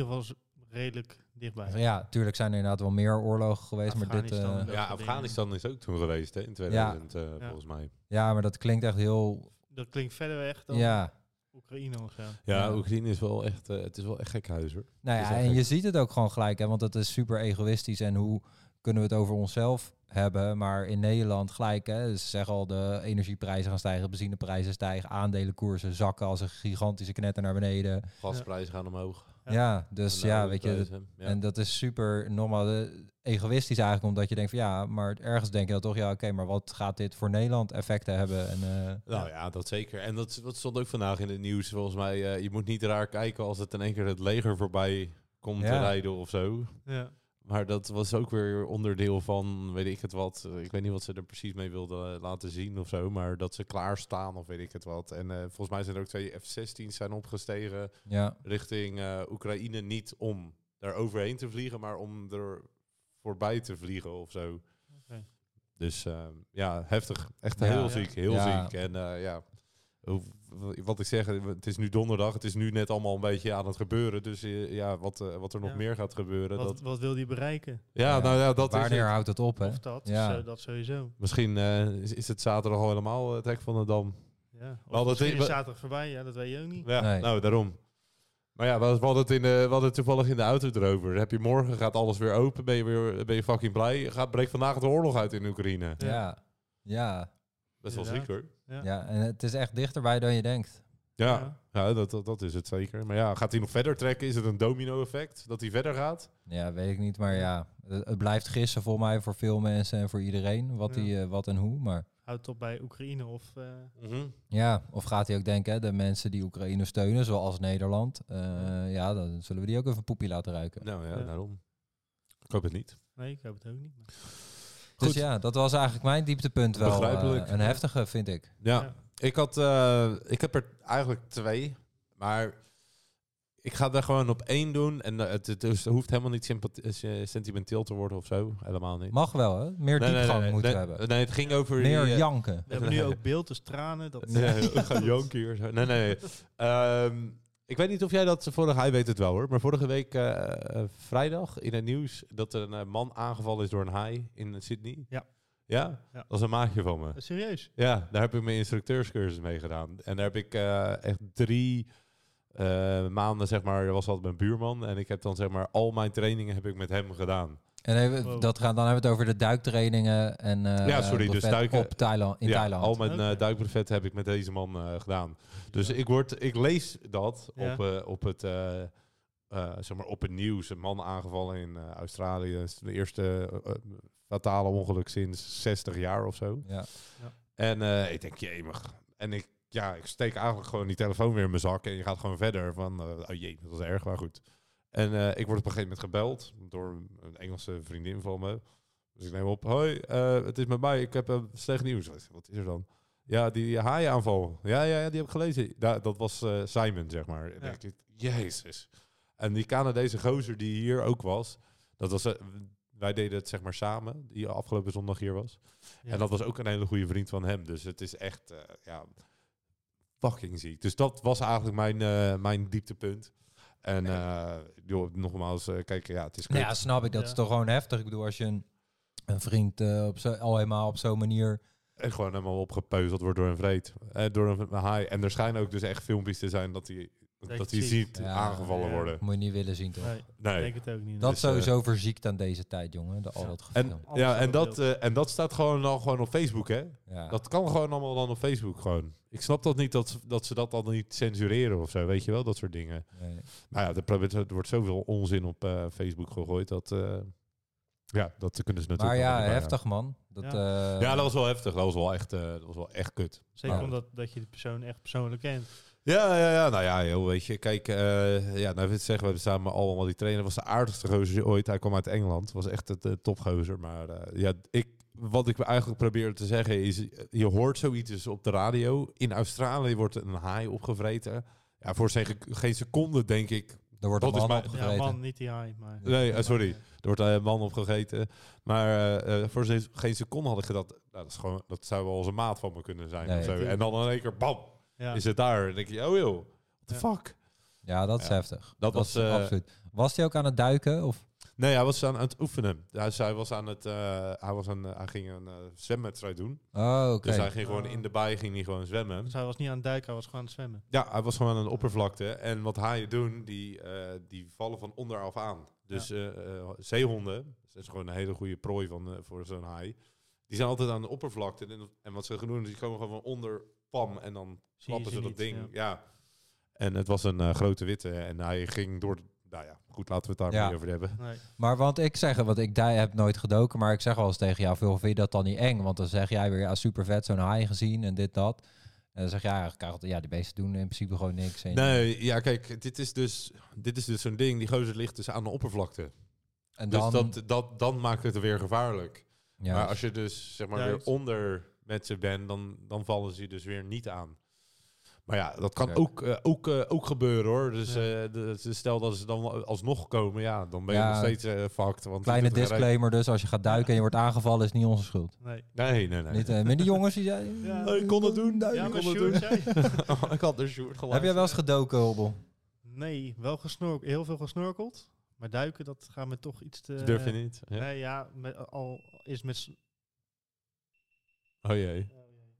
[SPEAKER 2] ieder geval is redelijk dichtbij.
[SPEAKER 3] Ja, tuurlijk zijn er inderdaad wel meer oorlogen geweest. Maar dit,
[SPEAKER 2] Afghanistan.
[SPEAKER 3] eh,
[SPEAKER 2] Dat
[SPEAKER 1] Ja,
[SPEAKER 2] soort
[SPEAKER 1] Afghanistan is ook toen geweest hè, in 2000 eh, volgens mij.
[SPEAKER 3] ja, maar dat klinkt echt heel,
[SPEAKER 2] Dat klinkt verder weg dan
[SPEAKER 3] ja.
[SPEAKER 2] Oekraïne of zo.
[SPEAKER 1] Ja,
[SPEAKER 3] Ja.
[SPEAKER 1] Oekraïne is wel echt, eh, het is wel echt gek huis hoor.
[SPEAKER 3] Nou
[SPEAKER 1] Dus
[SPEAKER 3] ja,
[SPEAKER 1] dat
[SPEAKER 3] en je
[SPEAKER 1] heeft-
[SPEAKER 3] ziet het ook gewoon gelijk, hè, want dat is super egoïstisch. En hoe kunnen we het over onszelf hebben? Maar in Nederland gelijk, hè, ze zeggen al de energieprijzen gaan stijgen, benzineprijzen stijgen, aandelenkoersen zakken als een gigantische knetter naar beneden.
[SPEAKER 1] Gasprijzen gaan omhoog.
[SPEAKER 3] Ja,
[SPEAKER 2] Ja.
[SPEAKER 3] dus
[SPEAKER 1] En de
[SPEAKER 3] ja, weet je. dat-
[SPEAKER 1] olieprijzen, ja.
[SPEAKER 3] En dat is super normaal eh, egoïstisch eigenlijk, omdat je denkt van ja, maar ergens denk je dan toch, ja, oké, maar wat gaat dit voor Nederland effecten hebben? En, eh,
[SPEAKER 1] Nou ja, dat zeker. En dat, dat stond ook vandaag in het nieuws. Volgens mij, eh, je moet niet raar kijken als het in één keer het leger voorbij komt te
[SPEAKER 3] Ja.
[SPEAKER 1] rijden of zo.
[SPEAKER 2] Ja.
[SPEAKER 1] Maar dat was ook weer onderdeel van, weet ik het wat. eh, Ik weet niet wat ze er precies mee wilden eh, laten zien of zo. Maar dat ze klaarstaan of weet ik het wat. En eh, volgens mij zijn er ook twee F-16's zijn opgestegen
[SPEAKER 3] Ja,
[SPEAKER 1] richting eh, Oekraïne. Niet om daar overheen te vliegen, maar om er voorbij te vliegen of zo.
[SPEAKER 2] Oké.
[SPEAKER 1] Dus eh, ja, heftig. Echt
[SPEAKER 3] Ja.
[SPEAKER 1] heel
[SPEAKER 2] Ja.
[SPEAKER 1] ziek, heel
[SPEAKER 3] Ja.
[SPEAKER 1] ziek. En eh, ja, hoe- wat ik zeg, het is nu donderdag. Het is nu net allemaal een beetje aan het gebeuren. Dus eh, ja, wat, eh, wat er nog
[SPEAKER 2] Ja.
[SPEAKER 1] meer gaat gebeuren.
[SPEAKER 2] Wat,
[SPEAKER 1] dat,
[SPEAKER 2] wat wil die bereiken?
[SPEAKER 1] ja,
[SPEAKER 3] Ja.
[SPEAKER 1] nou ja, dat is
[SPEAKER 3] wanneer
[SPEAKER 1] het.
[SPEAKER 3] houdt het op, hè?
[SPEAKER 2] Of dat?
[SPEAKER 3] Ja.
[SPEAKER 2] Zo, dat sowieso.
[SPEAKER 1] Misschien eh, is, is het zaterdag al helemaal eh, het hek van de Dam.
[SPEAKER 2] Ja. Of
[SPEAKER 1] hadden
[SPEAKER 2] misschien
[SPEAKER 1] het-
[SPEAKER 2] is
[SPEAKER 1] we-
[SPEAKER 2] zaterdag voorbij, ja, dat weet je ook niet.
[SPEAKER 1] Ja,
[SPEAKER 3] Nee.
[SPEAKER 1] nou, daarom. Maar ja, we hadden, het in de, we hadden het toevallig in de auto erover. Heb je morgen, gaat alles weer open, ben je, weer, ben je fucking blij. Gaat, breekt vandaag de oorlog uit in Oekraïne.
[SPEAKER 2] Ja.
[SPEAKER 3] Ja. Ja.
[SPEAKER 1] Best wel ziek
[SPEAKER 2] Inderdaad.
[SPEAKER 1] hoor.
[SPEAKER 2] Ja.
[SPEAKER 3] ja, en het is echt dichterbij dan je denkt.
[SPEAKER 1] Ja, ja. dat, dat, dat is het zeker. Maar ja, gaat hij nog verder trekken? Is het een domino effect dat hij verder gaat?
[SPEAKER 3] Ja, weet ik niet, maar ja, het het blijft gissen voor mij, voor veel mensen en voor iedereen, wat,
[SPEAKER 2] Ja.
[SPEAKER 3] die, eh, wat en hoe. Maar
[SPEAKER 2] Houdt op bij Oekraïne of... eh,
[SPEAKER 1] Mhm.
[SPEAKER 3] ja, of gaat hij ook denken, hè, de mensen die Oekraïne steunen, zoals Nederland, eh, ja, dan zullen we die ook even een poepie laten ruiken.
[SPEAKER 1] Nou ja,
[SPEAKER 2] Ja.
[SPEAKER 1] daarom. Ik hoop het niet.
[SPEAKER 2] nee, ik hoop het ook niet. maar-
[SPEAKER 3] Dus
[SPEAKER 1] Goed.
[SPEAKER 3] ja, dat was eigenlijk mijn dieptepunt wel.
[SPEAKER 1] Begrijpelijk.
[SPEAKER 3] eh, een heftige, vind ik.
[SPEAKER 1] Ja,
[SPEAKER 2] Ja.
[SPEAKER 1] ik had, eh, ik heb er eigenlijk twee, maar ik ga er gewoon op één doen en eh, het, het, dus het hoeft helemaal niet sympath- eh, sentimenteel te worden of zo, helemaal niet.
[SPEAKER 3] Mag wel, hè? Meer
[SPEAKER 1] Nee, nee,
[SPEAKER 3] diepgang
[SPEAKER 1] nee,
[SPEAKER 3] moeten
[SPEAKER 1] nee,
[SPEAKER 3] hebben.
[SPEAKER 1] Nee, het ging over
[SPEAKER 3] Meer
[SPEAKER 1] die, eh,
[SPEAKER 3] janken.
[SPEAKER 2] We hebben nu ook beeld, dus tranen. Dat...
[SPEAKER 1] Nee, we gaan janken hier zo. Nee, nee. Ehm, ik weet niet of jij dat eh, vorige, hij weet het wel hoor, maar vorige week eh, eh, vrijdag in het nieuws dat er een eh, man aangevallen is door een haai in Sydney.
[SPEAKER 2] Ja.
[SPEAKER 1] Ja?
[SPEAKER 2] Ja.
[SPEAKER 1] Dat was een maatje van me.
[SPEAKER 2] Eh, Serieus?
[SPEAKER 1] Ja, daar heb ik mijn instructeurscursus mee gedaan. En daar heb ik eh, echt drie eh, maanden, zeg maar, was altijd mijn buurman. En ik heb dan, zeg maar, al mijn trainingen heb ik met hem gedaan.
[SPEAKER 3] En even,
[SPEAKER 2] Wow.
[SPEAKER 3] dat gaan, dan hebben we het over de duiktrainingen en eh,
[SPEAKER 1] Ja, sorry,
[SPEAKER 3] de
[SPEAKER 1] dus
[SPEAKER 3] vet
[SPEAKER 1] duiken-
[SPEAKER 3] op Thailand, in
[SPEAKER 1] ja,
[SPEAKER 3] Thailand.
[SPEAKER 1] al mijn
[SPEAKER 2] Oké.
[SPEAKER 1] eh, duikbuffetten heb ik met deze man eh, gedaan. Dus
[SPEAKER 2] Ja.
[SPEAKER 1] ik, word, ik lees dat
[SPEAKER 2] Ja.
[SPEAKER 1] op, eh, op het... eh, eh, zeg maar op het nieuws, een man aangevallen in eh, Australië. Dat is De eerste eh, eh, fatale ongeluk sinds 60 jaar of zo.
[SPEAKER 3] Ja.
[SPEAKER 1] En eh, ik denk, jemig. En ik, ja, ik steek eigenlijk gewoon die telefoon weer in mijn zak. En je gaat gewoon verder van, eh, oh jee, dat was erg, maar goed. En eh, ik word op een gegeven moment gebeld door een Engelse vriendin van me. Dus ik neem op, hoi, eh, het is met mij, ik heb eh, slecht nieuws. Ik zeg, Wat is er dan? Ja, die haaiaanval. Ja, ja, ja, die heb ik gelezen. Ja, dat was eh, Simon, zeg maar. En
[SPEAKER 2] Ja.
[SPEAKER 1] ik denk, jezus. En die Canadese gozer die hier ook was, dat was, eh, wij deden het zeg maar samen, die afgelopen zondag hier was.
[SPEAKER 2] Ja.
[SPEAKER 1] En dat was ook een hele goede vriend van hem. Dus het is echt, eh, ja, fucking ziek. Dus dat was eigenlijk mijn, eh, mijn dieptepunt. En eh, joh, nogmaals, eh, kijk, ja, het is kut.
[SPEAKER 3] Nou ja, snap ik. Dat
[SPEAKER 2] Ja.
[SPEAKER 3] is toch gewoon heftig. Ik bedoel, als je een, een vriend eh, op zo, al helemaal op zo'n manier...
[SPEAKER 1] En gewoon helemaal opgepeuzeld wordt door een vreed. Eh, door een haai. En er schijnen ook dus echt filmpjes te zijn dat hij,
[SPEAKER 2] Dat
[SPEAKER 1] dat
[SPEAKER 2] je
[SPEAKER 1] hij
[SPEAKER 2] ziet.
[SPEAKER 1] ziet
[SPEAKER 3] Ja,
[SPEAKER 1] aangevallen
[SPEAKER 2] ja.
[SPEAKER 1] worden.
[SPEAKER 3] moet je niet willen zien, toch?
[SPEAKER 2] Nee, ik
[SPEAKER 1] Nee.
[SPEAKER 2] denk het ook niet.
[SPEAKER 3] Dat
[SPEAKER 1] Dus,
[SPEAKER 3] sowieso verziekt aan deze tijd, jongen. De, al dat gevoel.
[SPEAKER 1] En,
[SPEAKER 2] Alles
[SPEAKER 1] ja,
[SPEAKER 2] op
[SPEAKER 1] en,
[SPEAKER 2] het
[SPEAKER 1] dat,
[SPEAKER 2] beeld.
[SPEAKER 1] eh, en dat staat gewoon al gewoon op Facebook, hè?
[SPEAKER 3] Ja.
[SPEAKER 1] Dat kan gewoon allemaal dan op Facebook gewoon. Ik snap dat niet, dat, ze- dat ze dat dan niet censureren of zo, weet je wel? Dat soort dingen.
[SPEAKER 3] Nee.
[SPEAKER 1] Maar Nou ja, er, probeert- er wordt zoveel onzin op eh, Facebook gegooid dat. eh, ja, dat kunnen ze
[SPEAKER 3] Maar
[SPEAKER 1] natuurlijk.
[SPEAKER 3] ja,
[SPEAKER 1] allemaal
[SPEAKER 3] heftig, man. Dat, eh,
[SPEAKER 1] Ja, dat was wel heftig. Dat was wel echt, eh, dat was wel echt kut.
[SPEAKER 2] Zeker
[SPEAKER 3] Ja.
[SPEAKER 2] omdat dat je de persoon echt persoonlijk kent.
[SPEAKER 1] Ja, ja, ja. Nou ja, joh, weet je. Kijk, eh, ja, nou, ik wil zeggen, we hebben samen allemaal die trainer. Was de aardigste gozer ooit. Hij kwam uit Engeland. Was echt het eh, topgozer. Maar eh, ja, ik, wat ik eigenlijk probeer te zeggen is, eh, je hoort zoiets dus op de radio. In Australië wordt een haai opgevreten. Ja, voor geen, geen seconde denk ik.
[SPEAKER 3] er wordt een
[SPEAKER 1] dat is
[SPEAKER 3] man
[SPEAKER 1] maar-
[SPEAKER 3] opgevreten.
[SPEAKER 2] Ja, man, niet die high, maar...
[SPEAKER 1] Nee, eh, sorry. Er wordt een man opgegeten. Maar eh, eh, voor ze- geen seconde had ik gedacht... Nou, dat, is gewoon, dat zou wel eens een maat van me kunnen zijn.
[SPEAKER 3] Nee.
[SPEAKER 1] of zo. En dan in één keer, bam,
[SPEAKER 2] Ja.
[SPEAKER 1] is het daar. En denk je, oh joh, what the
[SPEAKER 2] Ja.
[SPEAKER 1] fuck?
[SPEAKER 3] Ja, dat is
[SPEAKER 1] Ja.
[SPEAKER 3] heftig. Dat,
[SPEAKER 1] was,
[SPEAKER 3] is
[SPEAKER 1] eh,
[SPEAKER 3] absoluut. Was hij ook aan het duiken? Of?
[SPEAKER 1] Nee, hij was aan, aan het oefenen. Hij, zei- hij was aan het, eh, hij, was aan, hij ging een eh, zwemwedstrijd doen.
[SPEAKER 3] Oh, oké.
[SPEAKER 1] Dus hij ging gewoon
[SPEAKER 2] Ah.
[SPEAKER 1] in de baai ging hij gewoon zwemmen.
[SPEAKER 2] Dus hij was niet aan het duiken, hij was gewoon aan het zwemmen.
[SPEAKER 1] Ja, hij was gewoon aan de oppervlakte. En wat haaien doen, die, eh, die vallen van onderaf aan. Dus eh, eh, zeehonden, dat is gewoon een hele goede prooi van, eh, voor zo'n haai. Die zijn altijd aan de oppervlakte. En, en wat ze gaan doen, is die komen gewoon van onder pam en dan
[SPEAKER 2] Zie je
[SPEAKER 1] klappen
[SPEAKER 2] ze
[SPEAKER 1] ze dat
[SPEAKER 2] niet,
[SPEAKER 1] ding.
[SPEAKER 2] ja.
[SPEAKER 1] Ja. En het was een eh, grote witte. En hij ging door... Nou ja, goed, laten we het daar
[SPEAKER 3] Ja.
[SPEAKER 1] maar niet over hebben.
[SPEAKER 2] Nee.
[SPEAKER 3] Maar want ik zeg, want ik dui- heb nooit gedoken, maar ik zeg wel eens tegen jou, veel vind je dat dan niet eng? Want dan zeg jij weer, ja, super vet, zo'n haai gezien en dit, dat. En dan zeg jij eigenlijk, eigenlijk, ja, die beesten doen in principe gewoon niks. En
[SPEAKER 1] Nee, ja, kijk, dit is dus, dit is dus zo'n ding. Die gozer ligt dus aan de oppervlakte.
[SPEAKER 3] En
[SPEAKER 1] Dus
[SPEAKER 3] dan,
[SPEAKER 1] dat, dat, dan maakt het weer gevaarlijk.
[SPEAKER 3] ja,
[SPEAKER 1] maar als je dus zeg maar
[SPEAKER 2] Juist.
[SPEAKER 1] weer onder mensen bent, dan, dan vallen ze je dus weer niet aan. Maar ja, dat kan
[SPEAKER 3] Ja.
[SPEAKER 1] ook, eh, ook, eh, ook gebeuren hoor. Dus
[SPEAKER 2] Ja.
[SPEAKER 1] eh, de- ze- stel dat ze dan alsnog komen, ja, dan ben je
[SPEAKER 3] Ja.
[SPEAKER 1] nog steeds eh fucked. Want je
[SPEAKER 3] kleine
[SPEAKER 1] doet er geen-
[SPEAKER 3] disclaimer dus, als je gaat duiken en je wordt aangevallen, is niet onze schuld.
[SPEAKER 2] Nee.
[SPEAKER 1] Nee, nee, nee.
[SPEAKER 3] Niet, eh, met die jongens die zei...
[SPEAKER 2] Ja.
[SPEAKER 1] Oh, ik kon het doen.
[SPEAKER 2] Ja,
[SPEAKER 1] ik
[SPEAKER 2] maar
[SPEAKER 1] kon het
[SPEAKER 2] Sjoerd
[SPEAKER 1] doen.
[SPEAKER 2] zei...
[SPEAKER 1] Oh, ik had de Sjoerd geluisterd.
[SPEAKER 3] Heb jij wel eens gedoken, Hobbel?
[SPEAKER 2] Nee, wel gesnorkeld. Heel veel gesnorkeld. Maar duiken, dat gaat me toch iets te...
[SPEAKER 1] Dat Durf je niet? Ja.
[SPEAKER 2] Eh, Nee, ja, met, al is met... s-
[SPEAKER 1] Oh jee.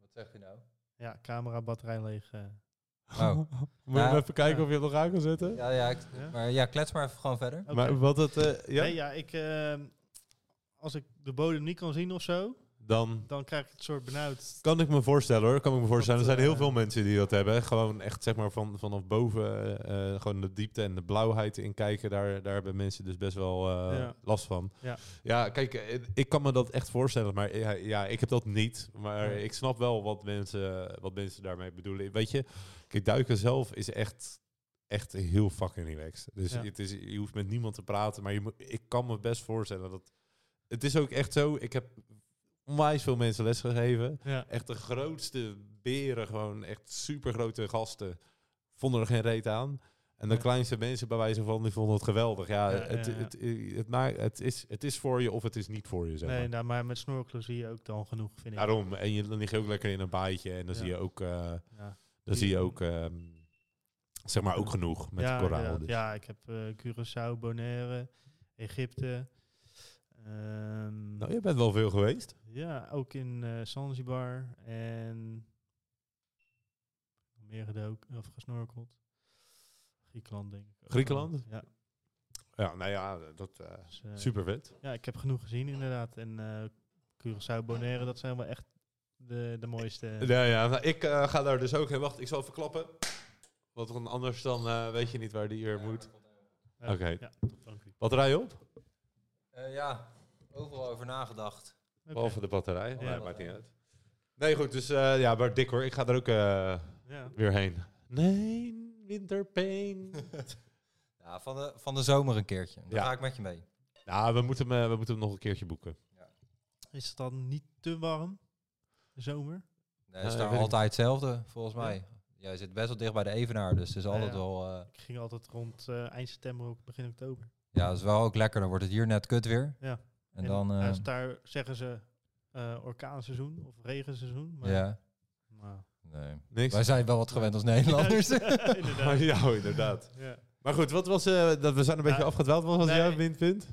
[SPEAKER 3] Wat zegt hij nou?
[SPEAKER 2] Ja, camera, batterij leeg. eh.
[SPEAKER 3] Oh.
[SPEAKER 1] Moet je
[SPEAKER 3] Ja.
[SPEAKER 1] hem even kijken of je het nog aan kan zetten?
[SPEAKER 3] Ja, ja, ik-
[SPEAKER 2] Ja?
[SPEAKER 3] maar ja, klets maar even gewoon verder.
[SPEAKER 2] Oké.
[SPEAKER 1] Maar wat het... eh, ja?
[SPEAKER 2] Nee, ja, ik... ehm, als ik de bodem niet kan zien of zo,
[SPEAKER 1] Dan
[SPEAKER 2] dan krijg ik het soort benauwd.
[SPEAKER 1] kan ik me voorstellen hoor. Kan ik me voorstellen. Er
[SPEAKER 2] Dat,
[SPEAKER 1] zijn heel
[SPEAKER 2] eh,
[SPEAKER 1] veel mensen die dat hebben. Gewoon echt zeg maar van, vanaf boven eh, eh, gewoon de diepte en de blauwheid in kijken. Daar, daar hebben mensen dus best wel eh,
[SPEAKER 2] Ja.
[SPEAKER 1] last van.
[SPEAKER 2] Ja.
[SPEAKER 1] Ja, kijk, eh, ik kan me dat echt voorstellen. Maar ja, ja, ik heb dat niet. Maar
[SPEAKER 2] Nee.
[SPEAKER 1] ik snap wel wat mensen, wat mensen daarmee bedoelen. Weet je, kijk, duiken zelf is echt, echt heel fucking relaxed. Dus
[SPEAKER 2] Ja.
[SPEAKER 1] het is, je hoeft met niemand te praten. Maar je moet, ik kan me best voorstellen dat... Het is ook echt zo. Ik heb onwijs veel mensen lesgegeven.
[SPEAKER 2] Ja.
[SPEAKER 1] Echt de grootste beren, gewoon echt supergrote gasten, vonden er geen reet aan. En de
[SPEAKER 2] Ja.
[SPEAKER 1] kleinste mensen bij wijze van, die vonden het geweldig. Ja,
[SPEAKER 2] Ja,
[SPEAKER 1] het,
[SPEAKER 2] ja, ja.
[SPEAKER 1] Het, het, het, maakt- het, is, het is voor je of het is niet voor je, zeg maar.
[SPEAKER 2] Nee, nou, maar met snorkelen zie je ook dan genoeg, vind ik.
[SPEAKER 1] Daarom. En je, dan lig je ook lekker in een baaitje en dan
[SPEAKER 2] Ja.
[SPEAKER 1] zie je ook, eh,
[SPEAKER 2] Ja,
[SPEAKER 1] dan zie je ook ehm, zeg maar, ook genoeg met
[SPEAKER 2] ja,
[SPEAKER 1] koraal.
[SPEAKER 2] inderdaad.
[SPEAKER 1] dus.
[SPEAKER 2] Ja, ik heb eh, Curaçao, Bonaire, Egypte. ehm,
[SPEAKER 1] Nou, je bent wel veel geweest.
[SPEAKER 2] Ja, ook in eh, Zanzibar en meer gedoken of gesnorkeld. Griekenland denk ik. ook.
[SPEAKER 1] Griekenland?
[SPEAKER 2] Ja.
[SPEAKER 1] Ja, nou ja, dat eh
[SPEAKER 2] dus, eh,
[SPEAKER 1] super vet.
[SPEAKER 2] Ja, ik heb genoeg gezien inderdaad. En eh Curaçao, Bonaire, dat zijn wel echt de, de mooiste.
[SPEAKER 1] Ja, ja nou, ik eh, ga daar dus ook heen. Wacht, ik zal verklappen. Want anders dan eh, weet je niet waar die hier moet.
[SPEAKER 2] Ja,
[SPEAKER 1] oké.
[SPEAKER 2] Ja, top, dank u.
[SPEAKER 1] Wat rij je op?
[SPEAKER 3] Eh, ja, overal over nagedacht.
[SPEAKER 2] Oké.
[SPEAKER 1] Behalve de batterij. Maar
[SPEAKER 2] Ja.
[SPEAKER 1] dat maakt niet uit. Nee, goed. Dus eh, ja, maar dik hoor. Ik ga er ook eh,
[SPEAKER 2] Ja.
[SPEAKER 1] weer heen. Nee, winterpain.
[SPEAKER 3] Ja, van de, van de zomer een keertje. Dan
[SPEAKER 1] Ja.
[SPEAKER 3] ga ik met je mee.
[SPEAKER 1] nou, we moeten, hem, eh, we moeten hem nog een keertje boeken.
[SPEAKER 2] Is het dan niet te warm? De zomer?
[SPEAKER 3] Nee, het is
[SPEAKER 1] Eh,
[SPEAKER 3] daar
[SPEAKER 1] weet ik
[SPEAKER 3] altijd hetzelfde, volgens mij. Jij zit best wel dicht bij de Evenaar, dus het is altijd
[SPEAKER 2] Ja.
[SPEAKER 3] wel... eh,
[SPEAKER 2] Ik ging altijd rond eh, eind september, ook begin oktober.
[SPEAKER 3] ja, het is wel ook lekker. Dan wordt het hier net kut weer.
[SPEAKER 2] Ja.
[SPEAKER 3] En, dan... eh,
[SPEAKER 2] als daar zeggen ze eh, orkaanseizoen of regenseizoen. Maar,
[SPEAKER 3] ja,
[SPEAKER 2] maar
[SPEAKER 3] nee.
[SPEAKER 1] Niks.
[SPEAKER 3] Wij zijn wel wat gewend als Nederlanders.
[SPEAKER 2] Ja, inderdaad.
[SPEAKER 3] Oh,
[SPEAKER 1] ja, inderdaad.
[SPEAKER 2] Ja.
[SPEAKER 1] Maar goed, wat was, eh, dat we zijn een beetje
[SPEAKER 2] Ja.
[SPEAKER 1] afgedwaald. Wat was
[SPEAKER 2] Nee.
[SPEAKER 1] jouw windpunt?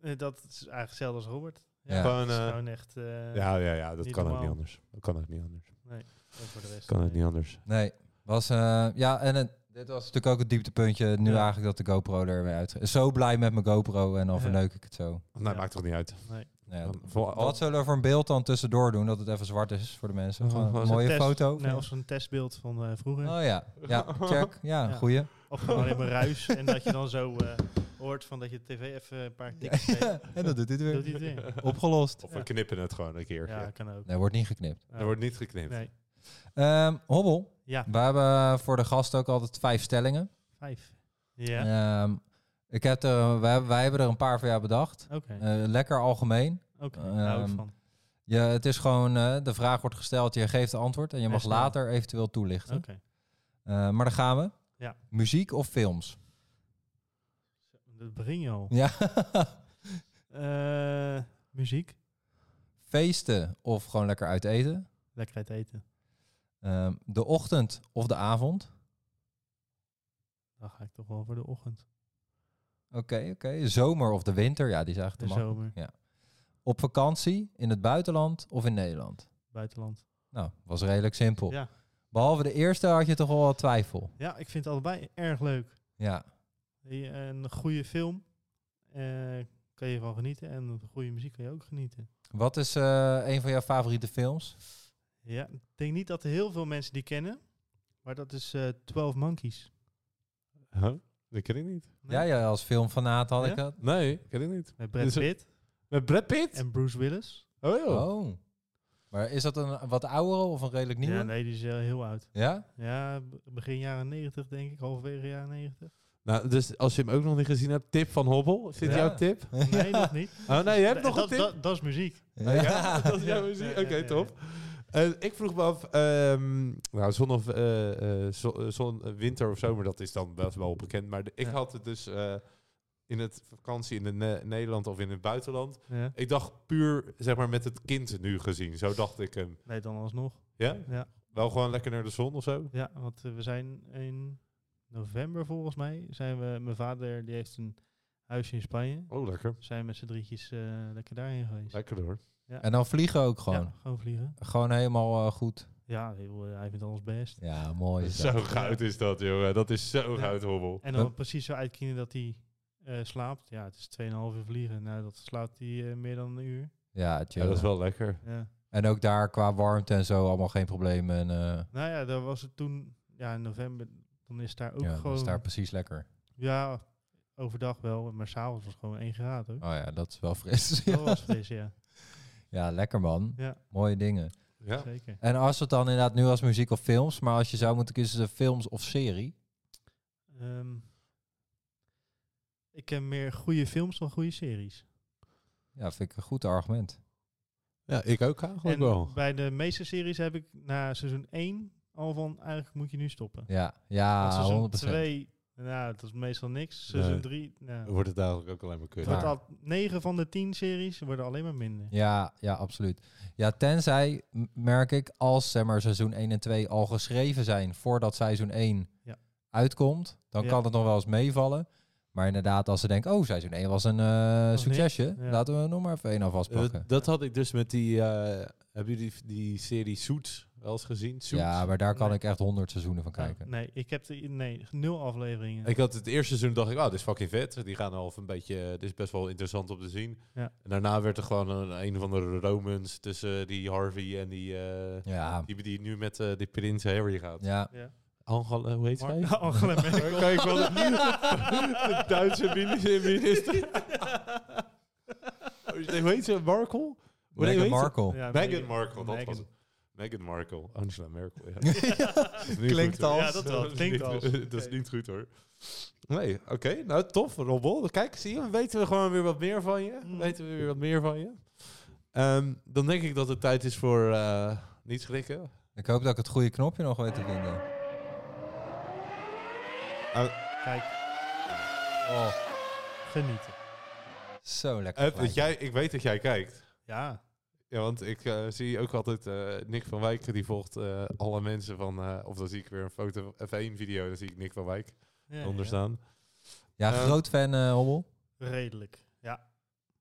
[SPEAKER 2] Eh, Dat is eigenlijk hetzelfde als Robert.
[SPEAKER 3] Ja.
[SPEAKER 1] Gewoon,
[SPEAKER 2] Dat is
[SPEAKER 1] eh,
[SPEAKER 2] gewoon echt... eh,
[SPEAKER 1] ja, ja, ja, dat
[SPEAKER 2] niet
[SPEAKER 1] kan ook
[SPEAKER 2] normaal.
[SPEAKER 1] niet anders. Dat kan ook niet anders.
[SPEAKER 2] Nee, en voor de rest.
[SPEAKER 1] kan ook
[SPEAKER 2] nee.
[SPEAKER 1] niet anders.
[SPEAKER 3] Nee, was... eh, ja, en het- dit was natuurlijk ook het dieptepuntje. Nu
[SPEAKER 2] Ja.
[SPEAKER 3] eigenlijk dat de GoPro er weer uit... Zo blij met mijn GoPro en dan
[SPEAKER 2] Ja.
[SPEAKER 3] verneuk ik het zo.
[SPEAKER 1] Nee,
[SPEAKER 2] Ja.
[SPEAKER 1] maakt toch niet uit.
[SPEAKER 2] Nee.
[SPEAKER 3] Nou ja,
[SPEAKER 1] Dan voor al-
[SPEAKER 3] Wat zullen we voor een beeld dan tussendoor doen? Dat het even zwart is voor de mensen.
[SPEAKER 1] Oh,
[SPEAKER 3] Gewoon
[SPEAKER 1] was
[SPEAKER 3] een
[SPEAKER 1] het
[SPEAKER 3] mooie
[SPEAKER 2] Test-
[SPEAKER 3] foto.
[SPEAKER 2] Nee, als een testbeeld van eh, vroeger.
[SPEAKER 3] Oh ja, ja, check. Ja,
[SPEAKER 2] Ja.
[SPEAKER 3] goeie.
[SPEAKER 2] Of gewoon alleen maar ruis. en dat je dan zo eh, hoort van dat je de tv even een paar tikken geeft.
[SPEAKER 3] En dat doet
[SPEAKER 2] Doet
[SPEAKER 3] dit weer.
[SPEAKER 2] hij het weer?
[SPEAKER 3] Opgelost.
[SPEAKER 1] Of we knippen het gewoon een keer.
[SPEAKER 2] Ja,
[SPEAKER 1] Ja.
[SPEAKER 2] kan ook.
[SPEAKER 3] Nee, wordt niet geknipt.
[SPEAKER 1] Er wordt niet geknipt.
[SPEAKER 2] Nee.
[SPEAKER 3] Ehm, Hobbel,
[SPEAKER 2] Ja,
[SPEAKER 3] we hebben voor de gasten ook altijd vijf stellingen.
[SPEAKER 2] vijf. Ja,
[SPEAKER 3] Ehm, ik heb er, wij, wij hebben er een paar voor jou bedacht.
[SPEAKER 2] oké.
[SPEAKER 3] Eh, lekker algemeen.
[SPEAKER 2] Oké, daar hou ik
[SPEAKER 3] ehm,
[SPEAKER 2] van.
[SPEAKER 3] Je, het is gewoon, eh, de vraag wordt gesteld, je geeft de antwoord en je mag
[SPEAKER 2] Best wel.
[SPEAKER 3] later eventueel toelichten.
[SPEAKER 2] Oké.
[SPEAKER 3] Eh, maar daar gaan we.
[SPEAKER 2] Ja.
[SPEAKER 3] Muziek of films?
[SPEAKER 2] Dat begin je al.
[SPEAKER 3] Ja.
[SPEAKER 2] Eh, muziek.
[SPEAKER 3] Feesten of gewoon lekker uit eten?
[SPEAKER 2] Lekker uit eten.
[SPEAKER 3] Ehm, de ochtend of de avond.
[SPEAKER 2] Dan ga ik toch wel voor de ochtend.
[SPEAKER 3] Oké, oké. Zomer of de winter. Ja, die is
[SPEAKER 2] De
[SPEAKER 3] eigenlijk te makkelijk.
[SPEAKER 2] zomer.
[SPEAKER 3] Op vakantie in het buitenland of in Nederland?
[SPEAKER 2] Buitenland.
[SPEAKER 3] Nou, was redelijk simpel.
[SPEAKER 2] Ja.
[SPEAKER 3] Behalve de eerste had je toch wel wat twijfel.
[SPEAKER 2] ja, ik vind het allebei erg leuk.
[SPEAKER 3] Ja,
[SPEAKER 2] Die- Een goede film eh, kan je van genieten en goede muziek kan je ook genieten.
[SPEAKER 3] wat is eh, een van jouw favoriete films?
[SPEAKER 2] Ja, ik denk niet dat er heel veel mensen die kennen, maar dat is eh 12 Monkeys.
[SPEAKER 1] Huh? Dat ken ik niet.
[SPEAKER 2] Nee?
[SPEAKER 3] Ja, Dus ja, als filmfanaat had
[SPEAKER 2] Ja?
[SPEAKER 3] ik dat.
[SPEAKER 1] Nee, ken ik niet.
[SPEAKER 2] Met Brad
[SPEAKER 1] Is het-
[SPEAKER 2] Pitt
[SPEAKER 1] Met Brad Pitt?
[SPEAKER 2] en Bruce Willis.
[SPEAKER 1] Oh, joh.
[SPEAKER 3] Oh. Maar is dat een wat oudere of een redelijk nieuwe?
[SPEAKER 2] Ja,
[SPEAKER 3] Ja?
[SPEAKER 2] nee, die is eh, heel oud. Ja, b- begin jaren 90 denk ik, halverwege jaren 90.
[SPEAKER 1] Nou, dus als je hem ook nog niet gezien hebt, tip van Hobbel. Is dit
[SPEAKER 2] Ja.
[SPEAKER 1] jouw tip?
[SPEAKER 2] Nee, nog niet.
[SPEAKER 1] Oh nee, je hebt
[SPEAKER 2] Nee,
[SPEAKER 1] nog een
[SPEAKER 2] dat,
[SPEAKER 1] tip?
[SPEAKER 2] dat, dat is muziek.
[SPEAKER 1] Oh, Ja, dat is jouw
[SPEAKER 2] Ja,
[SPEAKER 1] muziek.
[SPEAKER 2] ja,
[SPEAKER 1] Oké,
[SPEAKER 2] ja, ja, ja.
[SPEAKER 1] top. Eh, ik vroeg me af, ehm, nou, zon of eh, eh, zo- eh, zon, eh, winter of zomer, dat is dan best wel bekend. Maar de- ik
[SPEAKER 3] Ja.
[SPEAKER 1] had het dus eh, in het vakantie in de Ne- Nederland of in het buitenland.
[SPEAKER 2] Ja.
[SPEAKER 1] Ik dacht puur, zeg maar, met het kind nu gezien. Zo dacht ik hem.
[SPEAKER 2] Nee, dan alsnog.
[SPEAKER 1] Ja?
[SPEAKER 2] Ja.
[SPEAKER 1] Wel gewoon lekker naar de zon of zo?
[SPEAKER 2] Ja, want eh, we zijn in november volgens mij. Zijn we, mijn vader die heeft een huisje in Spanje.
[SPEAKER 1] Oh, lekker.
[SPEAKER 2] Zijn we met z'n drietjes eh, lekker daarheen geweest.
[SPEAKER 1] Lekker hoor.
[SPEAKER 3] En dan vliegen ook gewoon.
[SPEAKER 2] Ja, gewoon vliegen.
[SPEAKER 3] Gewoon helemaal eh, goed.
[SPEAKER 2] Ja, ik bedoel, hij vindt alles best.
[SPEAKER 3] Ja, mooi. is
[SPEAKER 1] Zo
[SPEAKER 3] dat.
[SPEAKER 1] goud is dat, jongen. Dat is zo
[SPEAKER 2] Ja.
[SPEAKER 1] goud, hobbel.
[SPEAKER 2] En dan precies zo uitkiezen dat hij eh, slaapt. Ja, het is 2,5 uur vliegen. Nou, dat slaapt hij eh, meer dan een uur.
[SPEAKER 3] Ja, chill.
[SPEAKER 1] Ja, dat is wel lekker.
[SPEAKER 2] Ja.
[SPEAKER 3] En ook daar qua warmte en zo allemaal geen probleem. En eh,
[SPEAKER 2] Nou ja, daar was het toen... Ja, in november, dan is daar ook
[SPEAKER 3] ja, dat
[SPEAKER 2] gewoon...
[SPEAKER 3] is daar precies lekker.
[SPEAKER 2] Ja, overdag wel, maar s'avonds was het gewoon 1 graad. Hoor.
[SPEAKER 3] Oh ja, dat is wel fris.
[SPEAKER 2] Dat was fris, Oh, ja.
[SPEAKER 3] ja, lekker man.
[SPEAKER 2] Ja,
[SPEAKER 3] Mooie dingen.
[SPEAKER 1] Ja.
[SPEAKER 2] zeker.
[SPEAKER 3] En als het dan inderdaad nu als muziek of films, maar als je zou moeten kiezen tussen films of serie.
[SPEAKER 2] Ehm, ik ken meer goede films dan goede series.
[SPEAKER 3] Ja, vind ik een goed argument.
[SPEAKER 1] ja, ik ook eigenlijk
[SPEAKER 2] en
[SPEAKER 1] wel.
[SPEAKER 2] bij de meeste series heb ik na seizoen 1 al van... Eigenlijk moet je nu stoppen.
[SPEAKER 3] Ja,
[SPEAKER 2] Want
[SPEAKER 3] ja
[SPEAKER 2] seizoen
[SPEAKER 3] 100%.
[SPEAKER 2] 2, nou, dat is meestal niks.
[SPEAKER 1] Nee.
[SPEAKER 2] Seizoen 3, nou,
[SPEAKER 1] Wordt het eigenlijk ook alleen maar kut.
[SPEAKER 2] het
[SPEAKER 3] Ja.
[SPEAKER 2] wordt al 9 van de 10 series worden alleen maar minder.
[SPEAKER 3] Ja, ja, absoluut. Ja, tenzij, m- merk ik, als zeg maar, seizoen 1 en 2 al geschreven zijn voordat seizoen 1
[SPEAKER 2] Ja.
[SPEAKER 3] uitkomt, dan
[SPEAKER 2] Ja.
[SPEAKER 3] kan het nog wel eens meevallen. Maar inderdaad, als ze denken, oh, seizoen 1 was een eh,
[SPEAKER 2] niks,
[SPEAKER 3] succesje,
[SPEAKER 2] ja.
[SPEAKER 3] laten we nog maar even één aan
[SPEAKER 1] Eh,
[SPEAKER 3] vastpakken.
[SPEAKER 1] dat had ik dus met die. eh hebben jullie die, die serie Suits wel eens gezien? Suits?
[SPEAKER 3] ja, maar daar kan
[SPEAKER 2] Nee.
[SPEAKER 3] ik echt honderd seizoenen van
[SPEAKER 2] Nou,
[SPEAKER 3] kijken.
[SPEAKER 2] nee, ik heb de, nee, nul afleveringen.
[SPEAKER 1] Ik had het eerste seizoen dacht ik, oh, dit is fucking vet. Die gaan al een beetje, eh, dit is best wel interessant om te zien.
[SPEAKER 2] Ja.
[SPEAKER 1] En daarna werd er gewoon een, een van de romans tussen eh, die Harvey en die, eh,
[SPEAKER 3] Ja,
[SPEAKER 1] die, die nu met eh, die prins Harry gaat.
[SPEAKER 3] ja.
[SPEAKER 2] ja.
[SPEAKER 1] Angela, hoe heet zij?
[SPEAKER 2] Mar- Angela Merkel.
[SPEAKER 1] Kan ik wel de Duitse mini- minister? Oh, Hoe heet ze? Markle? Hoe heet
[SPEAKER 3] Meghan
[SPEAKER 1] ze?
[SPEAKER 3] Markle.
[SPEAKER 2] Ja,
[SPEAKER 1] Meghan Markle, dat
[SPEAKER 2] Meghan.
[SPEAKER 1] was het. Meghan Markle, Angela Merkel. Ja. Dat is niet
[SPEAKER 3] Klinkt
[SPEAKER 1] goed, hoor.
[SPEAKER 3] als.
[SPEAKER 2] Ja, dat wel. Klinkt
[SPEAKER 1] niet-
[SPEAKER 2] als.
[SPEAKER 1] dat is niet goed hoor. Nee, oké. Nou, tof, Robbel. Kijk, zie je, weten we gewoon weer wat meer van je.
[SPEAKER 2] Mm.
[SPEAKER 1] Weten we weer wat meer van je. Ehm, dan denk ik dat het tijd is voor eh, niet schrikken.
[SPEAKER 3] Ik hoop dat ik het goede knopje nog weet te vinden.
[SPEAKER 2] Kijk,
[SPEAKER 3] Oh,
[SPEAKER 2] genieten.
[SPEAKER 3] zo lekker.
[SPEAKER 1] Eh, dat
[SPEAKER 3] geluid.
[SPEAKER 1] jij, ik weet dat jij kijkt.
[SPEAKER 2] Ja,
[SPEAKER 1] Ja, want ik eh, zie ook altijd eh, Nick van Wijk, die volgt eh, alle mensen van... eh, of dan zie ik weer een foto, F1-video, dan zie ik Nick van Wijk
[SPEAKER 2] ja,
[SPEAKER 1] onder
[SPEAKER 2] ja.
[SPEAKER 1] staan.
[SPEAKER 3] Ja,
[SPEAKER 1] Eh,
[SPEAKER 3] groot fan, eh, Hommel.
[SPEAKER 2] Redelijk. Ja,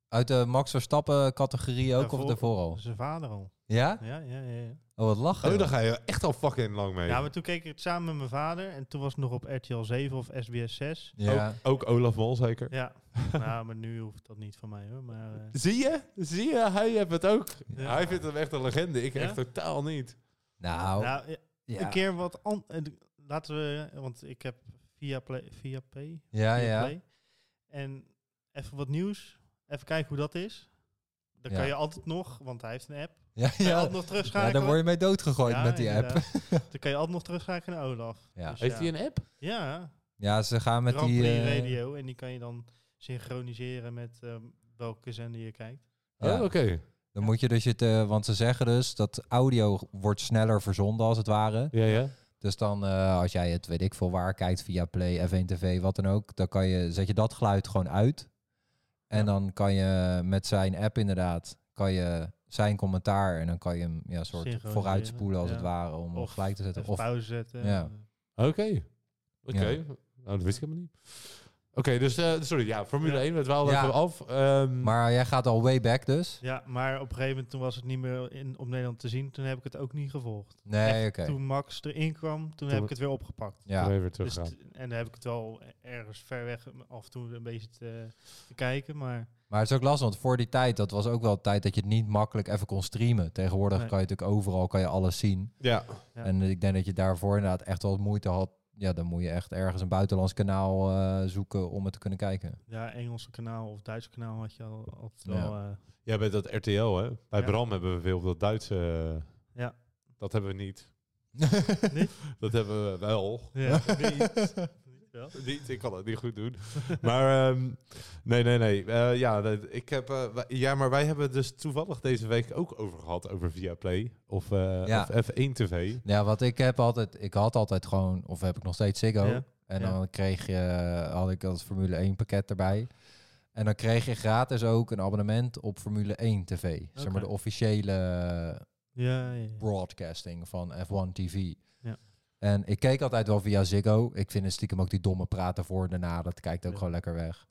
[SPEAKER 3] Uit de Max Verstappen categorie ook, of
[SPEAKER 2] Daarvoor-
[SPEAKER 3] daarvoor al?
[SPEAKER 2] zijn vader al.
[SPEAKER 3] Ja?
[SPEAKER 2] Ja, ja, ja, ja.
[SPEAKER 3] Oh, wat lachen.
[SPEAKER 1] Oh, daar ga je echt al fucking lang mee.
[SPEAKER 2] Ja, maar toen keek ik het samen met mijn vader. En toen was het nog op RTL 7 of SBS 6.
[SPEAKER 3] Ja.
[SPEAKER 1] Ook, ook Olaf Mol zeker.
[SPEAKER 2] Ja, nou, maar nu hoeft dat niet van mij hoor. Maar, eh,
[SPEAKER 1] Zie je? Zie je? Hij heeft het ook.
[SPEAKER 2] Ja.
[SPEAKER 1] Hij vindt hem echt een legende. Ik
[SPEAKER 2] Ja?
[SPEAKER 1] echt totaal niet.
[SPEAKER 3] Nou,
[SPEAKER 2] nou, eh,
[SPEAKER 3] ja.
[SPEAKER 2] een keer wat anders. Laten we, want ik heb via Play. Via Play,
[SPEAKER 3] ja,
[SPEAKER 2] via
[SPEAKER 3] ja.
[SPEAKER 2] Play. En even wat nieuws. Even kijken hoe dat is. Dan
[SPEAKER 3] Ja.
[SPEAKER 2] kan je altijd nog, want hij heeft een app.
[SPEAKER 3] Ja,
[SPEAKER 2] Kan je
[SPEAKER 3] ja.
[SPEAKER 2] altijd nog
[SPEAKER 3] ja,
[SPEAKER 2] terugschakelen.
[SPEAKER 3] daar word je mee doodgegooid
[SPEAKER 2] Ja,
[SPEAKER 3] met die app.
[SPEAKER 2] inderdaad. dan kan je altijd nog terugschakelen naar Olaf.
[SPEAKER 3] Ja.
[SPEAKER 2] Dus
[SPEAKER 1] Heeft hij een app?
[SPEAKER 2] Ja,
[SPEAKER 3] Ja, ze gaan met
[SPEAKER 2] Grand
[SPEAKER 3] die...
[SPEAKER 2] Prix
[SPEAKER 3] eh,
[SPEAKER 2] radio. En die kan je dan synchroniseren met ehm, welke zender je kijkt.
[SPEAKER 3] ja.
[SPEAKER 1] Oh, oké.
[SPEAKER 3] Dan moet je dus je... te- want ze zeggen dus dat audio wordt sneller verzonden als het ware.
[SPEAKER 1] Ja, ja.
[SPEAKER 3] Dus dan eh, als jij het, weet ik veel waar, kijkt via Play, F1 TV, wat dan ook. Dan kan je, zet je dat geluid gewoon uit. En dan kan je met zijn app inderdaad... Kan je zijn commentaar en dan kan je hem ja, soort
[SPEAKER 2] Synchroniseren,
[SPEAKER 3] vooruitspoelen als
[SPEAKER 2] ja.
[SPEAKER 3] het ware. Om hem
[SPEAKER 2] Of
[SPEAKER 3] gelijk te zetten.
[SPEAKER 2] Even
[SPEAKER 3] Of
[SPEAKER 2] pauze zetten.
[SPEAKER 3] ja.
[SPEAKER 1] Oké. Oké. Nou, dat wist ik helemaal niet. Oké, dus eh, sorry. Ja, Formule
[SPEAKER 2] Ja.
[SPEAKER 1] 1, we dwaalden
[SPEAKER 3] Ja.
[SPEAKER 1] even af. Ehm,
[SPEAKER 3] Maar jij gaat al way back dus?
[SPEAKER 2] Ja, maar op een gegeven moment toen was het niet meer in, op Nederland te zien. Toen heb ik het ook niet gevolgd.
[SPEAKER 3] Nee, oké.
[SPEAKER 2] Toen Max erin kwam, toen heb ik het weer opgepakt.
[SPEAKER 1] Zullen
[SPEAKER 3] Ja.
[SPEAKER 1] we Even
[SPEAKER 2] Dus
[SPEAKER 1] teruggaan.
[SPEAKER 2] t- en dan heb ik het wel ergens ver weg af en toe een beetje te, te kijken. Maar
[SPEAKER 3] Maar het is ook lastig, want voor die tijd, dat was ook wel tijd dat je het niet makkelijk even kon streamen. Tegenwoordig
[SPEAKER 2] Nee.
[SPEAKER 3] kan je natuurlijk overal kan je alles zien.
[SPEAKER 1] ja.
[SPEAKER 2] Ja.
[SPEAKER 3] En ik denk dat je daarvoor inderdaad echt wel moeite had. Ja, dan moet je echt ergens een buitenlands kanaal eh, zoeken om het te kunnen kijken.
[SPEAKER 2] ja, Engelse kanaal of Duitse kanaal had je al altijd
[SPEAKER 3] Ja.
[SPEAKER 2] wel. eh,
[SPEAKER 1] ja, bij dat RTL, hè. Bij
[SPEAKER 2] Ja.
[SPEAKER 1] Bram hebben we veel dat Duitse... eh,
[SPEAKER 2] Ja.
[SPEAKER 1] Dat hebben we niet.
[SPEAKER 2] Niet?
[SPEAKER 1] Dat hebben we wel.
[SPEAKER 2] ja, niet, niet wel.
[SPEAKER 1] Niet, ik kan het niet goed doen. Maar ehm, nee, nee, nee. Eh, ja, dat- ik heb, eh, wij- ja, maar wij hebben het dus toevallig deze week ook over gehad over Viaplay of, eh,
[SPEAKER 3] Ja.
[SPEAKER 1] of F1 TV.
[SPEAKER 3] Ja, wat ik heb altijd, ik had altijd gewoon, of heb ik nog steeds Ziggo.
[SPEAKER 2] Ja,
[SPEAKER 3] En
[SPEAKER 2] ja.
[SPEAKER 3] dan kreeg je, had ik dat Formule 1 pakket erbij. En dan kreeg je gratis ook een abonnement op Formule 1 TV. Zeg
[SPEAKER 2] Oké.
[SPEAKER 3] maar de officiële
[SPEAKER 2] Ja, ja, ja.
[SPEAKER 3] broadcasting van F1 TV.
[SPEAKER 2] Ja.
[SPEAKER 3] En ik keek altijd wel via Ziggo. Ik vind het stiekem ook die domme praten voor en daarna. Dat kijkt ook
[SPEAKER 2] Ja.
[SPEAKER 3] gewoon lekker weg.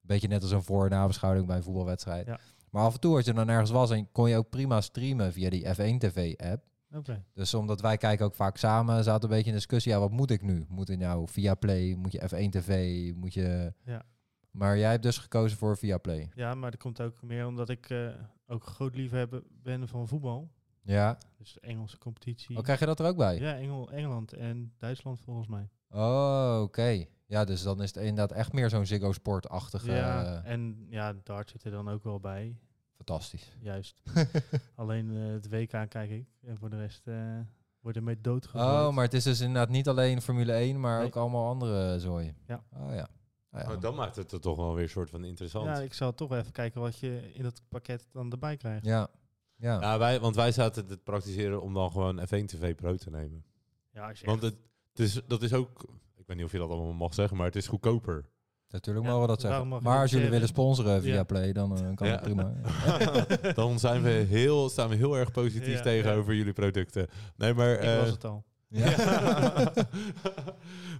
[SPEAKER 3] Beetje net als een voor- en nabeschouwing bij een voetbalwedstrijd.
[SPEAKER 2] Ja.
[SPEAKER 3] Maar af en toe als je dan ergens was en kon je ook prima streamen via die F1 TV app.
[SPEAKER 2] Oké.
[SPEAKER 3] Dus omdat wij kijken ook vaak samen, zaten een beetje in discussie. Ja, wat moet ik nu? Moet ik nou via Play? Moet je F1 TV? Moet je...
[SPEAKER 2] Ja.
[SPEAKER 3] Maar jij hebt dus gekozen voor via Play.
[SPEAKER 2] Ja, maar dat komt ook meer omdat ik eh, ook groot liefhebber ben van voetbal.
[SPEAKER 3] Ja.
[SPEAKER 2] Dus de Engelse competitie.
[SPEAKER 3] Oh, krijg je dat er ook bij?
[SPEAKER 2] Ja, Engel, Engeland en Duitsland volgens mij.
[SPEAKER 3] Oh, oké. Ja, dus dan is het inderdaad echt meer zo'n Ziggo Sport-achtige...
[SPEAKER 2] ja,
[SPEAKER 3] eh,
[SPEAKER 2] en ja, Dart zit er dan ook wel bij.
[SPEAKER 3] fantastisch.
[SPEAKER 2] Juist. Alleen eh, het WK kijk ik. En voor de rest eh wordt er mee doodgegooid.
[SPEAKER 3] Oh, maar het is dus inderdaad niet alleen Formule 1, maar
[SPEAKER 2] Nee.
[SPEAKER 3] ook allemaal andere zooi.
[SPEAKER 2] Ja.
[SPEAKER 3] Oh ja. Nou ja.
[SPEAKER 1] Oh, dan maakt het het toch wel weer een soort van interessant.
[SPEAKER 2] Ja,
[SPEAKER 1] Ja,
[SPEAKER 2] ik zal toch even kijken wat je in dat pakket dan erbij krijgt. Ja,
[SPEAKER 3] ja. Ja.
[SPEAKER 1] wij, want wij zaten te praktiseren om dan gewoon F1 TV Pro te nemen.
[SPEAKER 2] als je
[SPEAKER 1] Want
[SPEAKER 2] echt-
[SPEAKER 1] het, het is, dat is ook, ik weet niet of je dat allemaal mag zeggen, maar het is goedkoper.
[SPEAKER 3] natuurlijk
[SPEAKER 2] Ja,
[SPEAKER 3] mogen we dat
[SPEAKER 2] daarom
[SPEAKER 3] zeggen.
[SPEAKER 2] mag je
[SPEAKER 3] Maar
[SPEAKER 2] dat
[SPEAKER 3] als jullie
[SPEAKER 2] zeggen.
[SPEAKER 3] willen sponsoren via
[SPEAKER 2] Ja.
[SPEAKER 3] Play, dan eh, kan
[SPEAKER 1] Ja.
[SPEAKER 3] dat prima.
[SPEAKER 1] dan zijn we heel, staan we heel erg positief
[SPEAKER 2] Ja,
[SPEAKER 1] tegenover jullie producten. Nee, maar...
[SPEAKER 2] ik
[SPEAKER 1] eh,
[SPEAKER 2] was het al.
[SPEAKER 3] Ja.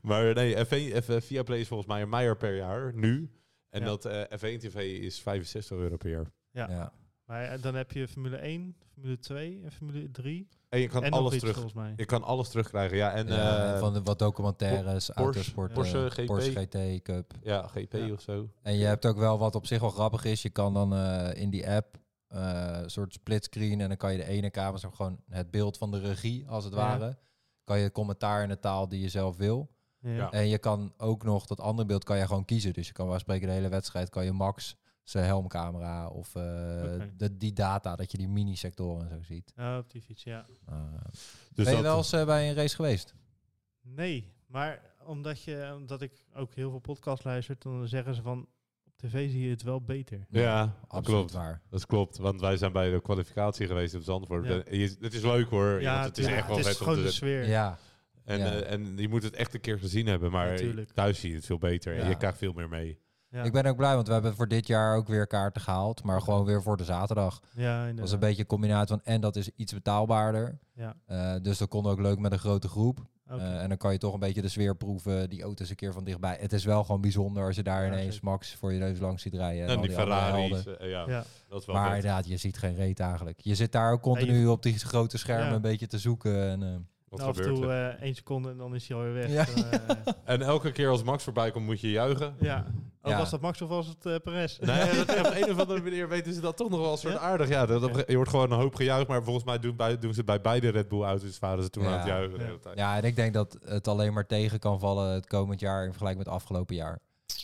[SPEAKER 1] maar nee, F1, F, eh, Viaplay is volgens mij een meier per jaar, nu. En
[SPEAKER 2] Ja.
[SPEAKER 1] dat eh, F1 TV is 65 euro per jaar.
[SPEAKER 2] Ja.
[SPEAKER 3] ja.
[SPEAKER 2] Maar eh, dan heb je Formule 1, Formule 2 en Formule 3.
[SPEAKER 1] En je kan,
[SPEAKER 2] en nog
[SPEAKER 1] alles,
[SPEAKER 2] iets
[SPEAKER 1] terug,
[SPEAKER 2] volgens mij.
[SPEAKER 1] je kan alles terugkrijgen. Ja, en
[SPEAKER 3] Ja,
[SPEAKER 1] eh,
[SPEAKER 3] van de, wat documentaires,
[SPEAKER 1] Porsche-
[SPEAKER 3] autosport,
[SPEAKER 1] Porsche
[SPEAKER 3] eh,
[SPEAKER 1] GP.
[SPEAKER 3] Porsche GT Cup.
[SPEAKER 1] ja GP
[SPEAKER 2] Ja.
[SPEAKER 1] of zo.
[SPEAKER 3] En je hebt ook wel wat op zich wel grappig is. Je kan dan eh, in die app eh, een soort splitscreen en dan kan je de ene kamer, zo gewoon het beeld van de regie als het
[SPEAKER 2] Ja.
[SPEAKER 3] ware, kan je commentaar in de taal die je zelf wil.
[SPEAKER 2] Ja.
[SPEAKER 1] Ja.
[SPEAKER 3] En je kan ook nog dat andere beeld kan je gewoon kiezen. Dus je kan wel spreken de hele wedstrijd, kan je Max zijn helmcamera of eh,
[SPEAKER 2] Oké.
[SPEAKER 3] de, die data, dat je die mini-sectoren en zo ziet.
[SPEAKER 2] Ja, op die fiets, ja.
[SPEAKER 3] Eh,
[SPEAKER 1] Dus
[SPEAKER 3] ben je
[SPEAKER 1] dat-
[SPEAKER 3] wel eens eh, bij een race geweest?
[SPEAKER 2] Nee, maar omdat, je, omdat ik ook heel veel podcasts luister, dan zeggen ze van op tv zie je het wel beter.
[SPEAKER 1] Ja, dat
[SPEAKER 3] Absoluut
[SPEAKER 1] klopt.
[SPEAKER 3] waar.
[SPEAKER 1] Dat klopt, want wij zijn bij de kwalificatie geweest op Zandvoort.
[SPEAKER 2] Ja.
[SPEAKER 1] En je- Het is leuk hoor, want het is
[SPEAKER 2] tuurlijk,
[SPEAKER 1] echt wel
[SPEAKER 2] het is
[SPEAKER 1] vet om
[SPEAKER 2] gewoon
[SPEAKER 1] te
[SPEAKER 2] de
[SPEAKER 1] doen.
[SPEAKER 2] sfeer.
[SPEAKER 3] Ja,
[SPEAKER 1] En,
[SPEAKER 3] Ja.
[SPEAKER 1] eh, en je moet het echt een keer gezien hebben, maar
[SPEAKER 2] Natuurlijk.
[SPEAKER 1] thuis zie je het veel beter. En
[SPEAKER 3] Ja.
[SPEAKER 1] je krijgt veel meer mee.
[SPEAKER 2] Ja.
[SPEAKER 3] ik ben ook blij, want we hebben voor dit jaar ook weer kaarten gehaald. Maar gewoon weer voor de zaterdag.
[SPEAKER 2] ja,
[SPEAKER 3] Dat
[SPEAKER 2] inderdaad.
[SPEAKER 3] was een beetje een combinatie van en dat is iets betaalbaarder.
[SPEAKER 2] Ja,
[SPEAKER 3] Eh, dus dat kon ook leuk met een grote groep.
[SPEAKER 2] oké.
[SPEAKER 3] Eh, en dan kan je toch een beetje de sfeer proeven, die auto's een keer van dichtbij. Het is wel gewoon bijzonder als je daar
[SPEAKER 2] Ja,
[SPEAKER 3] ineens
[SPEAKER 2] zeker.
[SPEAKER 3] Max voor je neus langs ziet rijden.
[SPEAKER 1] en
[SPEAKER 3] al
[SPEAKER 1] die
[SPEAKER 3] andere
[SPEAKER 1] Ferraris,
[SPEAKER 3] helden.
[SPEAKER 1] eh, Oh, ja,
[SPEAKER 2] ja.
[SPEAKER 1] dat is wel
[SPEAKER 3] Maar
[SPEAKER 1] vet.
[SPEAKER 3] inderdaad, je ziet geen reet eigenlijk. Je zit daar ook continu
[SPEAKER 2] Nee,
[SPEAKER 3] op die grote schermen
[SPEAKER 2] Ja.
[SPEAKER 3] een beetje te zoeken. En, eh,
[SPEAKER 1] Wat
[SPEAKER 2] Nou, af en
[SPEAKER 1] gebeurt
[SPEAKER 2] toe
[SPEAKER 1] er?
[SPEAKER 2] eh, één seconde en dan is hij alweer weg.
[SPEAKER 3] Ja.
[SPEAKER 2] Dan, eh,
[SPEAKER 1] En elke keer als Max voorbij komt, moet je juichen.
[SPEAKER 2] ja. Oh,
[SPEAKER 3] Ja.
[SPEAKER 2] was dat Max of was het eh Perez?
[SPEAKER 1] Nee, dat, op een of andere manier weten ze dat toch nog wel een soort
[SPEAKER 2] Ja?
[SPEAKER 1] aardig. Ja, dat, dat- je hoort gewoon een hoop gejuich, maar volgens mij doen, bij, doen ze bij beide Red Bull-auto's varen ze toen
[SPEAKER 3] Ja.
[SPEAKER 1] aan het juichen. de
[SPEAKER 2] Ja.
[SPEAKER 1] hele tijd.
[SPEAKER 3] ja, en ik denk dat het alleen maar tegen kan vallen het komend jaar in vergelijking met het afgelopen jaar.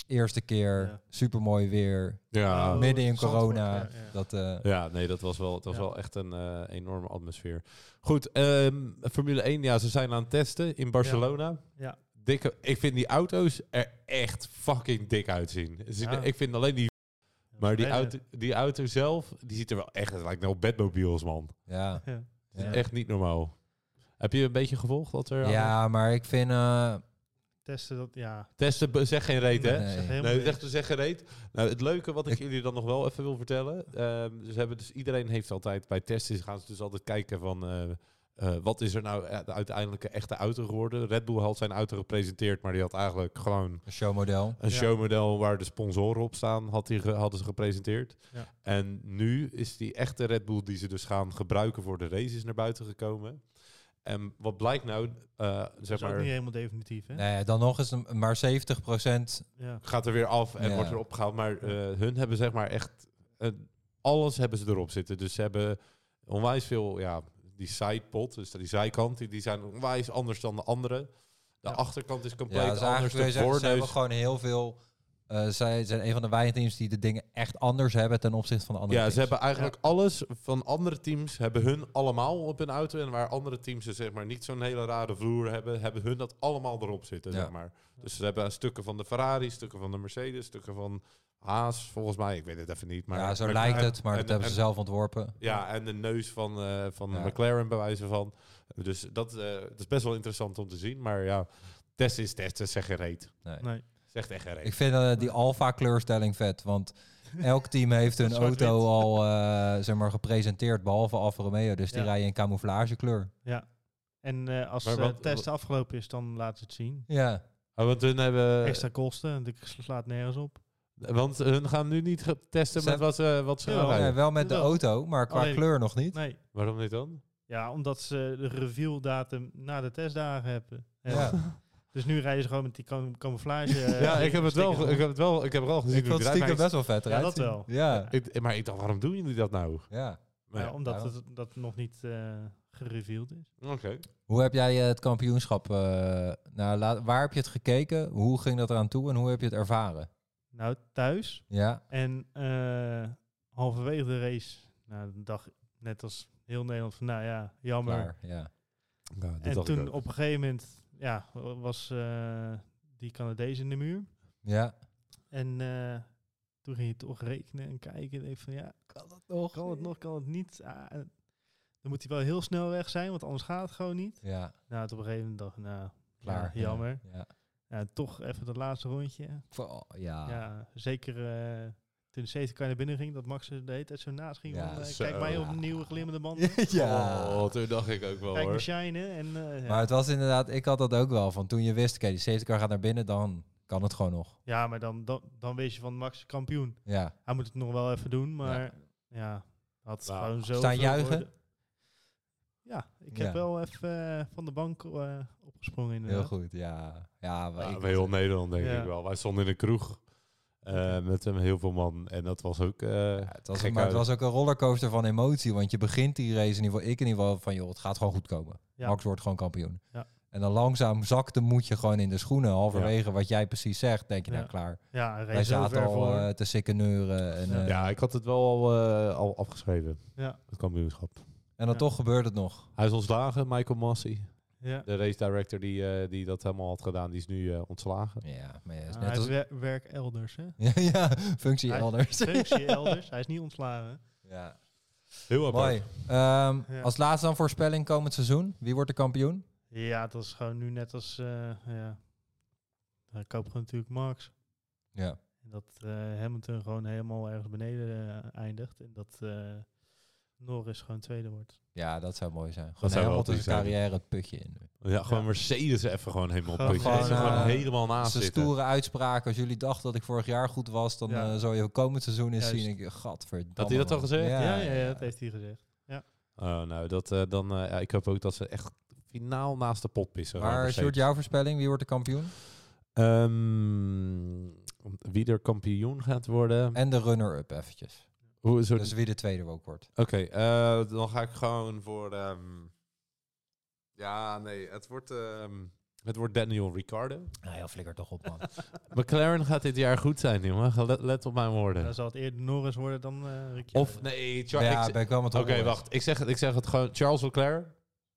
[SPEAKER 3] Eerste keer,
[SPEAKER 2] Ja.
[SPEAKER 3] supermooi weer,
[SPEAKER 1] Ja.
[SPEAKER 2] Oh,
[SPEAKER 3] midden in
[SPEAKER 2] Zandvoort,
[SPEAKER 3] corona.
[SPEAKER 2] ja, ja.
[SPEAKER 3] Dat, eh,
[SPEAKER 1] Ja, nee, dat was wel, het was
[SPEAKER 2] Ja.
[SPEAKER 1] wel echt een eh, enorme atmosfeer. Goed, ehm, Formule 1, ja, ze zijn aan het testen in Barcelona.
[SPEAKER 2] Ja.
[SPEAKER 1] Dikke, ik vind die auto's er echt fucking dik uitzien. Dus ik-
[SPEAKER 2] Ja.
[SPEAKER 1] Ik vind alleen die... Maar die
[SPEAKER 2] Nee, nee.
[SPEAKER 1] auto, die auto zelf, die ziet er wel echt... Het lijkt nou op Batmobiles, man.
[SPEAKER 3] ja.
[SPEAKER 2] Ja.
[SPEAKER 1] Het is
[SPEAKER 3] Ja.
[SPEAKER 1] Echt niet normaal. Heb je een beetje gevolgd wat er... aan-
[SPEAKER 3] ja, maar ik vind... eh,
[SPEAKER 2] Testen dat, ja.
[SPEAKER 1] Testen, be- zeg geen reet, hè?
[SPEAKER 3] Nee.
[SPEAKER 2] Zeg helemaal
[SPEAKER 1] Nee, dus-
[SPEAKER 2] niks.
[SPEAKER 1] echt zeg geen reet. Nou, het leuke wat ik,
[SPEAKER 3] Ik-
[SPEAKER 1] jullie dan nog wel even wil vertellen... ehm, ze hebben dus, iedereen heeft altijd bij testen... gaan ze dus altijd kijken van... eh, eh, wat is er nou eh, de uiteindelijke echte auto geworden? Red Bull had zijn auto gepresenteerd, maar die had eigenlijk gewoon
[SPEAKER 3] Een showmodel.
[SPEAKER 1] Een
[SPEAKER 2] Ja.
[SPEAKER 1] showmodel waar de sponsoren op staan, had die ge- hadden ze gepresenteerd.
[SPEAKER 2] Ja.
[SPEAKER 1] En nu is die echte Red Bull die ze dus gaan gebruiken voor de races naar buiten gekomen. En wat blijkt nou, eh,
[SPEAKER 2] Dat
[SPEAKER 1] zeg
[SPEAKER 2] is ook niet
[SPEAKER 1] maar,
[SPEAKER 2] helemaal definitief, hè?
[SPEAKER 3] Nee, dan nog is het maar 70
[SPEAKER 2] Ja.
[SPEAKER 1] gaat er weer af en
[SPEAKER 3] Ja.
[SPEAKER 1] wordt weer opgehaald. Maar eh, hun hebben zeg maar echt, eh, alles hebben ze erop zitten. Dus ze hebben onwijs veel, ja, die sidepot, dus die zijkant, die, die zijn onwijs anders dan de andere. De
[SPEAKER 2] Ja.
[SPEAKER 1] achterkant is compleet
[SPEAKER 3] Ja, dat is
[SPEAKER 1] anders.
[SPEAKER 3] eigenlijk wil
[SPEAKER 1] De
[SPEAKER 3] je zeggen, ze hebben
[SPEAKER 1] voorneus
[SPEAKER 3] gewoon heel veel eh, zij zijn een van de weinige teams die de dingen echt anders hebben ten opzichte van de andere
[SPEAKER 1] Ja,
[SPEAKER 3] teams.
[SPEAKER 1] ze hebben eigenlijk alles van andere teams, hebben hun allemaal op hun auto. En waar andere teams dus zeg maar niet zo'n hele rare vloer hebben, hebben hun dat allemaal erop zitten,
[SPEAKER 3] Ja.
[SPEAKER 1] zeg maar. Dus ze hebben stukken van de Ferrari, stukken van de Mercedes, stukken van Haas, volgens mij. Ik weet het even niet. Maar,
[SPEAKER 3] ja, zo
[SPEAKER 1] maar-
[SPEAKER 3] lijkt
[SPEAKER 1] en-
[SPEAKER 3] het, maar dat
[SPEAKER 1] en-
[SPEAKER 3] hebben ze
[SPEAKER 1] en-
[SPEAKER 3] zelf ontworpen.
[SPEAKER 1] Ja, en de neus van, eh, van
[SPEAKER 3] Ja.
[SPEAKER 1] McLaren bij wijze van. Dus dat, eh, dat is best wel interessant om te zien. Maar ja, test is test, dat is echt geen reet.
[SPEAKER 3] Nee.
[SPEAKER 2] Nee.
[SPEAKER 1] Zegt echt geen reet.
[SPEAKER 3] Ik vind eh, die alfa kleurstelling vet, want elk team heeft hun
[SPEAKER 2] Zwart-wit.
[SPEAKER 3] auto al eh, zeg maar, gepresenteerd, behalve Alfa Romeo. Dus die
[SPEAKER 2] Ja.
[SPEAKER 3] rijden in camouflagekleur.
[SPEAKER 2] Ja. En eh, als
[SPEAKER 1] Maar
[SPEAKER 2] de
[SPEAKER 1] wat-
[SPEAKER 2] test afgelopen is, dan laten ze het zien.
[SPEAKER 3] Ja,
[SPEAKER 1] Oh, want hun
[SPEAKER 3] Eh,
[SPEAKER 1] hebben...
[SPEAKER 2] Extra kosten, dat slaat nergens op.
[SPEAKER 1] Want hun gaan nu niet ge- testen
[SPEAKER 3] Ze-
[SPEAKER 1] met wat ze, wat ze gaan
[SPEAKER 2] Ja.
[SPEAKER 3] Nee,
[SPEAKER 1] rijden.
[SPEAKER 3] wel met de
[SPEAKER 2] Jawel.
[SPEAKER 3] auto, maar qua
[SPEAKER 2] Alleen-
[SPEAKER 3] kleur nog niet.
[SPEAKER 2] Nee.
[SPEAKER 1] Waarom niet dan?
[SPEAKER 2] Ja, omdat ze de reveal datum na de testdagen hebben.
[SPEAKER 3] Ja.
[SPEAKER 2] Dus nu rijden ze gewoon met die cam- camouflage. eh,
[SPEAKER 1] ja, ik heb het wel, ge-
[SPEAKER 2] sticker.
[SPEAKER 1] ik heb het wel, ik heb het wel gezien.
[SPEAKER 3] Dus Ik
[SPEAKER 1] hoe
[SPEAKER 3] vond
[SPEAKER 1] het
[SPEAKER 3] het
[SPEAKER 1] eruit
[SPEAKER 3] stiekem
[SPEAKER 1] ziet.
[SPEAKER 3] best wel vet
[SPEAKER 2] Ja,
[SPEAKER 3] eruit
[SPEAKER 2] dat
[SPEAKER 3] zien.
[SPEAKER 2] wel.
[SPEAKER 3] Ja,
[SPEAKER 1] Ik- maar ik dacht, waarom doen jullie dat nou?
[SPEAKER 3] ja.
[SPEAKER 1] Maar
[SPEAKER 2] Ja,
[SPEAKER 1] ja,
[SPEAKER 2] omdat
[SPEAKER 3] daarom.
[SPEAKER 2] het, dat nog niet eh gereveeld is.
[SPEAKER 1] Oké.
[SPEAKER 3] Hoe heb jij eh, het kampioenschap, eh, nou, la- waar heb je het gekeken? Hoe ging dat eraan toe en hoe heb je het ervaren?
[SPEAKER 2] Nou, thuis
[SPEAKER 3] Ja,
[SPEAKER 2] En eh, halverwege de race, nou, dan dacht ik, net als heel Nederland, van nou ja, jammer.
[SPEAKER 3] klaar. Ja.
[SPEAKER 1] Ja, dat
[SPEAKER 2] En
[SPEAKER 1] dacht ik
[SPEAKER 2] toen
[SPEAKER 1] ook.
[SPEAKER 2] op een gegeven moment, ja, was eh, die Canadees in de muur.
[SPEAKER 3] ja.
[SPEAKER 2] En eh, toen ging je toch rekenen en kijken. En denk van ja,
[SPEAKER 3] Kan dat nog?
[SPEAKER 2] kan het nog, kan het niet? Ah, eh, dan moet hij wel heel snel weg zijn, want anders gaat het gewoon niet.
[SPEAKER 3] Ja,
[SPEAKER 2] Nou, toen op een gegeven moment dacht ik, nou,
[SPEAKER 3] klaar.
[SPEAKER 2] ja, jammer.
[SPEAKER 3] Ja,
[SPEAKER 2] Ja, toch even dat laatste rondje.
[SPEAKER 3] Oh, ja.
[SPEAKER 2] Ja, zeker eh, toen de safety car naar binnen ging, dat Max er de hele tijd zo naast ging.
[SPEAKER 3] Ja,
[SPEAKER 2] van, eh,
[SPEAKER 1] zo.
[SPEAKER 2] kijk mij op een nieuwe glimmende band.
[SPEAKER 3] Ja.
[SPEAKER 1] Oh, toen dacht ik ook wel
[SPEAKER 2] Kijk me
[SPEAKER 1] hoor.
[SPEAKER 2] shinen. En, eh,
[SPEAKER 3] Maar
[SPEAKER 2] ja.
[SPEAKER 3] het was inderdaad, ik had dat ook wel. Van toen je wist, oké, die safety car gaat naar binnen, dan kan het gewoon nog.
[SPEAKER 2] ja, maar dan, dan, dan wees je van Max kampioen.
[SPEAKER 3] Ja,
[SPEAKER 2] Hij moet het nog wel even doen, maar ja, had
[SPEAKER 1] Nou,
[SPEAKER 2] gewoon zo...
[SPEAKER 3] staan juichen?
[SPEAKER 2] Ja, ik heb
[SPEAKER 3] Ja.
[SPEAKER 2] wel even eh, van de bank eh, opgesprongen
[SPEAKER 3] heel
[SPEAKER 2] inderdaad.
[SPEAKER 3] goed. Ja, ja, maar
[SPEAKER 1] Ja,
[SPEAKER 3] ik-
[SPEAKER 1] bij heel Nederland denk
[SPEAKER 2] Ja.
[SPEAKER 1] ik wel. Wij stonden in een kroeg eh, met een heel veel man. En dat was ook... eh,
[SPEAKER 3] ja, het was,
[SPEAKER 1] gek
[SPEAKER 3] maar het
[SPEAKER 1] uit.
[SPEAKER 3] was ook een rollercoaster van emotie. Want je begint die race in ieder geval, ik in ieder geval, van joh, het gaat gewoon goed komen.
[SPEAKER 2] Ja.
[SPEAKER 3] Max wordt gewoon kampioen.
[SPEAKER 2] Ja.
[SPEAKER 3] En dan langzaam zakte moet je gewoon in de schoenen. Halverwege wat jij precies zegt, denk je, nou
[SPEAKER 2] Ja.
[SPEAKER 3] klaar.
[SPEAKER 2] Ja, hij reed
[SPEAKER 3] Wij
[SPEAKER 2] zo
[SPEAKER 3] zaten
[SPEAKER 2] ver
[SPEAKER 3] al
[SPEAKER 2] voor.
[SPEAKER 3] eh, te sikkeneuren. En,
[SPEAKER 2] Ja.
[SPEAKER 3] eh,
[SPEAKER 1] Ja, ik had het wel al, eh, al afgeschreven,
[SPEAKER 2] ja,
[SPEAKER 1] het kampioenschap.
[SPEAKER 3] en dan
[SPEAKER 2] Ja.
[SPEAKER 3] toch gebeurt het nog.
[SPEAKER 1] Hij is ontslagen, Michael Massey.
[SPEAKER 2] ja.
[SPEAKER 1] De race director die, eh, die dat helemaal had gedaan, die is nu eh, ontslagen.
[SPEAKER 3] Ja, maar ja, het is
[SPEAKER 2] Ja,
[SPEAKER 3] dus net
[SPEAKER 2] Ah, hij
[SPEAKER 3] als...
[SPEAKER 2] wer- werk elders, hè?
[SPEAKER 3] Ja, ja, functie
[SPEAKER 2] Hij-
[SPEAKER 3] elders.
[SPEAKER 2] Functie elders, hij is niet ontslagen.
[SPEAKER 3] Ja.
[SPEAKER 1] Heel apart.
[SPEAKER 3] Mooi. Ehm,
[SPEAKER 2] Ja.
[SPEAKER 3] Als laatste dan voorspelling komend seizoen. Wie wordt de kampioen?
[SPEAKER 2] Ja, dat is gewoon nu net als... eh ja. Dan koop gewoon natuurlijk Max.
[SPEAKER 3] Ja.
[SPEAKER 2] En dat eh, Hamilton gewoon helemaal ergens beneden eh, eindigt. En dat eh, Norris gewoon tweede wordt.
[SPEAKER 3] Ja, dat zou mooi zijn.
[SPEAKER 1] zou
[SPEAKER 3] Gewoon
[SPEAKER 1] wel
[SPEAKER 3] helemaal
[SPEAKER 1] goed
[SPEAKER 3] tussen
[SPEAKER 1] zijn.
[SPEAKER 3] carrière het putje in.
[SPEAKER 1] Ja, gewoon
[SPEAKER 2] Ja.
[SPEAKER 1] Mercedes even gewoon helemaal
[SPEAKER 2] Gewoon-
[SPEAKER 1] putje. Gewoon,
[SPEAKER 2] gewoon,
[SPEAKER 1] gewoon
[SPEAKER 2] eh,
[SPEAKER 1] helemaal naast
[SPEAKER 3] Zijn
[SPEAKER 1] zitten.
[SPEAKER 3] stoere uitspraak. Als jullie dachten dat ik vorig jaar goed was, dan
[SPEAKER 2] Ja.
[SPEAKER 3] eh, zou je ook komend seizoen eens
[SPEAKER 2] Juist.
[SPEAKER 3] zien. Ik, gadverdamme.
[SPEAKER 1] Had hij dat al
[SPEAKER 3] man.
[SPEAKER 1] gezegd?
[SPEAKER 2] Ja, ja, ja, dat heeft hij gezegd.
[SPEAKER 1] Oh, nou, dat, eh, dan, eh, ja, ik hoop ook dat ze echt finaal naast de pot pissen.
[SPEAKER 3] Maar
[SPEAKER 1] Mercedes.
[SPEAKER 3] Sjoerd, jouw voorspelling? Wie wordt de kampioen?
[SPEAKER 1] Ehm, wie er kampioen gaat worden.
[SPEAKER 3] En de runner-up eventjes.
[SPEAKER 1] Hoe is het?
[SPEAKER 3] Dus wie de tweede ook wordt.
[SPEAKER 1] Oké, eh, dan ga ik gewoon voor. ehm, ja, nee, het wordt, ehm, het wordt Daniel Ricciardo.
[SPEAKER 3] Nou ja, flikker toch op man.
[SPEAKER 1] McLaren gaat dit jaar goed zijn, jongen. Ga- Let, let op mijn woorden.
[SPEAKER 2] Dan zal het eerder Norris worden dan eh Ricciardo.
[SPEAKER 1] Of nee, Char-
[SPEAKER 3] ja,
[SPEAKER 1] ik-
[SPEAKER 3] ben ik wel met
[SPEAKER 1] Oké, wacht. Ik zeg, het, ik zeg het gewoon. Charles Leclerc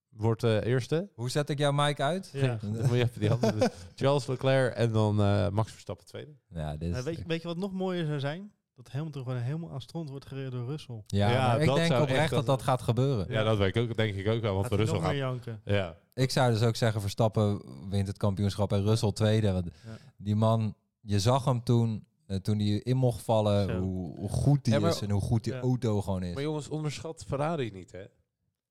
[SPEAKER 1] wordt eh, eerste.
[SPEAKER 3] Hoe zet ik jouw mic uit?
[SPEAKER 2] Ja.
[SPEAKER 1] Dan moet je even die handen doen. Charles Leclerc en dan eh, Max Verstappen tweede.
[SPEAKER 3] Ja, dit
[SPEAKER 2] Nou,
[SPEAKER 3] is...
[SPEAKER 2] weet, je, weet je wat nog mooier zou zijn? Dat Hamilton gewoon helemaal aan stront wordt gereden door Russell.
[SPEAKER 3] Ja,
[SPEAKER 1] Ja,
[SPEAKER 3] maar ik
[SPEAKER 1] dat
[SPEAKER 3] denk
[SPEAKER 1] zou
[SPEAKER 3] oprecht
[SPEAKER 1] echt-
[SPEAKER 3] dat dat gaat gebeuren.
[SPEAKER 1] Ja, dat weet ik ook, denk ik ook wel. Want
[SPEAKER 2] Gaat
[SPEAKER 1] voor
[SPEAKER 2] hij nog
[SPEAKER 1] Russell
[SPEAKER 2] meer
[SPEAKER 1] gaat...
[SPEAKER 2] janken.
[SPEAKER 1] Ja.
[SPEAKER 3] Ik zou dus ook zeggen, Verstappen wint het kampioenschap en Russell tweede. Want
[SPEAKER 2] Ja.
[SPEAKER 3] die man, je zag hem toen, eh, toen hij in mocht vallen,
[SPEAKER 2] Zo.
[SPEAKER 3] hoe, hoe goed die
[SPEAKER 1] Ja, maar-
[SPEAKER 3] is en hoe goed die
[SPEAKER 2] Ja.
[SPEAKER 3] auto gewoon is.
[SPEAKER 1] Maar jongens, onderschat Ferrari niet, hè?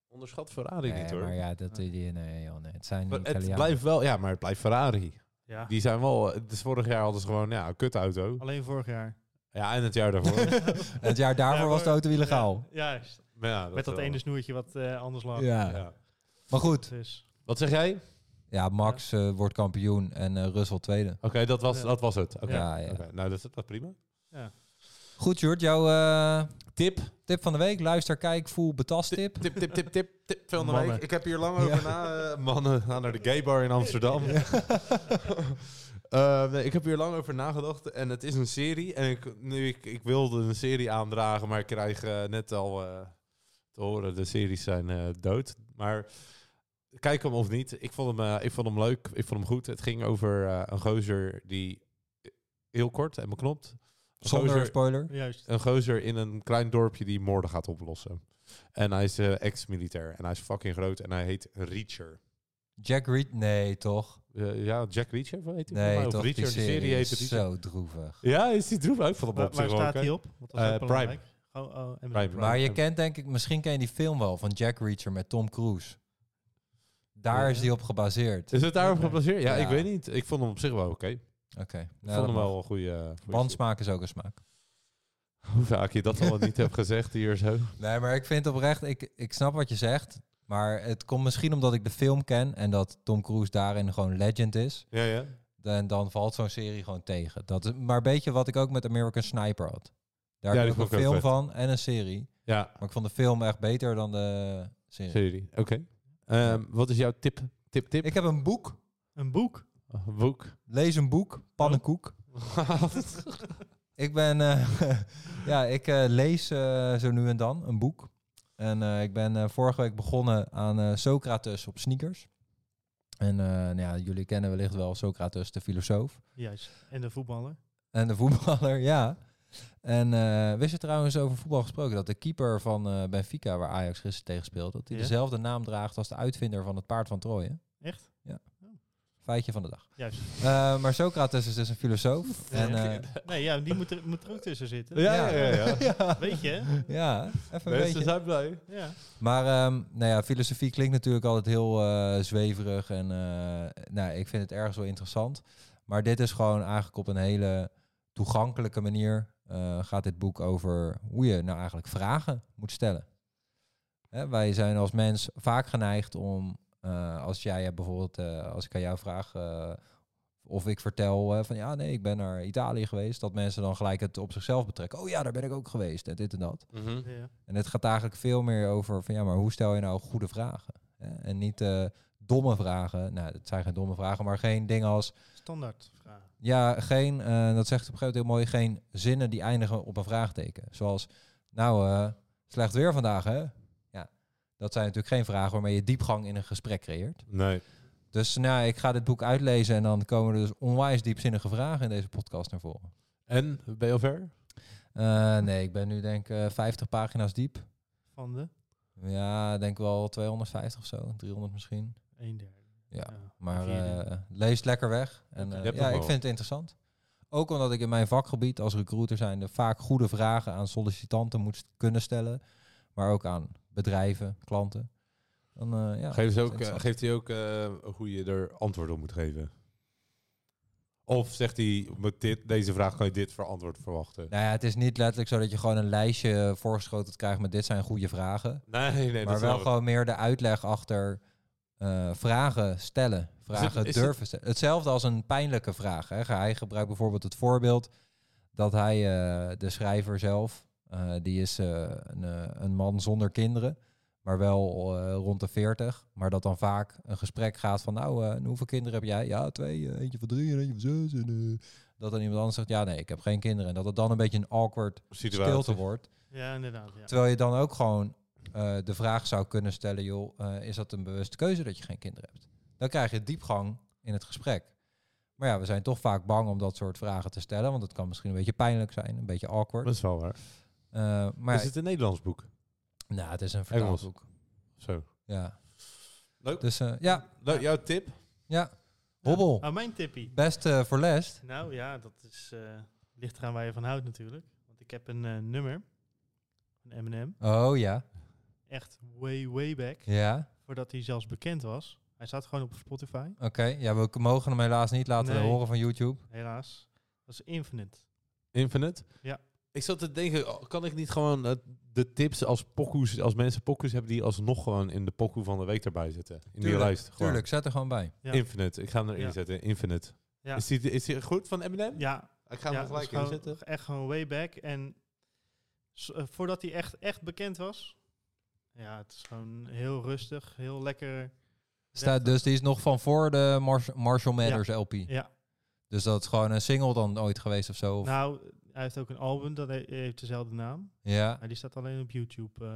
[SPEAKER 1] Onderschat Ferrari
[SPEAKER 3] Nee,
[SPEAKER 1] niet, hoor.
[SPEAKER 3] maar ja, dat die, nee, joh, nee, het zijn
[SPEAKER 1] Maar
[SPEAKER 3] niet
[SPEAKER 1] het
[SPEAKER 3] Italianen.
[SPEAKER 1] blijft wel... Ja, maar het blijft Ferrari.
[SPEAKER 2] Ja.
[SPEAKER 1] Die zijn wel... Het is vorig jaar hadden ze gewoon ja, een kutauto.
[SPEAKER 2] Alleen vorig jaar.
[SPEAKER 1] Ja, en het jaar daarvoor.
[SPEAKER 3] Het jaar daarvoor
[SPEAKER 2] Ja, maar-
[SPEAKER 3] was de auto illegaal.
[SPEAKER 2] Ja, juist.
[SPEAKER 1] Maar ja,
[SPEAKER 2] Met dat
[SPEAKER 1] wel.
[SPEAKER 2] ene snoertje wat eh, anders
[SPEAKER 3] Ja.
[SPEAKER 2] lag.
[SPEAKER 1] Ja.
[SPEAKER 3] Maar goed,
[SPEAKER 2] Dus,
[SPEAKER 1] Wat zeg jij? Oké,
[SPEAKER 3] ja, Max eh, wordt kampioen en eh Russell tweede.
[SPEAKER 1] dat, was,
[SPEAKER 2] Ja.
[SPEAKER 1] dat was het. Oké,
[SPEAKER 3] Ja, ja.
[SPEAKER 1] Oké, Nou, dat is dat is prima.
[SPEAKER 2] ja.
[SPEAKER 3] Goed, Jurt, jouw eh,
[SPEAKER 1] Tip.
[SPEAKER 3] tip van de week. Luister, kijk, voel, betast tip.
[SPEAKER 1] Tip, tip, tip, tip, tip van de
[SPEAKER 2] Mannen.
[SPEAKER 1] week. Ik heb hier lang over na. eh, mannen, ga naar de gay bar in Amsterdam. Eh, nee, ik heb hier lang over nagedacht en het is een serie. En ik, nu, ik, ik wilde een serie aandragen, maar ik krijg eh, net al eh, te horen, de series zijn eh, dood. Maar kijk hem of niet, ik vond hem, eh, ik vond hem leuk, ik vond hem goed. Het ging over eh, een gozer die eh, heel kort en beknopt. Een
[SPEAKER 3] Zonder
[SPEAKER 1] gozer-
[SPEAKER 3] spoiler.
[SPEAKER 2] Juist.
[SPEAKER 1] een gozer in een klein dorpje die moorden gaat oplossen. En hij is eh, ex-militair en hij is fucking groot en hij heet Reacher.
[SPEAKER 3] Jack Reed? Nee, toch?
[SPEAKER 1] Eh, ja, Jack Reacher, heet hij? volgens mij?
[SPEAKER 3] Nee,
[SPEAKER 1] Of
[SPEAKER 3] toch?
[SPEAKER 1] Reacher,
[SPEAKER 3] die
[SPEAKER 1] de serie
[SPEAKER 3] serie
[SPEAKER 1] heet
[SPEAKER 3] is
[SPEAKER 1] Reacher.
[SPEAKER 3] zo droevig.
[SPEAKER 1] Ja, is die droef uit van de
[SPEAKER 2] Waar, waar staat hij op? Want dat is
[SPEAKER 1] Eh,
[SPEAKER 2] ook
[SPEAKER 1] Prime.
[SPEAKER 2] belangrijk. Oh, oh, en
[SPEAKER 1] Prime.
[SPEAKER 3] Maar je
[SPEAKER 1] en-
[SPEAKER 3] kent denk ik, misschien ken je die film wel van Jack Reacher met Tom Cruise. Daar
[SPEAKER 1] Ja.
[SPEAKER 3] is die op gebaseerd. Oké.
[SPEAKER 1] Is het daarop
[SPEAKER 2] Oké.
[SPEAKER 1] geplaceerd? Ja,
[SPEAKER 3] Ja.
[SPEAKER 1] ik weet niet. Ik vond hem op zich wel oké. Ik
[SPEAKER 3] nou,
[SPEAKER 1] vond
[SPEAKER 3] dat
[SPEAKER 1] hem
[SPEAKER 3] mag.
[SPEAKER 1] wel een goede...
[SPEAKER 3] Want smaak is ook een smaak.
[SPEAKER 1] Hoe vaak je dat al niet hebt gezegd hier zo.
[SPEAKER 3] Nee, maar ik vind oprecht, ik, ik snap wat je zegt. Maar het komt misschien omdat ik de film ken en dat Tom Cruise daarin gewoon legend is.
[SPEAKER 1] Ja, ja.
[SPEAKER 3] Dan, dan valt zo'n serie gewoon tegen. Dat is maar een beetje wat ik ook met American Sniper had. Daar
[SPEAKER 1] Ja,
[SPEAKER 3] heb
[SPEAKER 1] die
[SPEAKER 3] ik
[SPEAKER 1] vond
[SPEAKER 3] ook
[SPEAKER 1] ik
[SPEAKER 3] een
[SPEAKER 1] ook
[SPEAKER 3] film
[SPEAKER 1] vet.
[SPEAKER 3] van en een serie.
[SPEAKER 1] Ja,
[SPEAKER 3] Maar ik vond de film echt beter dan de serie.
[SPEAKER 1] serie. Oké. Ehm, wat is jouw tip? Tip, tip?
[SPEAKER 3] Ik heb een boek.
[SPEAKER 2] Een boek.
[SPEAKER 1] Oh, boek.
[SPEAKER 3] Lees een boek. Pannenkoek. Ik ben, eh, ja, ik eh, lees eh, zo nu en dan een boek. En eh, ik ben eh, vorige week begonnen aan eh, Socrates op sneakers. En eh, nou ja, jullie kennen wellicht wel Socrates, de filosoof.
[SPEAKER 2] Juist. En de voetballer.
[SPEAKER 3] En de voetballer, ja. En eh, wist je trouwens over voetbal gesproken dat de keeper van eh, Benfica, waar Ajax gisteren tegen speelt, dat hij
[SPEAKER 2] Ja.
[SPEAKER 3] dezelfde naam draagt als de uitvinder van het paard van Troje?
[SPEAKER 2] Echt?
[SPEAKER 3] Ja.
[SPEAKER 2] Oh.
[SPEAKER 3] Feitje van de dag.
[SPEAKER 2] Juist.
[SPEAKER 3] Eh, maar Socrates is dus een filosoof. En, eh,
[SPEAKER 2] Nee, ja, die moet er, moet er ook tussen zitten.
[SPEAKER 1] ja, ja, ja. ja.
[SPEAKER 3] ja,
[SPEAKER 2] Weet je? hè?
[SPEAKER 3] ja, even een beetje.
[SPEAKER 1] Mensen zijn blij.
[SPEAKER 2] Ja.
[SPEAKER 3] Maar ehm, nou ja, filosofie klinkt natuurlijk altijd heel eh, zweverig. En eh, nou, ik vind het ergens wel interessant. Maar dit is gewoon eigenlijk op een hele toegankelijke manier... eh, gaat dit boek over hoe je nou eigenlijk vragen moet stellen. Hè, wij zijn als mens vaak geneigd om... eh, als jij bijvoorbeeld, eh, als ik aan jou vraag... eh, of ik vertel eh, van ja, nee, ik ben naar Italië geweest... dat mensen dan gelijk het op zichzelf betrekken. Oh ja, daar ben ik ook geweest en dit en dat.
[SPEAKER 1] Mhm.
[SPEAKER 2] ja.
[SPEAKER 3] En het gaat eigenlijk veel meer over van ja, maar hoe stel je nou goede vragen? Hè? En niet eh, domme vragen. Nou, het zijn geen domme vragen, maar geen dingen als
[SPEAKER 2] Standaard vraag.
[SPEAKER 3] ja, geen, eh, dat zegt op een gegeven moment heel mooi, geen zinnen die eindigen op een vraagteken. Zoals nou, eh, slecht weer vandaag hè? Ja, dat zijn natuurlijk geen vragen waarmee je diepgang in een gesprek creëert.
[SPEAKER 1] Nee.
[SPEAKER 3] Dus nou, ja, ik ga dit boek uitlezen en dan komen er dus onwijs diepzinnige vragen in deze podcast naar voren.
[SPEAKER 1] En, ben je al ver?
[SPEAKER 3] Eh, nee, ik ben nu denk ik eh, 50 pagina's diep.
[SPEAKER 2] Van de
[SPEAKER 3] Ja, ik denk wel 250 of zo, 300 misschien.
[SPEAKER 2] 1 derde.
[SPEAKER 3] Ja,
[SPEAKER 2] Ja,
[SPEAKER 3] maar
[SPEAKER 2] vierde.
[SPEAKER 3] eh, lees lekker weg. En,
[SPEAKER 2] Oké.
[SPEAKER 3] eh,
[SPEAKER 1] Je hebt
[SPEAKER 3] ja,
[SPEAKER 1] nog
[SPEAKER 3] ik
[SPEAKER 1] wel.
[SPEAKER 3] vind het interessant. Ook omdat ik in mijn vakgebied als recruiter zijn er vaak goede vragen aan sollicitanten moet st- kunnen stellen. Maar ook aan bedrijven, klanten. Dan, eh, ja,
[SPEAKER 1] Geeft, ze ook, eh,
[SPEAKER 3] interessant.
[SPEAKER 1] geeft hij ook eh, hoe je er antwoord op moet geven? Of zegt hij, met dit, deze vraag kan je dit voor antwoord verwachten?
[SPEAKER 3] nou ja, het is niet letterlijk zo dat je gewoon een lijstje voorgeschoteld krijgt met dit zijn goede vragen.
[SPEAKER 1] Nee, nee, nee.
[SPEAKER 3] maar wel gewoon meer de uitleg achter eh, vragen stellen. Vragen
[SPEAKER 1] is het-
[SPEAKER 3] durven stellen. Hetzelfde als een pijnlijke vraag. Hè. Hij gebruikt bijvoorbeeld het voorbeeld dat hij, eh, de schrijver zelf, eh, die is eh, een, eh, een man zonder kinderen, maar wel eh, rond de 40. Maar dat dan vaak een gesprek gaat van, nou, eh, en hoeveel kinderen heb jij? Ja, twee, eh, eentje van drie en eentje van zes. En, eh, dat dan iemand anders zegt, ja, nee, ik heb geen kinderen. En dat het dan een beetje een awkward stilte wordt.
[SPEAKER 2] Ja, inderdaad. Ja.
[SPEAKER 3] Terwijl je dan ook gewoon eh, de vraag zou kunnen stellen, joh, eh, is dat een bewuste keuze dat je geen kinderen hebt? Dan krijg je diepgang in het gesprek. Maar ja, we zijn toch vaak bang om dat soort vragen te stellen, want het kan misschien een beetje pijnlijk zijn, een beetje awkward.
[SPEAKER 1] Dat is wel waar.
[SPEAKER 3] Eh, maar
[SPEAKER 1] Is het een Nederlands boek?
[SPEAKER 3] nou, het is een
[SPEAKER 1] Engels?
[SPEAKER 3] vertaalboek.
[SPEAKER 1] Zo.
[SPEAKER 3] Ja.
[SPEAKER 1] Leuk.
[SPEAKER 3] Dus eh, ja,
[SPEAKER 1] Nou, jouw tip?
[SPEAKER 3] ja, hobbel.
[SPEAKER 2] Oh, mijn tippie.
[SPEAKER 3] Best eh, voor les.
[SPEAKER 2] Nou ja, dat is, eh, ligt eraan waar je van houdt natuurlijk. Want ik heb een eh, nummer. Een M&M.
[SPEAKER 3] Oh ja,
[SPEAKER 2] Echt way, way back.
[SPEAKER 3] ja,
[SPEAKER 2] Voordat hij zelfs bekend was. Hij staat gewoon op Spotify.
[SPEAKER 3] oké. Ja, we mogen hem helaas niet laten
[SPEAKER 2] Nee.
[SPEAKER 3] horen van YouTube.
[SPEAKER 2] Helaas. Dat is Infinite.
[SPEAKER 1] Infinite?
[SPEAKER 2] Ja.
[SPEAKER 1] Ik zat te denken, oh, kan ik niet gewoon eh, de tips als pokoes, als mensen pokoes hebben, die alsnog gewoon in de pokoe van de week erbij zetten? In die
[SPEAKER 3] Tuurlijk,
[SPEAKER 1] lijst. Gewoon.
[SPEAKER 3] Tuurlijk, zet er gewoon bij.
[SPEAKER 2] Ja.
[SPEAKER 1] Infinite. Ik ga hem erin
[SPEAKER 2] Ja.
[SPEAKER 1] zetten. Infinite.
[SPEAKER 2] Ja.
[SPEAKER 1] Is, die, is die goed van Eminem?
[SPEAKER 2] Ja,
[SPEAKER 1] Ik ga hem
[SPEAKER 2] ja,
[SPEAKER 1] er
[SPEAKER 2] dat is
[SPEAKER 1] gelijk in
[SPEAKER 2] gewoon-
[SPEAKER 1] zetten.
[SPEAKER 2] echt gewoon way back. En s- eh, voordat hij echt, echt bekend was. Ja, het is gewoon heel rustig. Heel lekker.
[SPEAKER 3] dus- Staat, dus die is nog van voor de Mars- Marshall Mathers LP.
[SPEAKER 2] Ja,
[SPEAKER 3] Dus dat is gewoon een single dan ooit geweest of zo? Of,
[SPEAKER 2] Nou, hij heeft ook een album, dat he- heeft dezelfde naam.
[SPEAKER 3] ja.
[SPEAKER 2] Maar die staat alleen op YouTube. eh.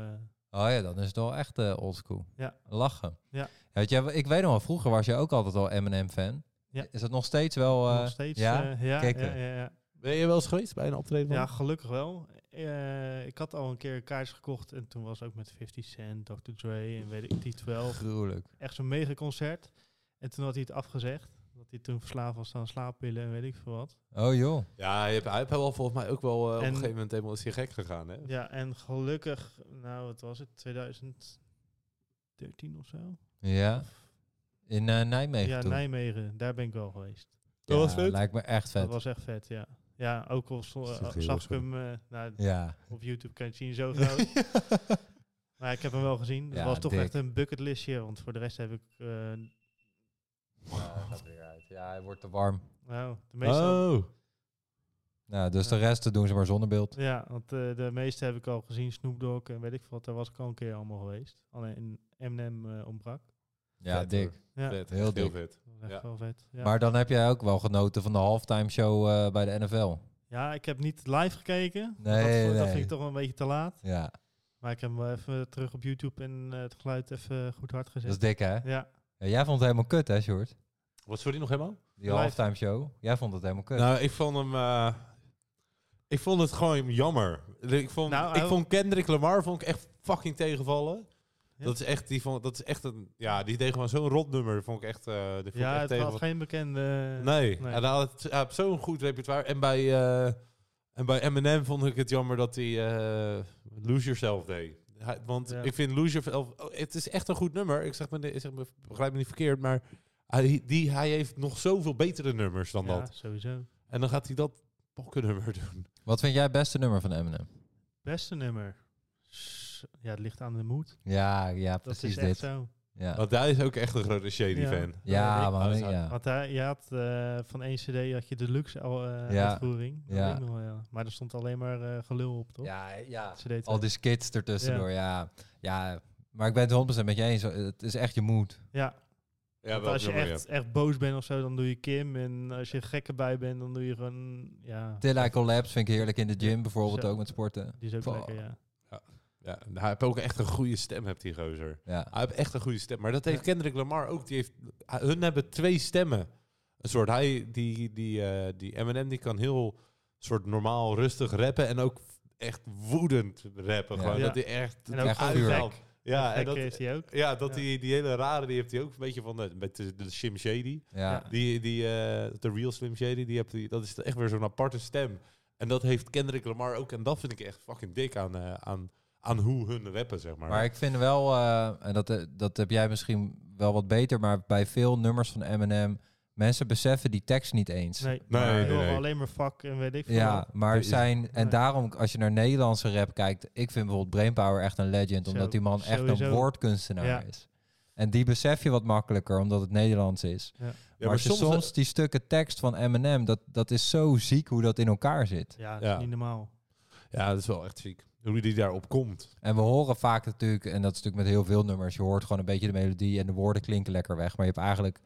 [SPEAKER 3] Oh ja, dan is het wel echt eh, oldschool.
[SPEAKER 2] Ja.
[SPEAKER 3] Lachen.
[SPEAKER 2] Ja.
[SPEAKER 3] Weet je, ik weet nog wel, vroeger was je ook altijd al M&M-fan.
[SPEAKER 2] Ja.
[SPEAKER 3] Is dat nog steeds wel... eh,
[SPEAKER 2] nog steeds.
[SPEAKER 3] ja?
[SPEAKER 2] eh, ja,
[SPEAKER 3] Kicken.
[SPEAKER 2] ja, ja, ja.
[SPEAKER 1] Ben je wel eens geweest bij een optreden? van-
[SPEAKER 2] Ja, gelukkig wel. Eh, ik had al een keer kaartjes gekocht en toen was ook met 50 Cent, Dr. Dre en weet ik die 12.
[SPEAKER 3] Gruwelijk.
[SPEAKER 2] Echt zo'n mega concert. En toen had hij het afgezegd. Dat hij toen verslaafd was aan slaappillen en weet ik veel wat.
[SPEAKER 3] Oh joh.
[SPEAKER 1] Ja, je hebt, hij heeft wel volgens mij ook wel eh, op
[SPEAKER 2] En-
[SPEAKER 1] een gegeven moment helemaal is hij gek gegaan. Hè?
[SPEAKER 2] Ja, en gelukkig, nou wat was het, 2013 of zo?
[SPEAKER 3] Ja. In eh, Nijmegen
[SPEAKER 2] ja,
[SPEAKER 3] toen.
[SPEAKER 2] Nijmegen, daar ben ik wel geweest.
[SPEAKER 1] Dat was vet.
[SPEAKER 3] Lijkt me echt vet.
[SPEAKER 2] Dat was echt vet, ja. Ja, ook al zo-
[SPEAKER 1] Dat is echt heel
[SPEAKER 2] zag ik
[SPEAKER 1] schoon.
[SPEAKER 2] hem, eh, nou,
[SPEAKER 3] Ja.
[SPEAKER 2] op YouTube kan je het zien, zo groot. Maar ik heb hem wel gezien. Het
[SPEAKER 3] Ja,
[SPEAKER 2] was toch
[SPEAKER 3] dik.
[SPEAKER 2] echt een bucketlistje, want voor de rest heb ik... eh,
[SPEAKER 3] Ja, hij Oh, gaat weer uit. Ja, hij wordt te warm.
[SPEAKER 2] nou, de meeste...
[SPEAKER 1] Oh,
[SPEAKER 3] Nou, dus de rest doen ze maar zonder beeld.
[SPEAKER 2] Ja, want eh, de meeste heb ik al gezien. Snoop Dogg en weet ik veel wat. Daar was ik al een keer allemaal geweest. Alleen Eminem eh, ontbrak.
[SPEAKER 3] Ja,
[SPEAKER 1] Vet,
[SPEAKER 3] dik.
[SPEAKER 1] hoor.
[SPEAKER 2] Ja,
[SPEAKER 1] vet.
[SPEAKER 3] Heel
[SPEAKER 1] Heel, heel
[SPEAKER 3] dik.
[SPEAKER 1] vet.
[SPEAKER 2] dat was echt
[SPEAKER 1] Ja.
[SPEAKER 2] wel vet. Ja.
[SPEAKER 3] Maar dan heb jij ook wel genoten van de halftime show eh, bij de NFL.
[SPEAKER 2] ja, ik heb niet live gekeken.
[SPEAKER 3] Nee,
[SPEAKER 2] dat, dat
[SPEAKER 3] nee.
[SPEAKER 2] vind ik toch wel een beetje te laat.
[SPEAKER 3] Ja,
[SPEAKER 2] Maar ik heb hem wel even terug op YouTube en eh, het geluid even goed hard
[SPEAKER 3] dat is
[SPEAKER 2] gezet.
[SPEAKER 3] dik hè?
[SPEAKER 2] Ja,
[SPEAKER 3] Ja, jij vond het helemaal kut hè, Sjoerd?
[SPEAKER 1] Wat sorry nog helemaal?
[SPEAKER 3] Die
[SPEAKER 2] Live.
[SPEAKER 3] halftime show. Jij vond het helemaal kut.
[SPEAKER 1] Nou, ik vond hem. eh, ik vond het gewoon jammer. Ik vond,
[SPEAKER 2] Nou,
[SPEAKER 1] ik
[SPEAKER 2] hij-
[SPEAKER 1] vond Kendrick Lamar vond ik echt fucking tegenvallen.
[SPEAKER 2] Ja.
[SPEAKER 1] Dat is echt, die vond, dat is echt een, ja, die deed gewoon zo'n rotnummer. Vond ik echt, eh, die vond
[SPEAKER 2] ja
[SPEAKER 1] ik echt
[SPEAKER 2] het
[SPEAKER 1] tegenvallen.
[SPEAKER 2] had geen bekende...
[SPEAKER 1] Nee,
[SPEAKER 2] Nee.
[SPEAKER 1] En hij had, hij had zo'n goed repertoire. En bij, eh, en bij Eminem vond ik het jammer dat hij eh, Lose Yourself deed. Hij- want
[SPEAKER 2] Ja.
[SPEAKER 1] ik vind Lose Yourself... oh, het is echt een goed nummer. Ik zeg me, ik zeg me, begrijp me niet verkeerd, maar hij, die, hij heeft nog zoveel betere nummers dan
[SPEAKER 2] ja,
[SPEAKER 1] dat.
[SPEAKER 2] sowieso.
[SPEAKER 1] En dan gaat hij dat pokkennummer doen.
[SPEAKER 3] Wat vind jij het beste nummer van Eminem?
[SPEAKER 2] Beste nummer. S- Ja, het ligt aan de moed. Dat
[SPEAKER 3] Ja, ja, precies
[SPEAKER 2] is echt eh,
[SPEAKER 3] dit.
[SPEAKER 2] zo.
[SPEAKER 3] Ja,
[SPEAKER 1] Want hij is ook echt een grote Shady-fan.
[SPEAKER 3] ja
[SPEAKER 2] ik-
[SPEAKER 3] man.
[SPEAKER 1] Oh, zou-
[SPEAKER 3] Ja.
[SPEAKER 2] Want hij, je had eh, van één cd had je de luxe al, eh,
[SPEAKER 3] Ja.
[SPEAKER 2] uitvoering. Dat
[SPEAKER 3] Ja.
[SPEAKER 2] weet ik nog wel, ja. Maar er stond alleen maar eh, gelul op, toch?
[SPEAKER 3] Ja, ja.
[SPEAKER 2] CD
[SPEAKER 3] Al die skits ertussendoor, ja. ja. Maar ik ben het 100% met je eens. Het is echt je mood.
[SPEAKER 2] Ja,
[SPEAKER 1] Ja,
[SPEAKER 2] want
[SPEAKER 1] welk
[SPEAKER 2] als je
[SPEAKER 1] nummer,
[SPEAKER 2] echt,
[SPEAKER 1] ja.
[SPEAKER 2] echt boos bent of zo, dan doe je Kim. En als je gekken bij bent, dan doe je gewoon... Ja,
[SPEAKER 3] Till I Collapse vind ik heerlijk in de gym. Bijvoorbeeld
[SPEAKER 2] Zo.
[SPEAKER 3] ook met sporten.
[SPEAKER 2] die is ook
[SPEAKER 3] Fuck.
[SPEAKER 2] lekker, ja.
[SPEAKER 1] Ja, en hij heeft ook echt een goede stem, hebt die gozer.
[SPEAKER 3] Ja.
[SPEAKER 1] Hij heeft echt een goede stem. Maar dat heeft
[SPEAKER 2] Ja.
[SPEAKER 1] Kendrick Lamar ook. Die heeft, hij- hun hebben twee stemmen. Een soort hij, die, die, eh, die Eminem, die kan heel soort normaal rustig rappen. En ook echt woedend rappen.
[SPEAKER 3] Ja.
[SPEAKER 1] Gewoon
[SPEAKER 2] Ja.
[SPEAKER 1] dat hij echt.
[SPEAKER 2] En ook
[SPEAKER 3] echt
[SPEAKER 2] gewoon
[SPEAKER 3] vuur.
[SPEAKER 2] gek.
[SPEAKER 1] Ja, en
[SPEAKER 2] Gek
[SPEAKER 1] dat,
[SPEAKER 2] heeft hij ook.
[SPEAKER 1] ja, dat
[SPEAKER 2] Ja.
[SPEAKER 1] Die, die hele rare, die heeft hij ook een beetje van de, met de, de Slim Shady.
[SPEAKER 3] Ja.
[SPEAKER 1] Die, die, eh, de Real Slim Shady, die hebt, die, dat is echt weer zo'n aparte stem. En dat heeft Kendrick Lamar ook. En dat vind ik echt fucking dik aan, eh, aan, aan hoe hun rappen, zeg maar.
[SPEAKER 3] Maar ik vind wel, eh, en dat, eh, dat heb jij misschien wel wat beter, maar bij veel nummers van Eminem, mensen beseffen die tekst niet eens.
[SPEAKER 2] Nee,
[SPEAKER 1] Nee,
[SPEAKER 2] maar
[SPEAKER 1] nee,
[SPEAKER 2] je hoort
[SPEAKER 1] nee.
[SPEAKER 2] alleen maar fuck en weet ik veel.
[SPEAKER 3] Ja, maar
[SPEAKER 1] Nee,
[SPEAKER 3] zijn, en
[SPEAKER 2] nee.
[SPEAKER 3] daarom als je naar Nederlandse rap kijkt, ik vind bijvoorbeeld Brainpower echt een legend,
[SPEAKER 2] Zo,
[SPEAKER 3] omdat die man echt een
[SPEAKER 2] sowieso.
[SPEAKER 3] woordkunstenaar
[SPEAKER 2] Ja.
[SPEAKER 3] is. En die besef je wat makkelijker, omdat het Nederlands is.
[SPEAKER 2] Ja.
[SPEAKER 3] maar als je soms, die stukken tekst van Eminem, dat, dat is zo ziek hoe dat in elkaar zit.
[SPEAKER 2] Ja, dat
[SPEAKER 1] Ja.
[SPEAKER 2] is niet normaal.
[SPEAKER 1] Ja, dat is wel echt ziek. Hoe die daarop komt.
[SPEAKER 3] En we horen vaak natuurlijk, en dat is natuurlijk met heel veel nummers, je hoort gewoon een beetje de melodie en de woorden klinken lekker weg. Maar je hebt eigenlijk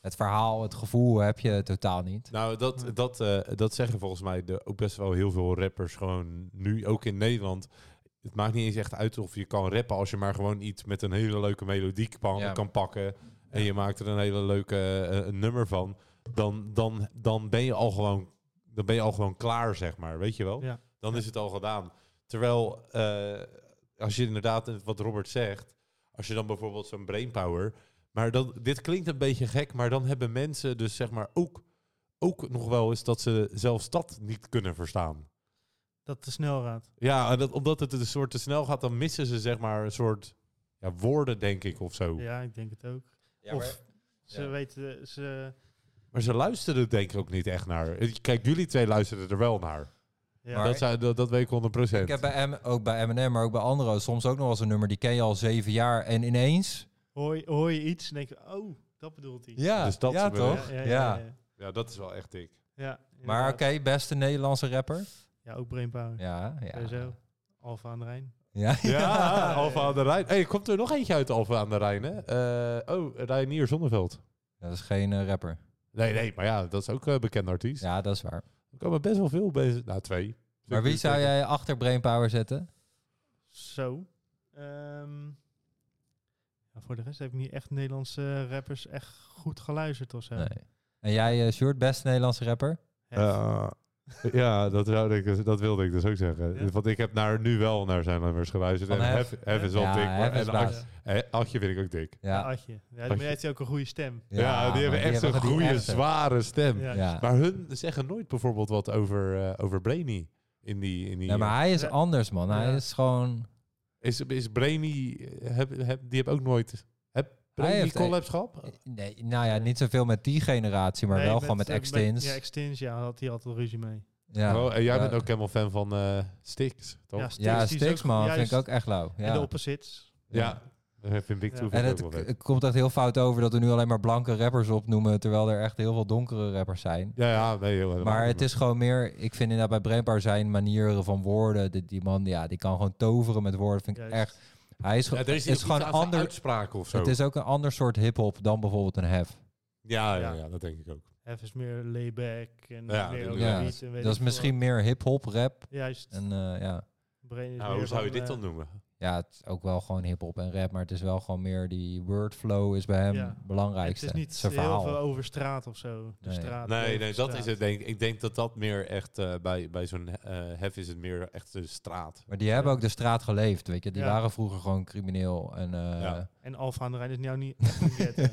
[SPEAKER 3] het verhaal, het gevoel heb je totaal niet.
[SPEAKER 1] Nou, dat, dat, eh, dat zeggen volgens mij de, ook best wel heel veel rappers gewoon nu, ook in Nederland. Het maakt niet eens echt uit of je kan rappen als je maar gewoon iets met een hele leuke melodie kan,
[SPEAKER 3] Ja.
[SPEAKER 1] kan pakken. En je maakt er een hele leuke eh, een nummer van. Dan, dan, dan, ben je al gewoon, dan ben je al gewoon klaar, zeg maar. Weet je wel?
[SPEAKER 2] Ja.
[SPEAKER 1] Dan is het al gedaan. Terwijl, eh, als je inderdaad, wat Robert zegt, als je dan bijvoorbeeld zo'n brainpower... Maar dan, dit klinkt een beetje gek, maar dan hebben mensen dus zeg maar ook, ook nog wel eens dat ze zelfs dat niet kunnen verstaan.
[SPEAKER 2] Dat de snelraad.
[SPEAKER 1] Ja, en dat, omdat het een soort te snel gaat, dan missen ze zeg maar een soort ja, woorden, denk ik, of zo.
[SPEAKER 2] Ja, ik denk het ook. of ze
[SPEAKER 3] ja.
[SPEAKER 2] weten, ze...
[SPEAKER 1] Maar ze luisteren er denk ik ook niet echt naar. Kijk, jullie twee luisteren er wel naar.
[SPEAKER 2] Ja,
[SPEAKER 3] Maar-
[SPEAKER 1] Dat, zijn, dat, dat weet ik 100%.
[SPEAKER 3] Ik heb bij M, ook bij Eminem, maar ook bij anderen soms ook nog wel eens een nummer, die ken je al zeven jaar en ineens...
[SPEAKER 2] hoor, je- hoor je iets en denk je, oh, dat bedoelt hij.
[SPEAKER 3] Ja,
[SPEAKER 1] Dus dat
[SPEAKER 3] ja
[SPEAKER 1] gebeurt.
[SPEAKER 3] toch? Ja,
[SPEAKER 2] ja, ja.
[SPEAKER 1] Ja, dat is wel echt dik.
[SPEAKER 2] Ja,
[SPEAKER 3] Maar oké,
[SPEAKER 2] inderdaad.
[SPEAKER 3] beste Nederlandse rapper.
[SPEAKER 2] Ja, ook Brainpower.
[SPEAKER 3] Ja, ja.
[SPEAKER 2] Sowieso. Alfa aan de Rijn.
[SPEAKER 3] Ja,
[SPEAKER 1] Ja, Alfa aan de Rijn. hey, komt er nog eentje uit Alfa aan de Rijn, hè? Eh, oh, Reinier Zonneveld.
[SPEAKER 3] dat is geen eh, rapper.
[SPEAKER 1] Nee, nee, maar ja, dat is ook een bekend artiest.
[SPEAKER 3] Ja, dat is waar.
[SPEAKER 1] Er komen best wel veel bezig. Nou, twee.
[SPEAKER 3] Maar wie zou jij achter Brainpower zetten?
[SPEAKER 2] Zo. Ehm, ja, voor de rest heb ik niet echt Nederlandse rappers echt goed geluisterd of zo.
[SPEAKER 3] Nee. En jij, eh Sjoerd, best Nederlandse rapper?
[SPEAKER 2] Hef.
[SPEAKER 1] Eh, ja, dat, zou ik, dat wilde ik dus ook zeggen.
[SPEAKER 2] Ja.
[SPEAKER 1] Want ik heb naar, nu wel naar zijn nummers geluisterd.
[SPEAKER 3] Van
[SPEAKER 1] En
[SPEAKER 3] Hef.
[SPEAKER 1] Hef, Hef is wel
[SPEAKER 3] Ja,
[SPEAKER 1] dik.
[SPEAKER 3] Hef
[SPEAKER 1] Maar,
[SPEAKER 3] is
[SPEAKER 1] en
[SPEAKER 3] baas.
[SPEAKER 1] Ad- eh, Adje vind ik ook dik.
[SPEAKER 2] Ja,
[SPEAKER 3] Ja,
[SPEAKER 2] Adje. Ja, maar hij heeft ook een goede stem.
[SPEAKER 1] Ja, die hebben
[SPEAKER 3] maar
[SPEAKER 1] echt een
[SPEAKER 3] hebben
[SPEAKER 1] goede,
[SPEAKER 3] die echte.
[SPEAKER 1] zware stem.
[SPEAKER 2] Ja.
[SPEAKER 3] Ja.
[SPEAKER 1] Maar hun zeggen nooit bijvoorbeeld wat over, eh, over Brainy. In die, in die,
[SPEAKER 3] Ja, maar hij is anders, man. Hij
[SPEAKER 2] Ja.
[SPEAKER 3] is gewoon...
[SPEAKER 1] is, is Brainy, heb, heb, die hebben ook nooit... Heb Brainy
[SPEAKER 3] heeft-
[SPEAKER 1] collabs gehad?
[SPEAKER 3] Nee, nou ja, niet zoveel met die generatie, maar
[SPEAKER 2] Nee,
[SPEAKER 3] wel gewoon met
[SPEAKER 2] eh,
[SPEAKER 3] Extins.
[SPEAKER 2] Ja, Extins, ja, had hij altijd ruzie mee.
[SPEAKER 3] Ja,
[SPEAKER 1] Oh, en jij
[SPEAKER 3] Ja.
[SPEAKER 1] bent ook helemaal fan van eh Styx, toch? Ja,
[SPEAKER 2] Styx, die
[SPEAKER 3] ja
[SPEAKER 2] is
[SPEAKER 3] Stix,
[SPEAKER 2] ook-
[SPEAKER 3] man, vind
[SPEAKER 2] juist.
[SPEAKER 3] ik ook echt lauw.
[SPEAKER 2] En de
[SPEAKER 3] Ja.
[SPEAKER 2] opposites.
[SPEAKER 1] dat vind ik
[SPEAKER 2] Ja.
[SPEAKER 1] toe.
[SPEAKER 3] En het,
[SPEAKER 1] ook wel leuk.
[SPEAKER 3] het komt echt heel fout over dat we nu alleen maar blanke rappers opnoemen, terwijl er echt heel veel donkere rappers zijn.
[SPEAKER 1] Ja, ja, nee, joh, helemaal
[SPEAKER 3] Maar
[SPEAKER 1] niet,
[SPEAKER 3] het is gewoon meer, ik vind inderdaad bij Brainpower zijn manieren van woorden, die, die man ja, die kan gewoon toveren met woorden, vind ik
[SPEAKER 2] Juist.
[SPEAKER 3] echt. Hij is,
[SPEAKER 1] Ja,
[SPEAKER 3] gewoon
[SPEAKER 1] er is,
[SPEAKER 3] het is gewoon ander,
[SPEAKER 1] uitspraak of zo.
[SPEAKER 3] het is ook een ander soort hip-hop dan bijvoorbeeld een hef.
[SPEAKER 1] ja, ja,
[SPEAKER 2] Ja.
[SPEAKER 1] ja, dat denk ik ook.
[SPEAKER 2] Hef is meer layback en
[SPEAKER 1] Ja,
[SPEAKER 2] meer
[SPEAKER 1] dat-
[SPEAKER 2] ook
[SPEAKER 3] ja,
[SPEAKER 2] niet. en weet
[SPEAKER 3] Dat is
[SPEAKER 2] ik
[SPEAKER 3] misschien meer hip-hop rap.
[SPEAKER 2] veel. Juist.
[SPEAKER 3] En eh, ja.
[SPEAKER 2] Brain is
[SPEAKER 1] Nou,
[SPEAKER 2] meer
[SPEAKER 1] hoe zou je
[SPEAKER 2] van,
[SPEAKER 1] dit dan
[SPEAKER 2] eh,
[SPEAKER 1] noemen?
[SPEAKER 3] ja, het is ook wel gewoon hip-hop en rap, maar het is wel gewoon meer die wordflow is bij hem
[SPEAKER 2] Ja.
[SPEAKER 3] het belangrijkste.
[SPEAKER 2] Het is niet
[SPEAKER 3] Zijn
[SPEAKER 2] heel
[SPEAKER 3] verhaal.
[SPEAKER 2] veel over straat of zo. De
[SPEAKER 3] Nee.
[SPEAKER 2] straat,
[SPEAKER 1] Nee,
[SPEAKER 2] over
[SPEAKER 1] nee, dat
[SPEAKER 2] straat.
[SPEAKER 1] is het denk ik. Ik denk dat dat meer echt eh, bij, bij zo'n eh, hef is het meer echt de straat.
[SPEAKER 3] Maar die hebben ook de straat geleefd, weet je. Die
[SPEAKER 2] Ja.
[SPEAKER 3] waren vroeger gewoon crimineel. En eh,
[SPEAKER 1] Ja.
[SPEAKER 2] En Alfa aan de Rijn is nou niet... niet yet, joh.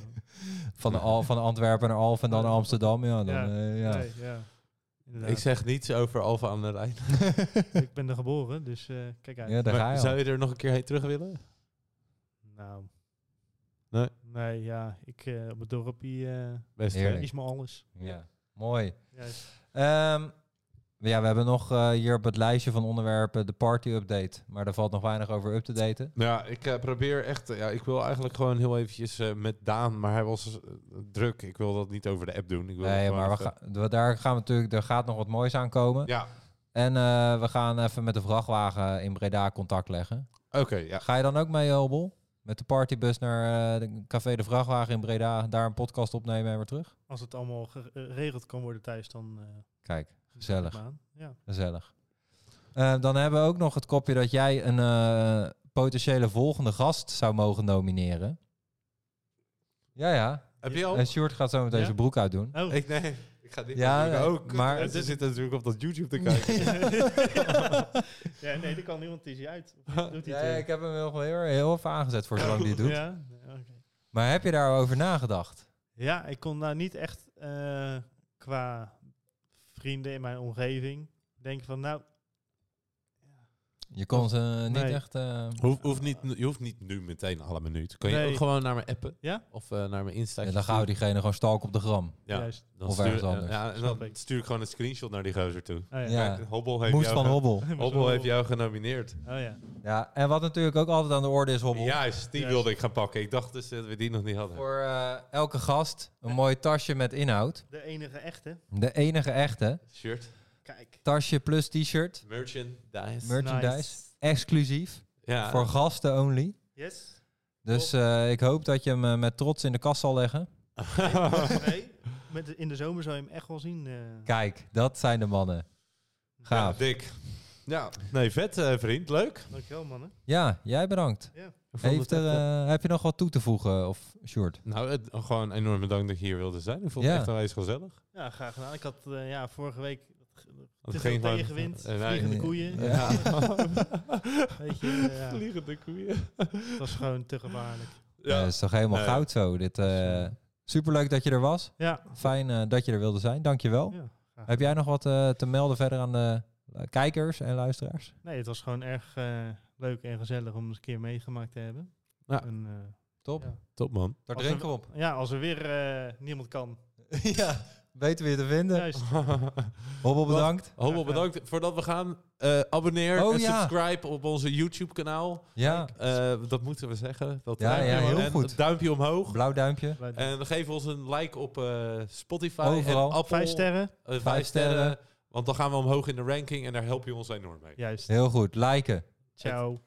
[SPEAKER 3] van, de Al, van Antwerpen naar Alphen en dan naar Amsterdam, ja. Dan,
[SPEAKER 2] Ja.
[SPEAKER 3] eh, ja.
[SPEAKER 2] Nee, ja. Inderdaad.
[SPEAKER 1] Ik zeg niets over Alfa aan de Rijn.
[SPEAKER 2] Ik ben er geboren, dus eh, kijk uit.
[SPEAKER 3] ja, daar
[SPEAKER 1] Maar
[SPEAKER 3] ga je al.
[SPEAKER 1] zou je er nog een keer heen terug willen?
[SPEAKER 2] Nou.
[SPEAKER 1] Nee.
[SPEAKER 2] Nee, ja. Ik eh, op het dorpje eh,
[SPEAKER 1] Best hè?
[SPEAKER 3] Heerlijk.
[SPEAKER 2] is me alles.
[SPEAKER 3] Ja, mooi.
[SPEAKER 2] Juist.
[SPEAKER 3] Ehm, ja, we hebben nog eh, hier op het lijstje van onderwerpen de party update. Maar daar valt nog weinig over up te daten.
[SPEAKER 1] Nou ja, ik eh, probeer echt... eh, ja, ik wil eigenlijk gewoon heel eventjes eh, met Daan, maar hij was eh, druk. Ik wil dat niet over de app doen. Ik wil
[SPEAKER 3] Nee,
[SPEAKER 1] gewoon
[SPEAKER 3] maar we
[SPEAKER 1] even-
[SPEAKER 3] gaan- we- daar gaan we natuurlijk, er gaat nog wat moois aan komen.
[SPEAKER 1] Ja,
[SPEAKER 3] En eh, we gaan even met de vrachtwagen in Breda contact leggen.
[SPEAKER 1] oké. ja.
[SPEAKER 3] Ga je dan ook mee, Obel? Met de partybus naar eh, de Café de Vrachtwagen in Breda, daar een podcast opnemen en weer terug?
[SPEAKER 2] Als het allemaal eh, geregeld kan worden thuis, dan... eh,
[SPEAKER 3] Kijk, gezellig.
[SPEAKER 2] maar aan. Ja.
[SPEAKER 3] Gezellig. Eh, dan hebben we ook nog het kopje dat jij een eh, potentiële volgende gast zou mogen nomineren. Ja, ja.
[SPEAKER 1] Heb je al?
[SPEAKER 3] En Sjoerd gaat zo meteen
[SPEAKER 2] Oh. Ja?
[SPEAKER 3] zijn broek uitdoen.
[SPEAKER 2] Oh,
[SPEAKER 1] Ik, nee, ik ga dit
[SPEAKER 3] Ja,
[SPEAKER 1] natuurlijk
[SPEAKER 3] nee,
[SPEAKER 1] ook.
[SPEAKER 3] maar-
[SPEAKER 1] Maar ze zitten natuurlijk op dat YouTube te kijken.
[SPEAKER 2] ja, nee, er kan niemand die uit. Of Doet hij
[SPEAKER 3] Ja,
[SPEAKER 2] het, eh?
[SPEAKER 3] ik heb hem heel, heel, heel even aangezet voor zolang die het doet.
[SPEAKER 2] Ja, ja, oké.
[SPEAKER 3] Maar heb je daarover nagedacht?
[SPEAKER 2] Ja, ik kon nou niet echt eh, qua vrienden in mijn omgeving denken van nou,
[SPEAKER 3] Je kon ze niet
[SPEAKER 2] Nee.
[SPEAKER 3] echt... eh,
[SPEAKER 1] Hoef, hoeft niet, je hoeft niet nu meteen alle minuut. Kun je
[SPEAKER 2] Nee.
[SPEAKER 1] ook gewoon naar me appen?
[SPEAKER 2] Ja?
[SPEAKER 1] Of eh, naar mijn Insta?
[SPEAKER 3] ja, dan gaan we diegene gewoon stalken op de gram.
[SPEAKER 1] Ja,
[SPEAKER 2] juist.
[SPEAKER 1] dan
[SPEAKER 3] Of
[SPEAKER 1] stuur, eh,
[SPEAKER 3] ergens anders.
[SPEAKER 1] Ja, en
[SPEAKER 2] Snap
[SPEAKER 1] dan
[SPEAKER 2] ik.
[SPEAKER 1] stuur ik gewoon een screenshot naar die gozer toe.
[SPEAKER 2] Oh, ja.
[SPEAKER 3] Ja.
[SPEAKER 1] Kijk, Hobbel heeft,
[SPEAKER 3] Moest
[SPEAKER 1] jou,
[SPEAKER 3] van
[SPEAKER 1] ge-
[SPEAKER 3] Hobbel.
[SPEAKER 1] Hobbel heeft jou genomineerd.
[SPEAKER 2] Oh ja.
[SPEAKER 3] Ja, en wat natuurlijk ook altijd aan de orde is, Hobbel.
[SPEAKER 1] Juist, die
[SPEAKER 2] Juist.
[SPEAKER 1] wilde ik gaan pakken. Ik dacht dus dat we die nog niet hadden.
[SPEAKER 3] Voor eh, elke gast een mooi tasje met inhoud.
[SPEAKER 2] De enige echte.
[SPEAKER 3] De enige echte.
[SPEAKER 1] Shirt,
[SPEAKER 2] Kijk.
[SPEAKER 3] Tasje plus t-shirt.
[SPEAKER 1] merchandise.
[SPEAKER 3] Merchandise.
[SPEAKER 2] Nice.
[SPEAKER 3] Exclusief.
[SPEAKER 1] ja,
[SPEAKER 3] Voor gasten only.
[SPEAKER 2] Yes.
[SPEAKER 3] Dus eh, ik hoop dat je hem eh, met trots in de kast zal leggen.
[SPEAKER 2] Nee. Met de- in de zomer zou je hem echt wel zien. eh.
[SPEAKER 3] Kijk, dat zijn de mannen.
[SPEAKER 1] ja,
[SPEAKER 3] Gaaf. Ja,
[SPEAKER 1] dik. Ja, nee, vet eh, vriend. Leuk.
[SPEAKER 2] Dankjewel mannen.
[SPEAKER 3] jij bedankt.
[SPEAKER 2] Ja.
[SPEAKER 1] Ik vond
[SPEAKER 3] Heeft
[SPEAKER 1] het
[SPEAKER 3] er,
[SPEAKER 1] echt, eh,
[SPEAKER 3] eh, heb je nog wat toe te voegen of short?
[SPEAKER 1] nou, het- gewoon enorm bedankt dat je hier wilde zijn. Ik vond
[SPEAKER 3] Ja.
[SPEAKER 1] het echt wel eens gezellig.
[SPEAKER 2] ja, graag gedaan. Ik had eh, ja, vorige week
[SPEAKER 1] Het
[SPEAKER 2] te
[SPEAKER 1] ging
[SPEAKER 2] veel
[SPEAKER 1] gewoon-
[SPEAKER 2] tegenwind,
[SPEAKER 1] Eh, nee.
[SPEAKER 2] vliegende koeien.
[SPEAKER 3] Ja.
[SPEAKER 2] Weet je, eh, ja,
[SPEAKER 1] Vliegende koeien.
[SPEAKER 2] het was gewoon te gevaarlijk.
[SPEAKER 1] Ja.
[SPEAKER 3] Eh, is toch helemaal
[SPEAKER 1] Nee.
[SPEAKER 3] goud zo. Dit, eh, superleuk dat je er was.
[SPEAKER 2] Ja.
[SPEAKER 3] Fijn eh, dat je er wilde zijn. Dankjewel.
[SPEAKER 2] ja. graag
[SPEAKER 3] Heb jij nog wat eh, te melden verder aan de eh, kijkers en luisteraars?
[SPEAKER 2] Nee, het was gewoon erg eh, leuk en gezellig om eens een keer meegemaakt te hebben.
[SPEAKER 1] Ja.
[SPEAKER 2] En, eh,
[SPEAKER 3] Top.
[SPEAKER 2] Ja.
[SPEAKER 1] Top man.
[SPEAKER 3] Daar
[SPEAKER 2] Als
[SPEAKER 3] drinken
[SPEAKER 2] er-
[SPEAKER 3] we op.
[SPEAKER 2] ja, als er weer eh, niemand kan.
[SPEAKER 3] ja, weten we je te vinden.
[SPEAKER 2] Juist.
[SPEAKER 3] Hobbel bedankt.
[SPEAKER 1] Homo, bedankt. Voordat we gaan, eh, abonneer
[SPEAKER 3] Oh,
[SPEAKER 1] en
[SPEAKER 3] ja.
[SPEAKER 1] subscribe op onze YouTube kanaal. Eh,
[SPEAKER 3] Ja,
[SPEAKER 1] dat moeten we zeggen. Dat
[SPEAKER 3] Ja,
[SPEAKER 1] duimpje-
[SPEAKER 3] ja, heel
[SPEAKER 1] en
[SPEAKER 3] goed.
[SPEAKER 1] Duimpje omhoog.
[SPEAKER 3] blauw duimpje.
[SPEAKER 1] En geef ons een like op eh, Spotify
[SPEAKER 3] Overal.
[SPEAKER 1] en Apple.
[SPEAKER 2] Vijf sterren.
[SPEAKER 1] Eh, vijf
[SPEAKER 3] Vijf sterren.
[SPEAKER 1] sterren. Want dan gaan we omhoog in de ranking en daar help je ons enorm mee.
[SPEAKER 2] Juist.
[SPEAKER 3] Heel goed, liken.
[SPEAKER 2] Ciao.